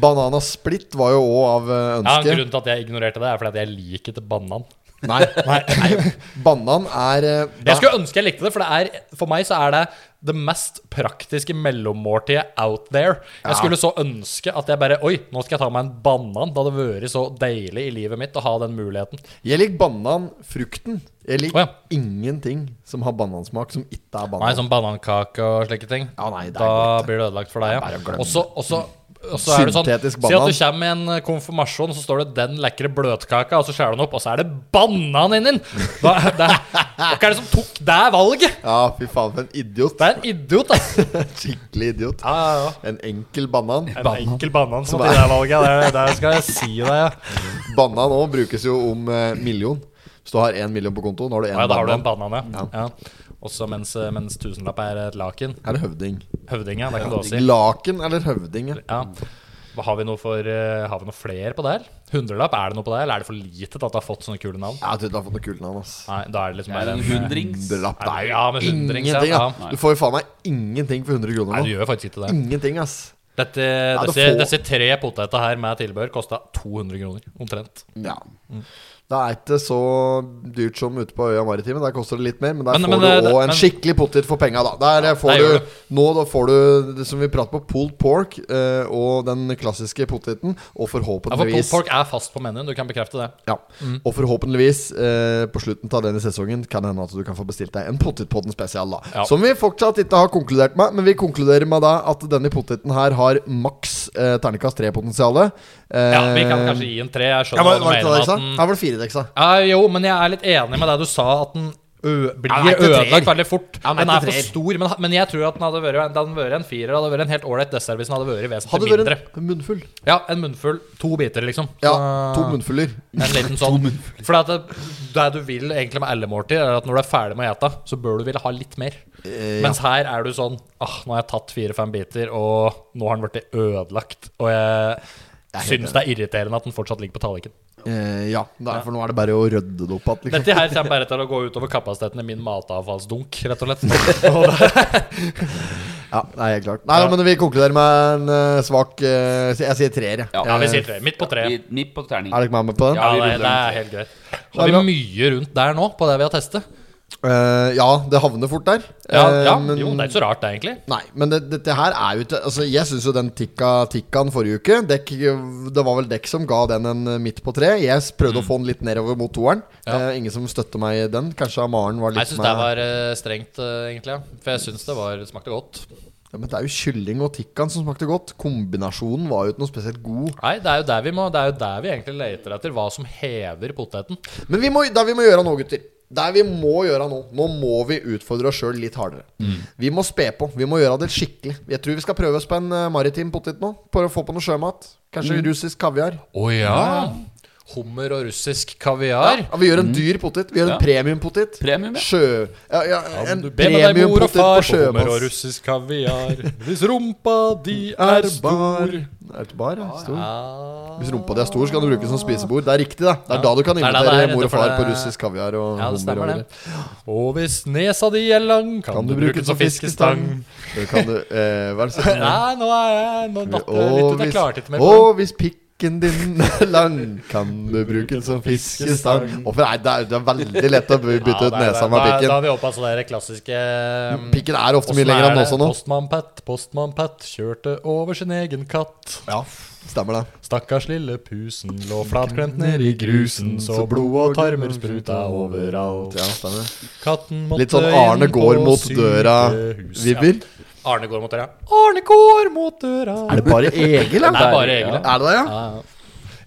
S2: Banana split var jo òg av eh,
S1: Ja,
S2: ønske.
S1: Grunnen til at jeg ignorerte det, er fordi at jeg liker ikke banan.
S2: nei, nei. Banan er eh, da-
S1: Jeg skulle ønske jeg likte det, for det er, for meg så er det det mest praktiske mellommåltidet out there. Jeg skulle så ønske at jeg bare Oi, nå skal jeg ta meg en banan. Det hadde vært så deilig i livet mitt å ha den muligheten.
S2: Jeg liker banan, frukten. Jeg liker
S1: Å, ja.
S2: ingenting som har banansmak, som ikke er banan.
S1: Nei, sånn banankake og slike ting.
S2: Ja, nei, det er
S1: da
S2: godt.
S1: blir det ødelagt for deg,
S2: Det er bare å
S1: ja.
S2: glemme.
S1: Også, også, også er det sånn
S2: Syntetisk
S1: Si at
S2: banan.
S1: du kommer i en eh, konfirmasjon, så står det 'den lekre bløtkaka', og så skjærer du den opp, og så er det banan inni den! Hva er det, hva er det som tok det valget?
S2: Ja, fy faen, for en idiot.
S1: Det er en idiot, ass.
S2: Skikkelig idiot.
S1: Ja, ja, ja.
S2: En enkel banan.
S1: En enkel banan som
S2: Som
S1: tok
S2: er-
S1: det valget. Det, det skal jeg si deg, ja.
S2: Banan òg brukes jo om eh, million. Hvis du har én million på kontoen, har du én
S1: Ja, da har du en
S2: banan.
S1: banan, ja. ja. Også mens, eh, mens tusenlapp er et laken.
S2: Er det høvding?
S1: Høvding, ja. Det kan du også si.
S2: Laken eller høvding? ja.
S1: Ja. Hva Har vi noe for eh, Har vi noe flere på det her? Hundrelapp, er det noe på det her, eller er det for lite til at det har fått sånne kule navn?
S2: Jeg tror du har fått noe kult navn. ass
S1: Nei, da er det liksom
S3: Er
S1: bare
S3: det en
S1: en
S3: hundrings?
S2: Hundrelapp. Det er jo
S1: Ja, med hundrings,
S2: ingenting.
S1: ja.
S2: Ja. Du får jo faen meg ingenting for 100 kroner
S1: Nei, du
S2: nå.
S1: gjør faktisk ikke det.
S2: Ingenting, ass.
S1: Dette,
S2: det
S1: disse,
S2: får-
S1: disse tre potetene her med tilbehør kosta 200 kroner, omtrent.
S2: Ja. Det er ikke så dyrt som ute på øya maritime. Der koster det litt mer, men der
S1: Men-
S2: får
S1: men det-
S2: du
S1: det-
S2: òg en
S1: men-
S2: skikkelig potet for penga, da. Der eh,
S1: der
S2: får
S1: gjør
S2: du Nå da får du det som vi prater på, pulled pork eh, og den klassiske poteten, og
S1: Ja, for Mm.
S2: forhåpentligvis
S1: Polk er fast på menyen, du kan bekrefte det.
S2: Ja, Og forhåpentligvis eh, på slutten av denne sesongen kan det hende at du kan få bestilt deg en Potetpodden spesial. da
S1: Ja.
S2: Som vi fortsatt ikke har konkludert med, men vi konkluderer med da at denne poteten her har maks eh, terningkast tre-potensial.
S1: Ja, Vi kan kanskje gi en tre. Jeg
S2: ja,
S1: skjønner
S2: var,
S1: Eh, hva du
S2: var
S1: mener.
S2: det ikke det
S1: med
S2: jeg sa?
S1: at den-
S2: Eh, Her var det fire deksa.
S1: Ja, jo, men jeg er litt enig med deg du sa, at den ø
S2: Ja, den
S1: blir
S2: er ikke
S1: ødelagt
S2: treer.
S1: veldig fort.
S2: Ja, den er
S1: den er
S2: ikke
S1: for
S2: treer.
S1: stor, men, men jeg tror at den hadde vært, den hadde vært en firer. Hadde vært en helt ålreit dessert hvis den hadde vært
S2: Hadde
S1: vesentlig
S2: det
S1: mindre.
S2: vært en munnfull.
S1: Ja, en munnfull. To biter, liksom.
S2: Ja,
S1: Så-
S2: to munnfuller.
S1: En liten sånn. For det, det du vil egentlig med alle måltider, er at når du er ferdig med å ete, så bør du ville ha litt mer.
S2: Eh,
S1: Mens her er du sånn ah, Nå har jeg tatt fire-fem biter, og nå har den blitt ødelagt. Og jeg
S2: helt
S1: syns det er irriterende at den fortsatt ligger på tallerkenen.
S2: Eh, ja, det er, for nå er det bare å rydde det opp igjen. Liksom.
S1: Dette her kommer bare til å gå utover kapasiteten i min matavfallsdunk, rett og slett. Og det-
S2: Ja, det er helt klart. Nei, men vi konkluderer med en eh, svak eh, Jeg sier treer, jeg.
S3: Ja.
S1: Ja, vi sier tre. Midt på tre.
S3: I- Midt på terning.
S2: Er dere med meg på den?
S1: Ja,
S3: vi
S1: det,
S3: ruller
S1: det er
S3: den.
S1: helt greit. Har vi mye rundt der nå, på det vi har testet?
S2: Eh, ja, det havner fort der.
S1: Ja,
S2: Eh,
S1: ja
S2: men-
S1: jo, det er ikke så rart, det, egentlig.
S2: Nei, men det- dette her er jo ikke Altså, jeg syns jo den tikka tikkaen forrige uke dekk, Det var vel dekk som ga den en eh, midt på tre. Jeg s- prøvde å få den litt nedover mot toeren.
S1: Mm. Ja.
S2: Eh, ingen som støtter meg i den. Kanskje Maren var litt
S1: Jeg syns det var eh, strengt, eh, egentlig. ja. For jeg syns det var, smakte godt.
S2: ja, Men det er jo kylling og tikkaen som smakte godt. Kombinasjonen var jo ikke noe spesielt god.
S1: Nei, det er jo der vi, må, det er jo der vi egentlig leter etter hva som hever poteten.
S2: Men vi må, det vi må gjøre nå, gutter Det vi må gjøre nå Nå må vi utfordre oss sjøl litt hardere.
S1: Mm.
S2: Vi må spe på. Vi må gjøre det skikkelig. Jeg tror vi skal prøve oss på en eh, maritim potet nå. For å få på noe sjømat.
S1: Mm.
S2: Kanskje russisk kaviar.
S1: Å ja. Hummer og russisk kaviar.
S2: Ja, vi gjør en dyr potet. Vi gjør en premiumpotet.
S3: Premium, ja.
S2: Sjø... Ja, ja, en
S1: Du ber med deg mor og
S2: premiumpotet på
S1: far på hummer og
S2: sjømanns...
S1: russisk kaviar. Hvis rumpa di er stor
S2: Er det bar, ja? Stor.
S1: Ja.
S2: Hvis rumpa di er stor, så kan du bruke den som spisebord. Det er riktig, da. Det er da du kan
S1: Det er da
S2: invitere
S1: det er,
S2: mor og
S1: for
S2: far
S1: det-
S2: på russisk kaviar og
S1: Ja, det
S2: hummer.
S1: stemmer
S2: Og
S1: det. Og hvis nesa di er lang, kan,
S2: Kan
S1: du bruke den som fiskestang.
S2: Det kan du eh, Hva er det som
S1: Nei, nå er jeg Nå datt det litt ut. Jeg klarte ikke mer. på
S2: Og hvis pikk Strikken din er lang, kan du bruke den som fiskestang Hvorfor er det, er- det er veldig lett å bytte ut
S1: Ja, der-
S2: nesa
S1: der-
S2: med
S1: da- Da
S2: pikken.
S1: er vi oppe på det der klassiske um,
S2: Pikken er ofte mye
S1: Åssen
S2: lenger
S1: er
S2: enn den
S1: det?
S2: også nå.
S1: Postmann Pat, postmann Pat kjørte over sin egen katt.
S2: Ja, stemmer det.
S1: Stakkars lille pusen lå flatklemt ned i grusen, så blod og tarmer spruta overalt.
S2: Ja, stemmer det.
S1: Katten måtte
S2: Litt sånn
S1: inn
S2: Arne
S1: på
S2: går mot
S1: sykehus.
S2: døra-vibber.
S1: Ja. Arne går mot døra. Arne går mot døra.
S2: Er det bare
S1: Det
S2: Egil,
S1: er bare Egil, ja.
S2: Er det det, ja?
S1: Ja, ja.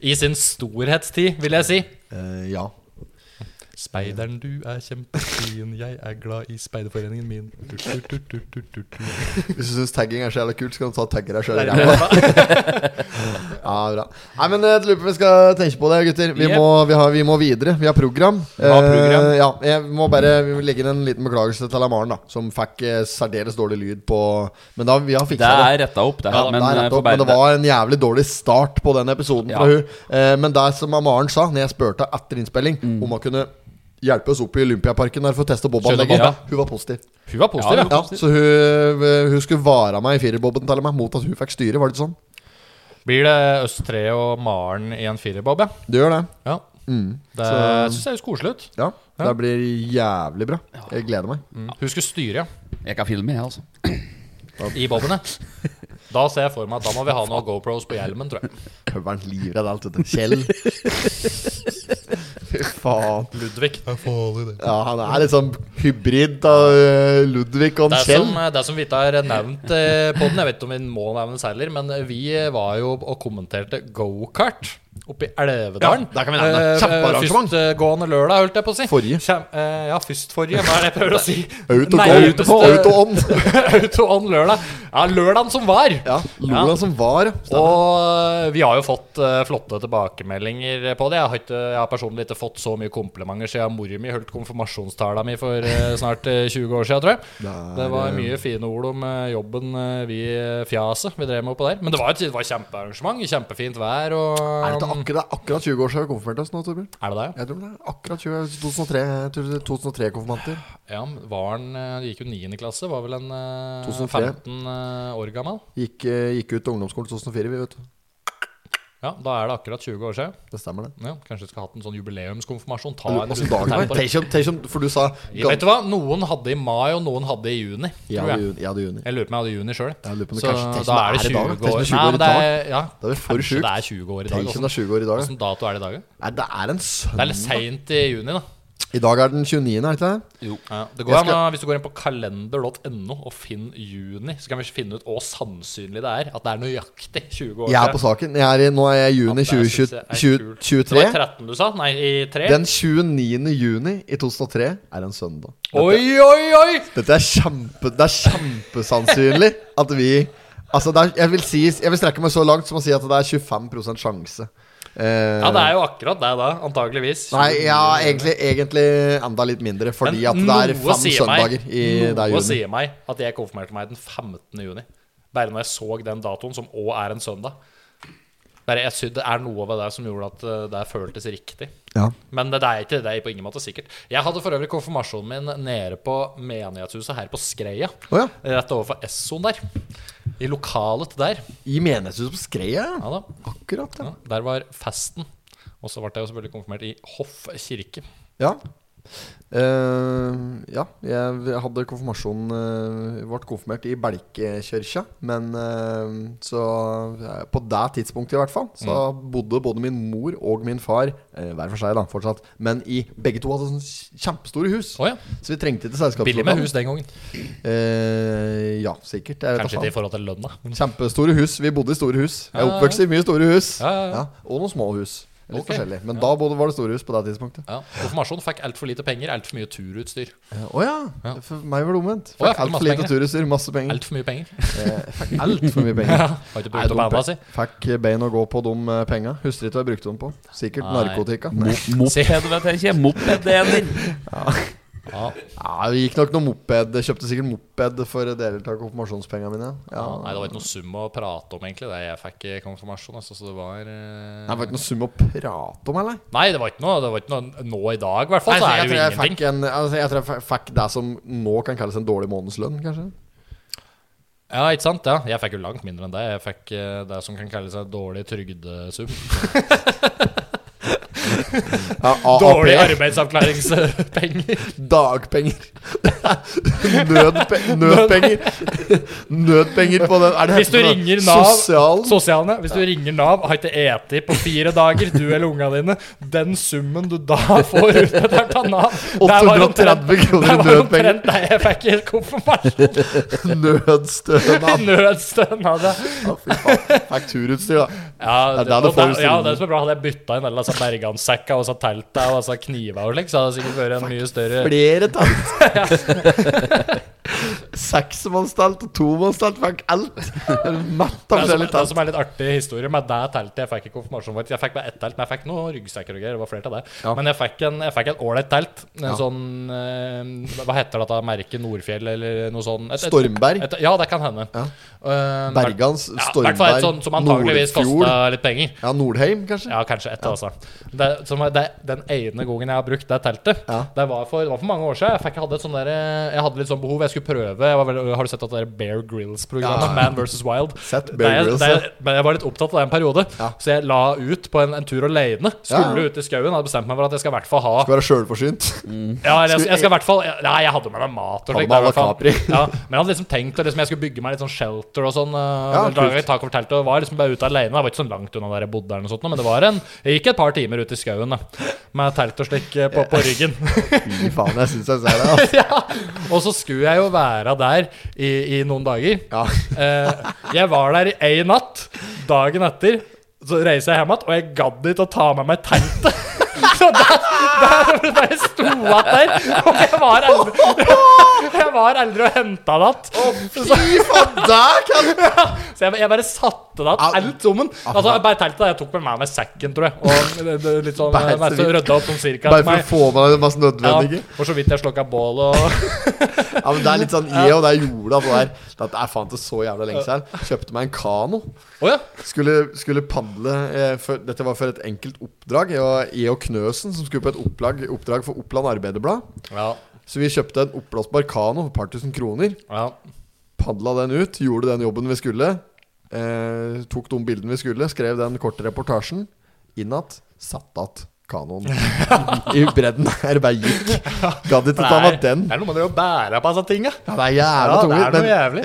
S1: I sin storhetstid, vil jeg si.
S2: Eh, ja.
S1: Speideren, du er kjempefin, jeg er glad i speiderforeningen min. Du, du, du, du, du, du, du.
S2: Hvis du syns tagging er så jævla kult, så kan du ta og tagge deg sjøl i
S1: Der er
S2: ræva. Ja, bra. Nei, men jeg lurer på om vi skal tenke på det, gutter. Vi,
S1: Yep.
S2: må, vi, har, vi må videre. Vi har program.
S1: har program.
S2: Eh, ja, jeg må bare vi må legge inn en liten beklagelse til Amaren, da. Som fikk eh, særdeles dårlig lyd på Men da, vi har
S3: Det
S2: fiksa det.
S3: er retta opp, det her.
S2: Ja,
S3: men,
S2: det er
S3: eh,
S2: rett
S3: for
S2: opp, men det
S3: Bernt-
S2: var en jævlig dårlig start på den episoden fra
S3: Ja.
S2: hun. Eh, men det som Amaren sa Når jeg spurte etter innspilling om hun kunne hjelpe oss opp i Olympiaparken der for å teste bobanlegget,
S1: Skjønner Bob, ja.
S2: hun var positiv.
S1: Hun var positiv, ja.
S2: Ja, så hun, eh, hun skulle vare meg i firerbobben til meg mot at hun fikk styre, var det ikke sånn?
S1: Blir det Øst 3 og Maren i en firerbob, ja?
S2: Du gjør det.
S1: ja.
S2: Mm.
S1: Det
S2: Så-
S1: syns jeg høres koselig ut.
S2: Ja,
S1: Ja.
S2: det blir jævlig bra. Jeg gleder meg.
S1: Hun skulle styre, ja.
S3: Jeg kan filme, jeg, altså.
S1: I bobene. Da ser jeg for meg at da må vi ha noen GoPros på hjelmen, tror jeg.
S2: Høveren livredd alt dette. Kjell. Fy faen.
S1: Ludvig. Det er,
S2: Ja, han er litt sånn hybrid av eh, Ludvig og en Kjell.
S1: som, eh, det er som vi ikke har nevnt eh, på den, jeg vet ikke om vi må nevnes heller, men eh, vi var jo og kommenterte gokart oppe i Elvedalen.
S2: Ja, der kan vi nevne det.
S1: Eh,
S2: Kjempearrangement.
S1: Førstgående lørdag, holdt jeg på å si.
S2: Forrige.
S1: Kjem, eh, ja, først forrige. Hva er det jeg prøver å si?
S2: Out og
S1: Nærmeste-
S2: go, out og on.
S1: Auto on lørdag. Ja, lørdagen som var.
S2: Ja, Lola
S1: Ja.
S2: som var. Stemmer.
S1: Og vi har jo fått eh, flotte tilbakemeldinger på det. Jeg har, ikke, jeg har personlig ikke fått så mye komplimenter siden mora mi holdt konfirmasjonstala mi for eh, snart eh, 20 år siden, tror jeg.
S2: Det
S1: Det,
S2: er,
S1: var mye fine ord om eh, jobben eh, vi eh, fjaset vi drev med oppå der. Men det var et det var et kjempearrangement, kjempefint vær og
S2: Er det ikke akkurat, det er akkurat 20 år siden vi konfirmerte oss nå, Torbjørn?
S1: Er det det?
S2: Jeg tror det er akkurat 20 2003 2003-konfirmanter.
S1: Ja, men var han eh, gikk jo 9. klasse, var vel en eh,
S2: 2003.
S1: 15 eh, år gammel.
S2: Gikk, eh, gikk ut av ungdomsskolen 2004, vi, vet du.
S1: Ja, da er det akkurat 20 år siden.
S2: Det stemmer, det.
S1: Ja, kanskje vi skal ha hatt en sånn jubileumskonfirmasjon. Ta en
S2: Åssen
S1: runde
S2: altså, dagen
S1: på
S2: var?
S1: tempo.
S2: Tenk om- tenk om- For du sa
S1: Ja, Vet du hva? Noen hadde i mai, og noen hadde i juni.
S2: Jeg
S1: Tror jeg.
S2: hadde juni. Jeg hadde juni.
S1: jeg lurer på om jeg hadde juni sjøl.
S2: Jeg lurer på om det
S1: Så
S2: kanskje- tenk
S1: da
S2: om
S1: er det
S2: det
S1: 20
S2: er i dag,
S1: år.
S2: da. Tenk om det er 20
S1: Nei,
S2: år i
S1: men det er- Ja,
S2: Det er jo for
S1: kanskje
S2: sjukt.
S1: det er 20 år i dag. altså.
S2: Tenk om det er
S1: Også.
S2: 20 år i dag. ja.
S1: Hvilken dato er det i dag? da?
S2: Nei, det er en søndag.
S1: Det er litt seint i juni, da.
S2: I dag er den 29., er det ikke det?
S1: Ja, det går
S2: Jeg
S1: an, å- Hvis du går inn på kalender.no og finn juni, så kan vi finne ut hvor sannsynlig det er at det er nøyaktig 20 år
S2: Jeg er på saken. Jeg er i, nå er jeg i juni
S1: Ja, det synes
S2: 2020
S1: jeg er
S2: 20
S1: kult. Det var
S2: 2023.
S1: 13 du sa? Nei, i 3?
S2: Den 29. juni i 2003 er en søndag.
S1: Oi, oi, oi!
S2: Dette er, kjempe, det er kjempesannsynlig at vi Altså, det er, jeg, vil si, jeg vil strekke meg så langt som å si at det er 25 sjanse. Eh,
S1: Ja, det er jo akkurat det, da. Antageligvis.
S2: Nei, ja, egentlig, egentlig enda litt mindre, fordi at
S1: eh, Men
S2: det er
S1: noe
S2: fem
S1: sier meg-
S2: søndager i det er
S1: Noe
S2: juni.
S1: sier meg at jeg konfirmerte meg den 15. juni. Bare når jeg så den datoen, som òg er en søndag. Bare jeg synes Det er noe ved det som gjorde at eh, det føltes riktig.
S2: Ja.
S1: Men det, det er ikke det er på ingen måte sikkert. Jeg hadde for øvrig konfirmasjonen min nede på menighetshuset her på Skreia.
S2: Å ja.
S1: Rett overfor Essoen der. I lokalet der.
S2: I menighetshuset på Skreia, ja.
S1: Ja da.
S2: akkurat. Ja.
S1: Ja, der var festen. Og så ble jeg jo selvfølgelig konfirmert i Hoff kirke.
S2: Ja. Eh, ja, jeg hadde konfirmasjon eh, Ble konfirmert i Belkekirka. Men eh, så eh, På det tidspunktet, i hvert fall, så
S1: Mm.
S2: bodde både min mor og min far eh, hver for seg, da, fortsatt. Men i begge to hadde sånne kjempestore hus.
S1: Å ja.
S2: Så vi trengte ikke
S1: Billig med
S2: selskapslokale.
S1: hus den gangen.
S2: Eh, ja, sikkert. Jeg vet
S1: Kanskje
S2: da
S1: ikke i
S2: faen.
S1: forhold til lønna. men-
S2: Kjempestore hus. Vi bodde i store hus. Jeg er
S1: Ja, ja, ja.
S2: oppvokst i mye store hus.
S1: Ja, ja, ja.
S2: og noen små hus. Litt
S1: Ok.
S2: forskjellig. Men da bodde, var det store hus på det tidspunktet.
S1: Ja, Konfirmasjon fikk altfor lite penger, altfor mye turutstyr.
S2: Å ja.
S1: Ja.
S2: For meg var det omvendt.
S1: Å ja,
S2: Fikk altfor
S1: masse
S2: lite
S1: penger.
S2: turutstyr, masse penger.
S1: Altfor mye penger.
S2: Fikk altfor mye penger.
S1: Har ikke
S2: Nei,
S1: brukt
S2: de
S1: opp banda si.
S2: pe- Fikk bein å gå på de eh, penga. Husker ikke hva jeg brukte dem på. Sikkert
S1: Nei.
S2: narkotika. Nei.
S3: Moped, vet jeg ikke. Mopeddeler.
S1: Ja,
S2: Ja, vi gikk nok noe moped. Jeg kjøpte sikkert moped for deler av konfirmasjonspengene mine. Ja.
S1: Nei, det var ikke noe sum å prate om, egentlig, det jeg fikk i konfirmasjon. Altså, så det var eh,
S2: Nei, det var ikke noe sum å prate om, eller?
S1: Nei, det var ikke noe, det var ikke noe nå i dag, i hvert fall.
S2: Nei,
S1: Så
S2: jeg,
S1: er det
S2: tror
S1: jo
S2: jeg, fikk
S1: ingenting.
S2: en, altså, jeg tror jeg f- fikk det som nå kan kalles en dårlig månedslønn, kanskje.
S1: Ja, ikke sant? Ja, jeg fikk jo langt mindre enn deg. Jeg fikk eh, det som kan kalles en dårlig trygdesum.
S2: Ja, AAP.
S1: Dårlig arbeidsavklaringspenger.
S2: Dagpenger. Nødpe nødpenger. Nødpenger på den Er det
S1: Hvis du
S2: heter det?
S1: ringer Nav
S2: Sosialen?
S1: Sosialene. Hvis du ringer Nav, har ikke eti på fire dager, du eller unga dine. Den summen du da får utbetalt av Nav der var omtrent-
S2: 830 kroner i
S1: der var
S2: nødpenger.
S1: omtrent det jeg fikk i konfirmasjon.
S2: Nødstønad.
S1: Nødstønad. ja.
S2: Ja, fy faen. Fakturutstyr, da.
S1: Ja,
S2: Det er
S1: det,
S2: der du
S1: og
S2: får
S1: der- ja,
S2: stillingen.
S1: det som er bra, hadde jeg bytta inn alle disse berganssekka og så telta og så kniver og slik, så hadde det sikkert vært en mye større
S2: Flere telt. Seksmannstelt og tomannstelt fikk alt. Mett av
S1: det som,
S2: forskjellige
S1: det
S2: telt.
S1: som er litt artig historie med det teltet Jeg fikk ikke konfirmasjon for Jeg fikk bare ett telt, men jeg fikk noen ryggsekker og greier. Det var flere til det.
S2: Ja.
S1: Men jeg fikk en jeg fikk et ålreit telt. En
S2: Ja.
S1: sånn eh, Hva heter dette merket? Nordfjell, eller noe sånt? Et- et-
S2: Stormberg.
S1: et- Ja, det kan hende.
S2: Ja.
S1: Eh,
S2: Bergans,
S1: ja, i hvert fall et sånt som
S2: Stormberg,
S1: antageligvis
S2: Nordfjord.
S1: kosta litt penger.
S2: Ja, Nordheim, kanskje?
S1: Ja, kanskje ett, altså. Det, som er, det, den ene gangen jeg har brukt det teltet,
S2: Ja.
S1: det, var for, det var for mange år siden. Jeg, fikk, jeg, hadde, et sånn der, jeg hadde litt sånn behov. Jeg skulle prøve jeg var veldig, Har du sett at det der Bear Grills-programmet?
S2: Ja.
S1: Man vs. Wild.
S2: Sett
S1: Det-
S2: Bear Grylls,
S1: det-
S2: ja.
S1: Men jeg var litt opptatt av det en periode,
S2: Ja.
S1: så jeg la ut på en, en tur alene.
S2: Ja,
S1: Skulle ut i skauen. Hadde bestemt meg for at jeg skal i hvert fall ha
S2: Skal være sjølforsynt.
S1: ja, eller jeg, jeg skal i hvert fall Nei, jeg hadde med meg mat og
S2: Hadde
S1: slikt.
S2: med
S1: i hvert fall.
S2: alle kapri.
S1: Ja, men jeg hadde liksom tenkt at liksom, jeg skulle bygge meg litt sånn shelter og sånn. Uh,
S2: Ja,
S1: lage
S2: kult.
S1: et tak over teltet og var liksom bare ute alene. Jeg var ikke sånn langt unna der jeg bodde, eller noe sånt, men det var en Jeg gikk et par timer ut i skauen da, med telt og slik eh, på, på ryggen.
S2: Fy faen, jeg syns jeg ser det. Altså.
S1: ja. Og så skulle jeg jo være der i, i noen dager.
S2: Ja.
S1: Eh, jeg var der i én natt. Dagen etter så reiser jeg hjem igjen, og jeg gadd ikke å ta med meg teltet. Så der, der bare sto jeg der, og jeg var aldri, jeg var aldri og henta det igjen.
S2: Fy faen, der kan
S1: Så jeg, jeg bare satte det
S2: Au.
S1: igjen, alt sammen. Altså, jeg bare teltet, jeg tok med meg med sekken, tror jeg. Og det- det- litt sånn,
S2: Bare så
S1: jeg
S2: vidt.
S1: rydda opp sånn cirka. til
S2: Bare for
S1: meg.
S2: å få med deg det mest
S1: ja,
S2: nødvendige.
S1: og så vidt jeg slokka bål og
S2: Ja, men Det er litt sånn jeg og det er jorda på der. Dette er faen ikke så jævla lenge siden. Kjøpte meg en kano.
S1: Å ja.
S2: Skulle, skulle padle eh, for, Dette var for et enkelt oppdrag. Jeg og, jeg og Knøsen som skulle på et opplag, oppdrag for Oppland Arbeiderblad.
S1: Ja.
S2: Så vi kjøpte en oppblåsbar kano for et par tusen kroner.
S1: ja.
S2: Padla den ut, gjorde den jobben vi skulle. Eh, tok de bildene vi skulle, skrev den korte reportasjen. Inn igjen. Satt igjen kanoen i bredden her. Bare gikk. Gadd ikke ta med den.
S1: det er noe med det å bære på disse tinga.
S2: Ja, det er jævla
S1: Ja, det
S2: tungt.
S1: er noe jævlig.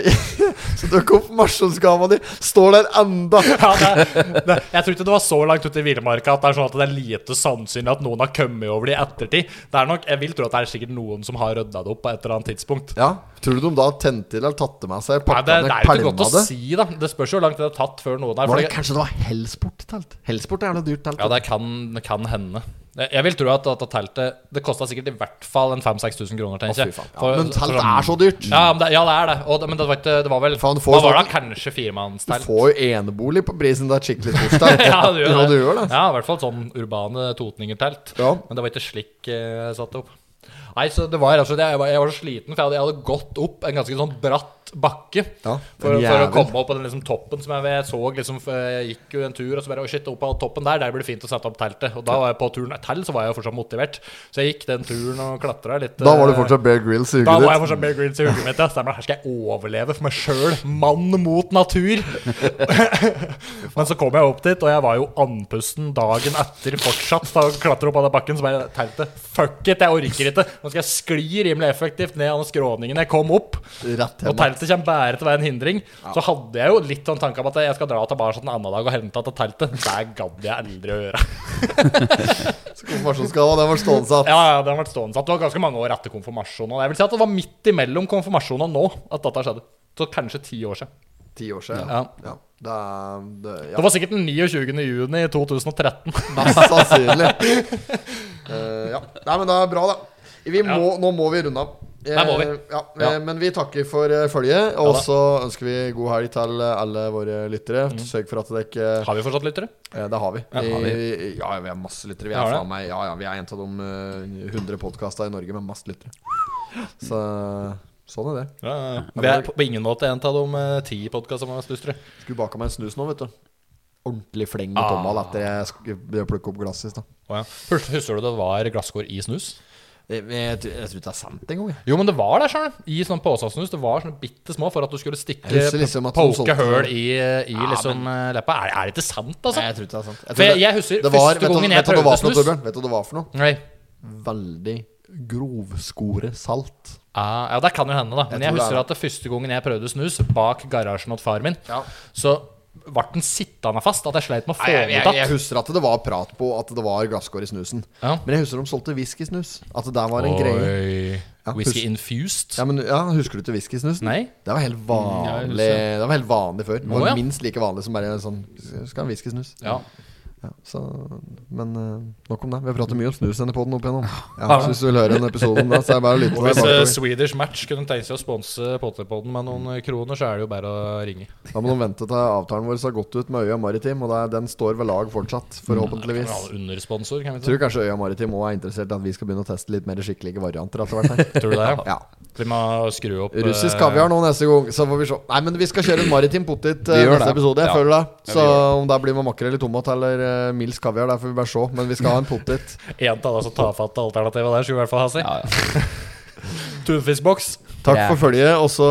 S2: Så du konfirmasjonsgava di står der enda
S1: Ja, det, det, jeg tror ikke det var så langt ute i villmarka at det er sånn at det er lite sannsynlig at noen har kommet over det i ettertid. Det er nok, Jeg vil tro at det er sikkert noen som har rydda det opp på et eller annet tidspunkt.
S2: Ja, tror du de da tente til eller tatt det med seg
S1: Nei, det,
S2: pakka
S1: det
S2: ned
S1: er jo ikke
S2: pælma
S1: godt å
S2: det?
S1: si, da. Det spørs jo hvor langt det har tatt før noen er
S2: Var det
S1: fordi-
S2: kanskje det var Hellsport-telt? Hellsport er noe dyrt telt.
S1: Ja, det kan, det kan hende. Jeg jeg vil tro at dette teltet Det kosta sikkert i hvert fall en 5000-6000 kroner, tenker
S2: Fy
S1: jeg.
S2: faen.
S1: For-
S2: Ja, men telt
S1: for-
S2: er så dyrt.
S1: ja, men det, ja, det er det. Og, det- men det var, ikke, det var vel
S2: Faen,
S1: Hva
S2: du får
S1: var
S2: sånn-
S1: det? Kanskje firemannstelt?
S2: Du får jo enebolig på prisen. Det er et skikkelig tort telt.
S1: ja, du gjør det.
S2: Ja, du gjør det. altså.
S1: Ja, i hvert fall sånn urbane totningertelt.
S2: Ja.
S1: Men det var ikke slik eh, jeg satte opp. Nei, så det var, altså, jeg, var, jeg var så sliten, for jeg hadde, jeg hadde gått opp en ganske sånn bratt bakke.
S2: Ja,
S1: for, for
S2: en
S1: å
S2: jævel.
S1: komme opp på den liksom, toppen som jeg, jeg så liksom, for Jeg gikk jo en tur, og så bare Å, shit, opp på toppen der, der blir det fint å sette opp teltet. Og da var jeg på turen til, så var jeg jo fortsatt motivert. Så jeg gikk den turen og klatra litt.
S2: Da var det
S1: eh,
S2: fortsatt Bear Grills i
S1: da var
S2: hugget
S1: jeg
S2: ditt.
S1: fortsatt Bear Grylls i hodet mitt. Ja. Stemmer, det. her skal jeg overleve for meg sjøl. Mann mot natur. Men så kom jeg opp dit, og jeg var jo andpusten dagen etter fortsatt. Da jeg klatra opp av den bakken, så bare tenkte Fuck it, jeg orker ikke. Nå skal jeg skli rimelig effektivt ned av den skråningen jeg kom opp.
S2: Rett
S1: Og
S2: hjem.
S1: teltet kommer bare til å være en hindring. Så hadde jeg jo litt sånn tanke om at jeg skal dra tilbake en annen dag og hente til teltet. Det gadd jeg aldri å gjøre.
S2: Konfirmasjonsgava, den var stående satt.
S1: Ja, ja, det har vært stående satt. Det var ganske mange år etter konfirmasjonen. Og jeg vil si at det var midt imellom konfirmasjonen og nå at dette skjedde. Så kanskje ti år siden.
S2: Ti år siden.
S1: Ja.
S2: Ja. Det er det, ja.
S1: Det var sikkert den 29. juni i 2013.
S2: Mest sannsynlig. Eh, ja. Nei, men det er bra, da. Vi må, Nå må vi runde av. Eh,
S1: Der må vi.
S2: Ja,
S1: Ja.
S2: eh, Men vi takker for eh, følget, og
S1: da.
S2: så ønsker vi god helg til eh, alle våre lyttere. Sørg for at dere ikke
S1: Har vi fortsatt lyttere?
S2: eh, Det har vi.
S1: Ja, har
S2: vi. Ja, vi har masse lyttere. Vi
S1: Har
S2: er,
S1: det?
S2: faen meg, ja, ja, vi er en av de eh, 100 podkastene i Norge med mest lyttere. Så sånn er det.
S1: Ja, ja. Vi er på på ingen måte en av de eh, ti podkastene med stustere.
S2: Skulle baka meg en snus nå, vet du. Ordentlig fleng med tommel etter jeg sk- plukket opp glasset i stad.
S1: Husker du det var glasskår i snus?
S2: Jeg, Eh, jeg, tror- jeg tror ikke det er sant engang. jeg.
S1: Jo, men det var der, skjønner du. I sånne påsasnus. Det var sånne bitte små for at du skulle stikke
S2: Jeg husker liksom at de
S1: Poke
S2: solgte-
S1: høl i, i liksom eh, leppa. Er, er det ikke sant, altså?
S2: Nei, jeg tror ikke det er sant.
S1: For
S2: tror
S1: jeg- jeg husker
S2: det var,
S1: første
S2: vet du-
S1: gangen jeg
S2: vet du hva det var for
S1: prøvde
S2: noe,
S1: snus.
S2: Torbjørn? Vet du hva det var for noe?
S1: Nei.
S2: Veldig grovskoresalt.
S1: Ah, ja, det kan jo hende, da. Men jeg,
S2: Jeg tror det er
S1: husker at det første gangen jeg prøvde snus, bak garasjen til far min, så ble den sittende fast. At jeg sleit med å få
S2: Jeg,
S1: den
S2: jeg,
S1: ut
S2: jeg
S1: igjen.
S2: husker at det var prat på at det var glasskår i snusen.
S1: Ja.
S2: Men jeg husker de solgte whiskysnus. At det der var en greie. Ja,
S1: Whisky
S2: husk-
S1: infused?
S2: Ja, men ja, Husker du ikke whiskysnusen?
S1: Nei.
S2: Det var helt
S3: jeg husker
S2: vanlig
S3: det.
S2: Det var helt vanlig før. Det var
S1: Å, ja.
S2: Minst like vanlig som bare sånn Skal ha en whiskysnus.
S1: Ja.
S2: Ja, så, men eh, nok om det. Vi har pratet mye om snus denne podden opp igjennom. Ja, så hvis du vil høre en episode om det, så er det bare å lytte.
S1: Hvis
S2: Det er
S1: eh,
S2: bakover.
S1: Swedish Match kunne tenke seg å sponse Potterpodden med noen eh, kroner, så er det jo bare å ringe.
S2: Da må de vente til avtalen vår har gått ut med Øya Maritim, og det er, den står ved lag fortsatt, forhåpentligvis.
S1: Kan vi ha Undersponsor, kan vi ikke?
S2: Tror du kanskje Øya Maritim òg er interessert i at vi skal begynne å teste litt mer skikkelige varianter etter hvert her.
S1: Tror du det?
S2: Ja.
S1: Vi må skru opp eh,
S2: Russisk kaviar nå neste gang, så får vi se. Nei, men vi skal kjøre en maritim potet eh,
S3: Vi gjør
S2: neste
S3: det.
S2: episode. Jeg
S3: Ja.
S2: føler det.
S3: Ja,
S2: Så
S3: vi gjør
S2: om det blir med makrell i tomat eller uh, Mils kaviar, der får vi bare se. Men vi skal ha en potet.
S1: En av deg som tar fatt alternativet der, skulle i hvert fall ha seg.
S3: Ja, ja.
S1: Tunfiskboks.
S2: Takk
S3: Ja.
S2: for følget, og så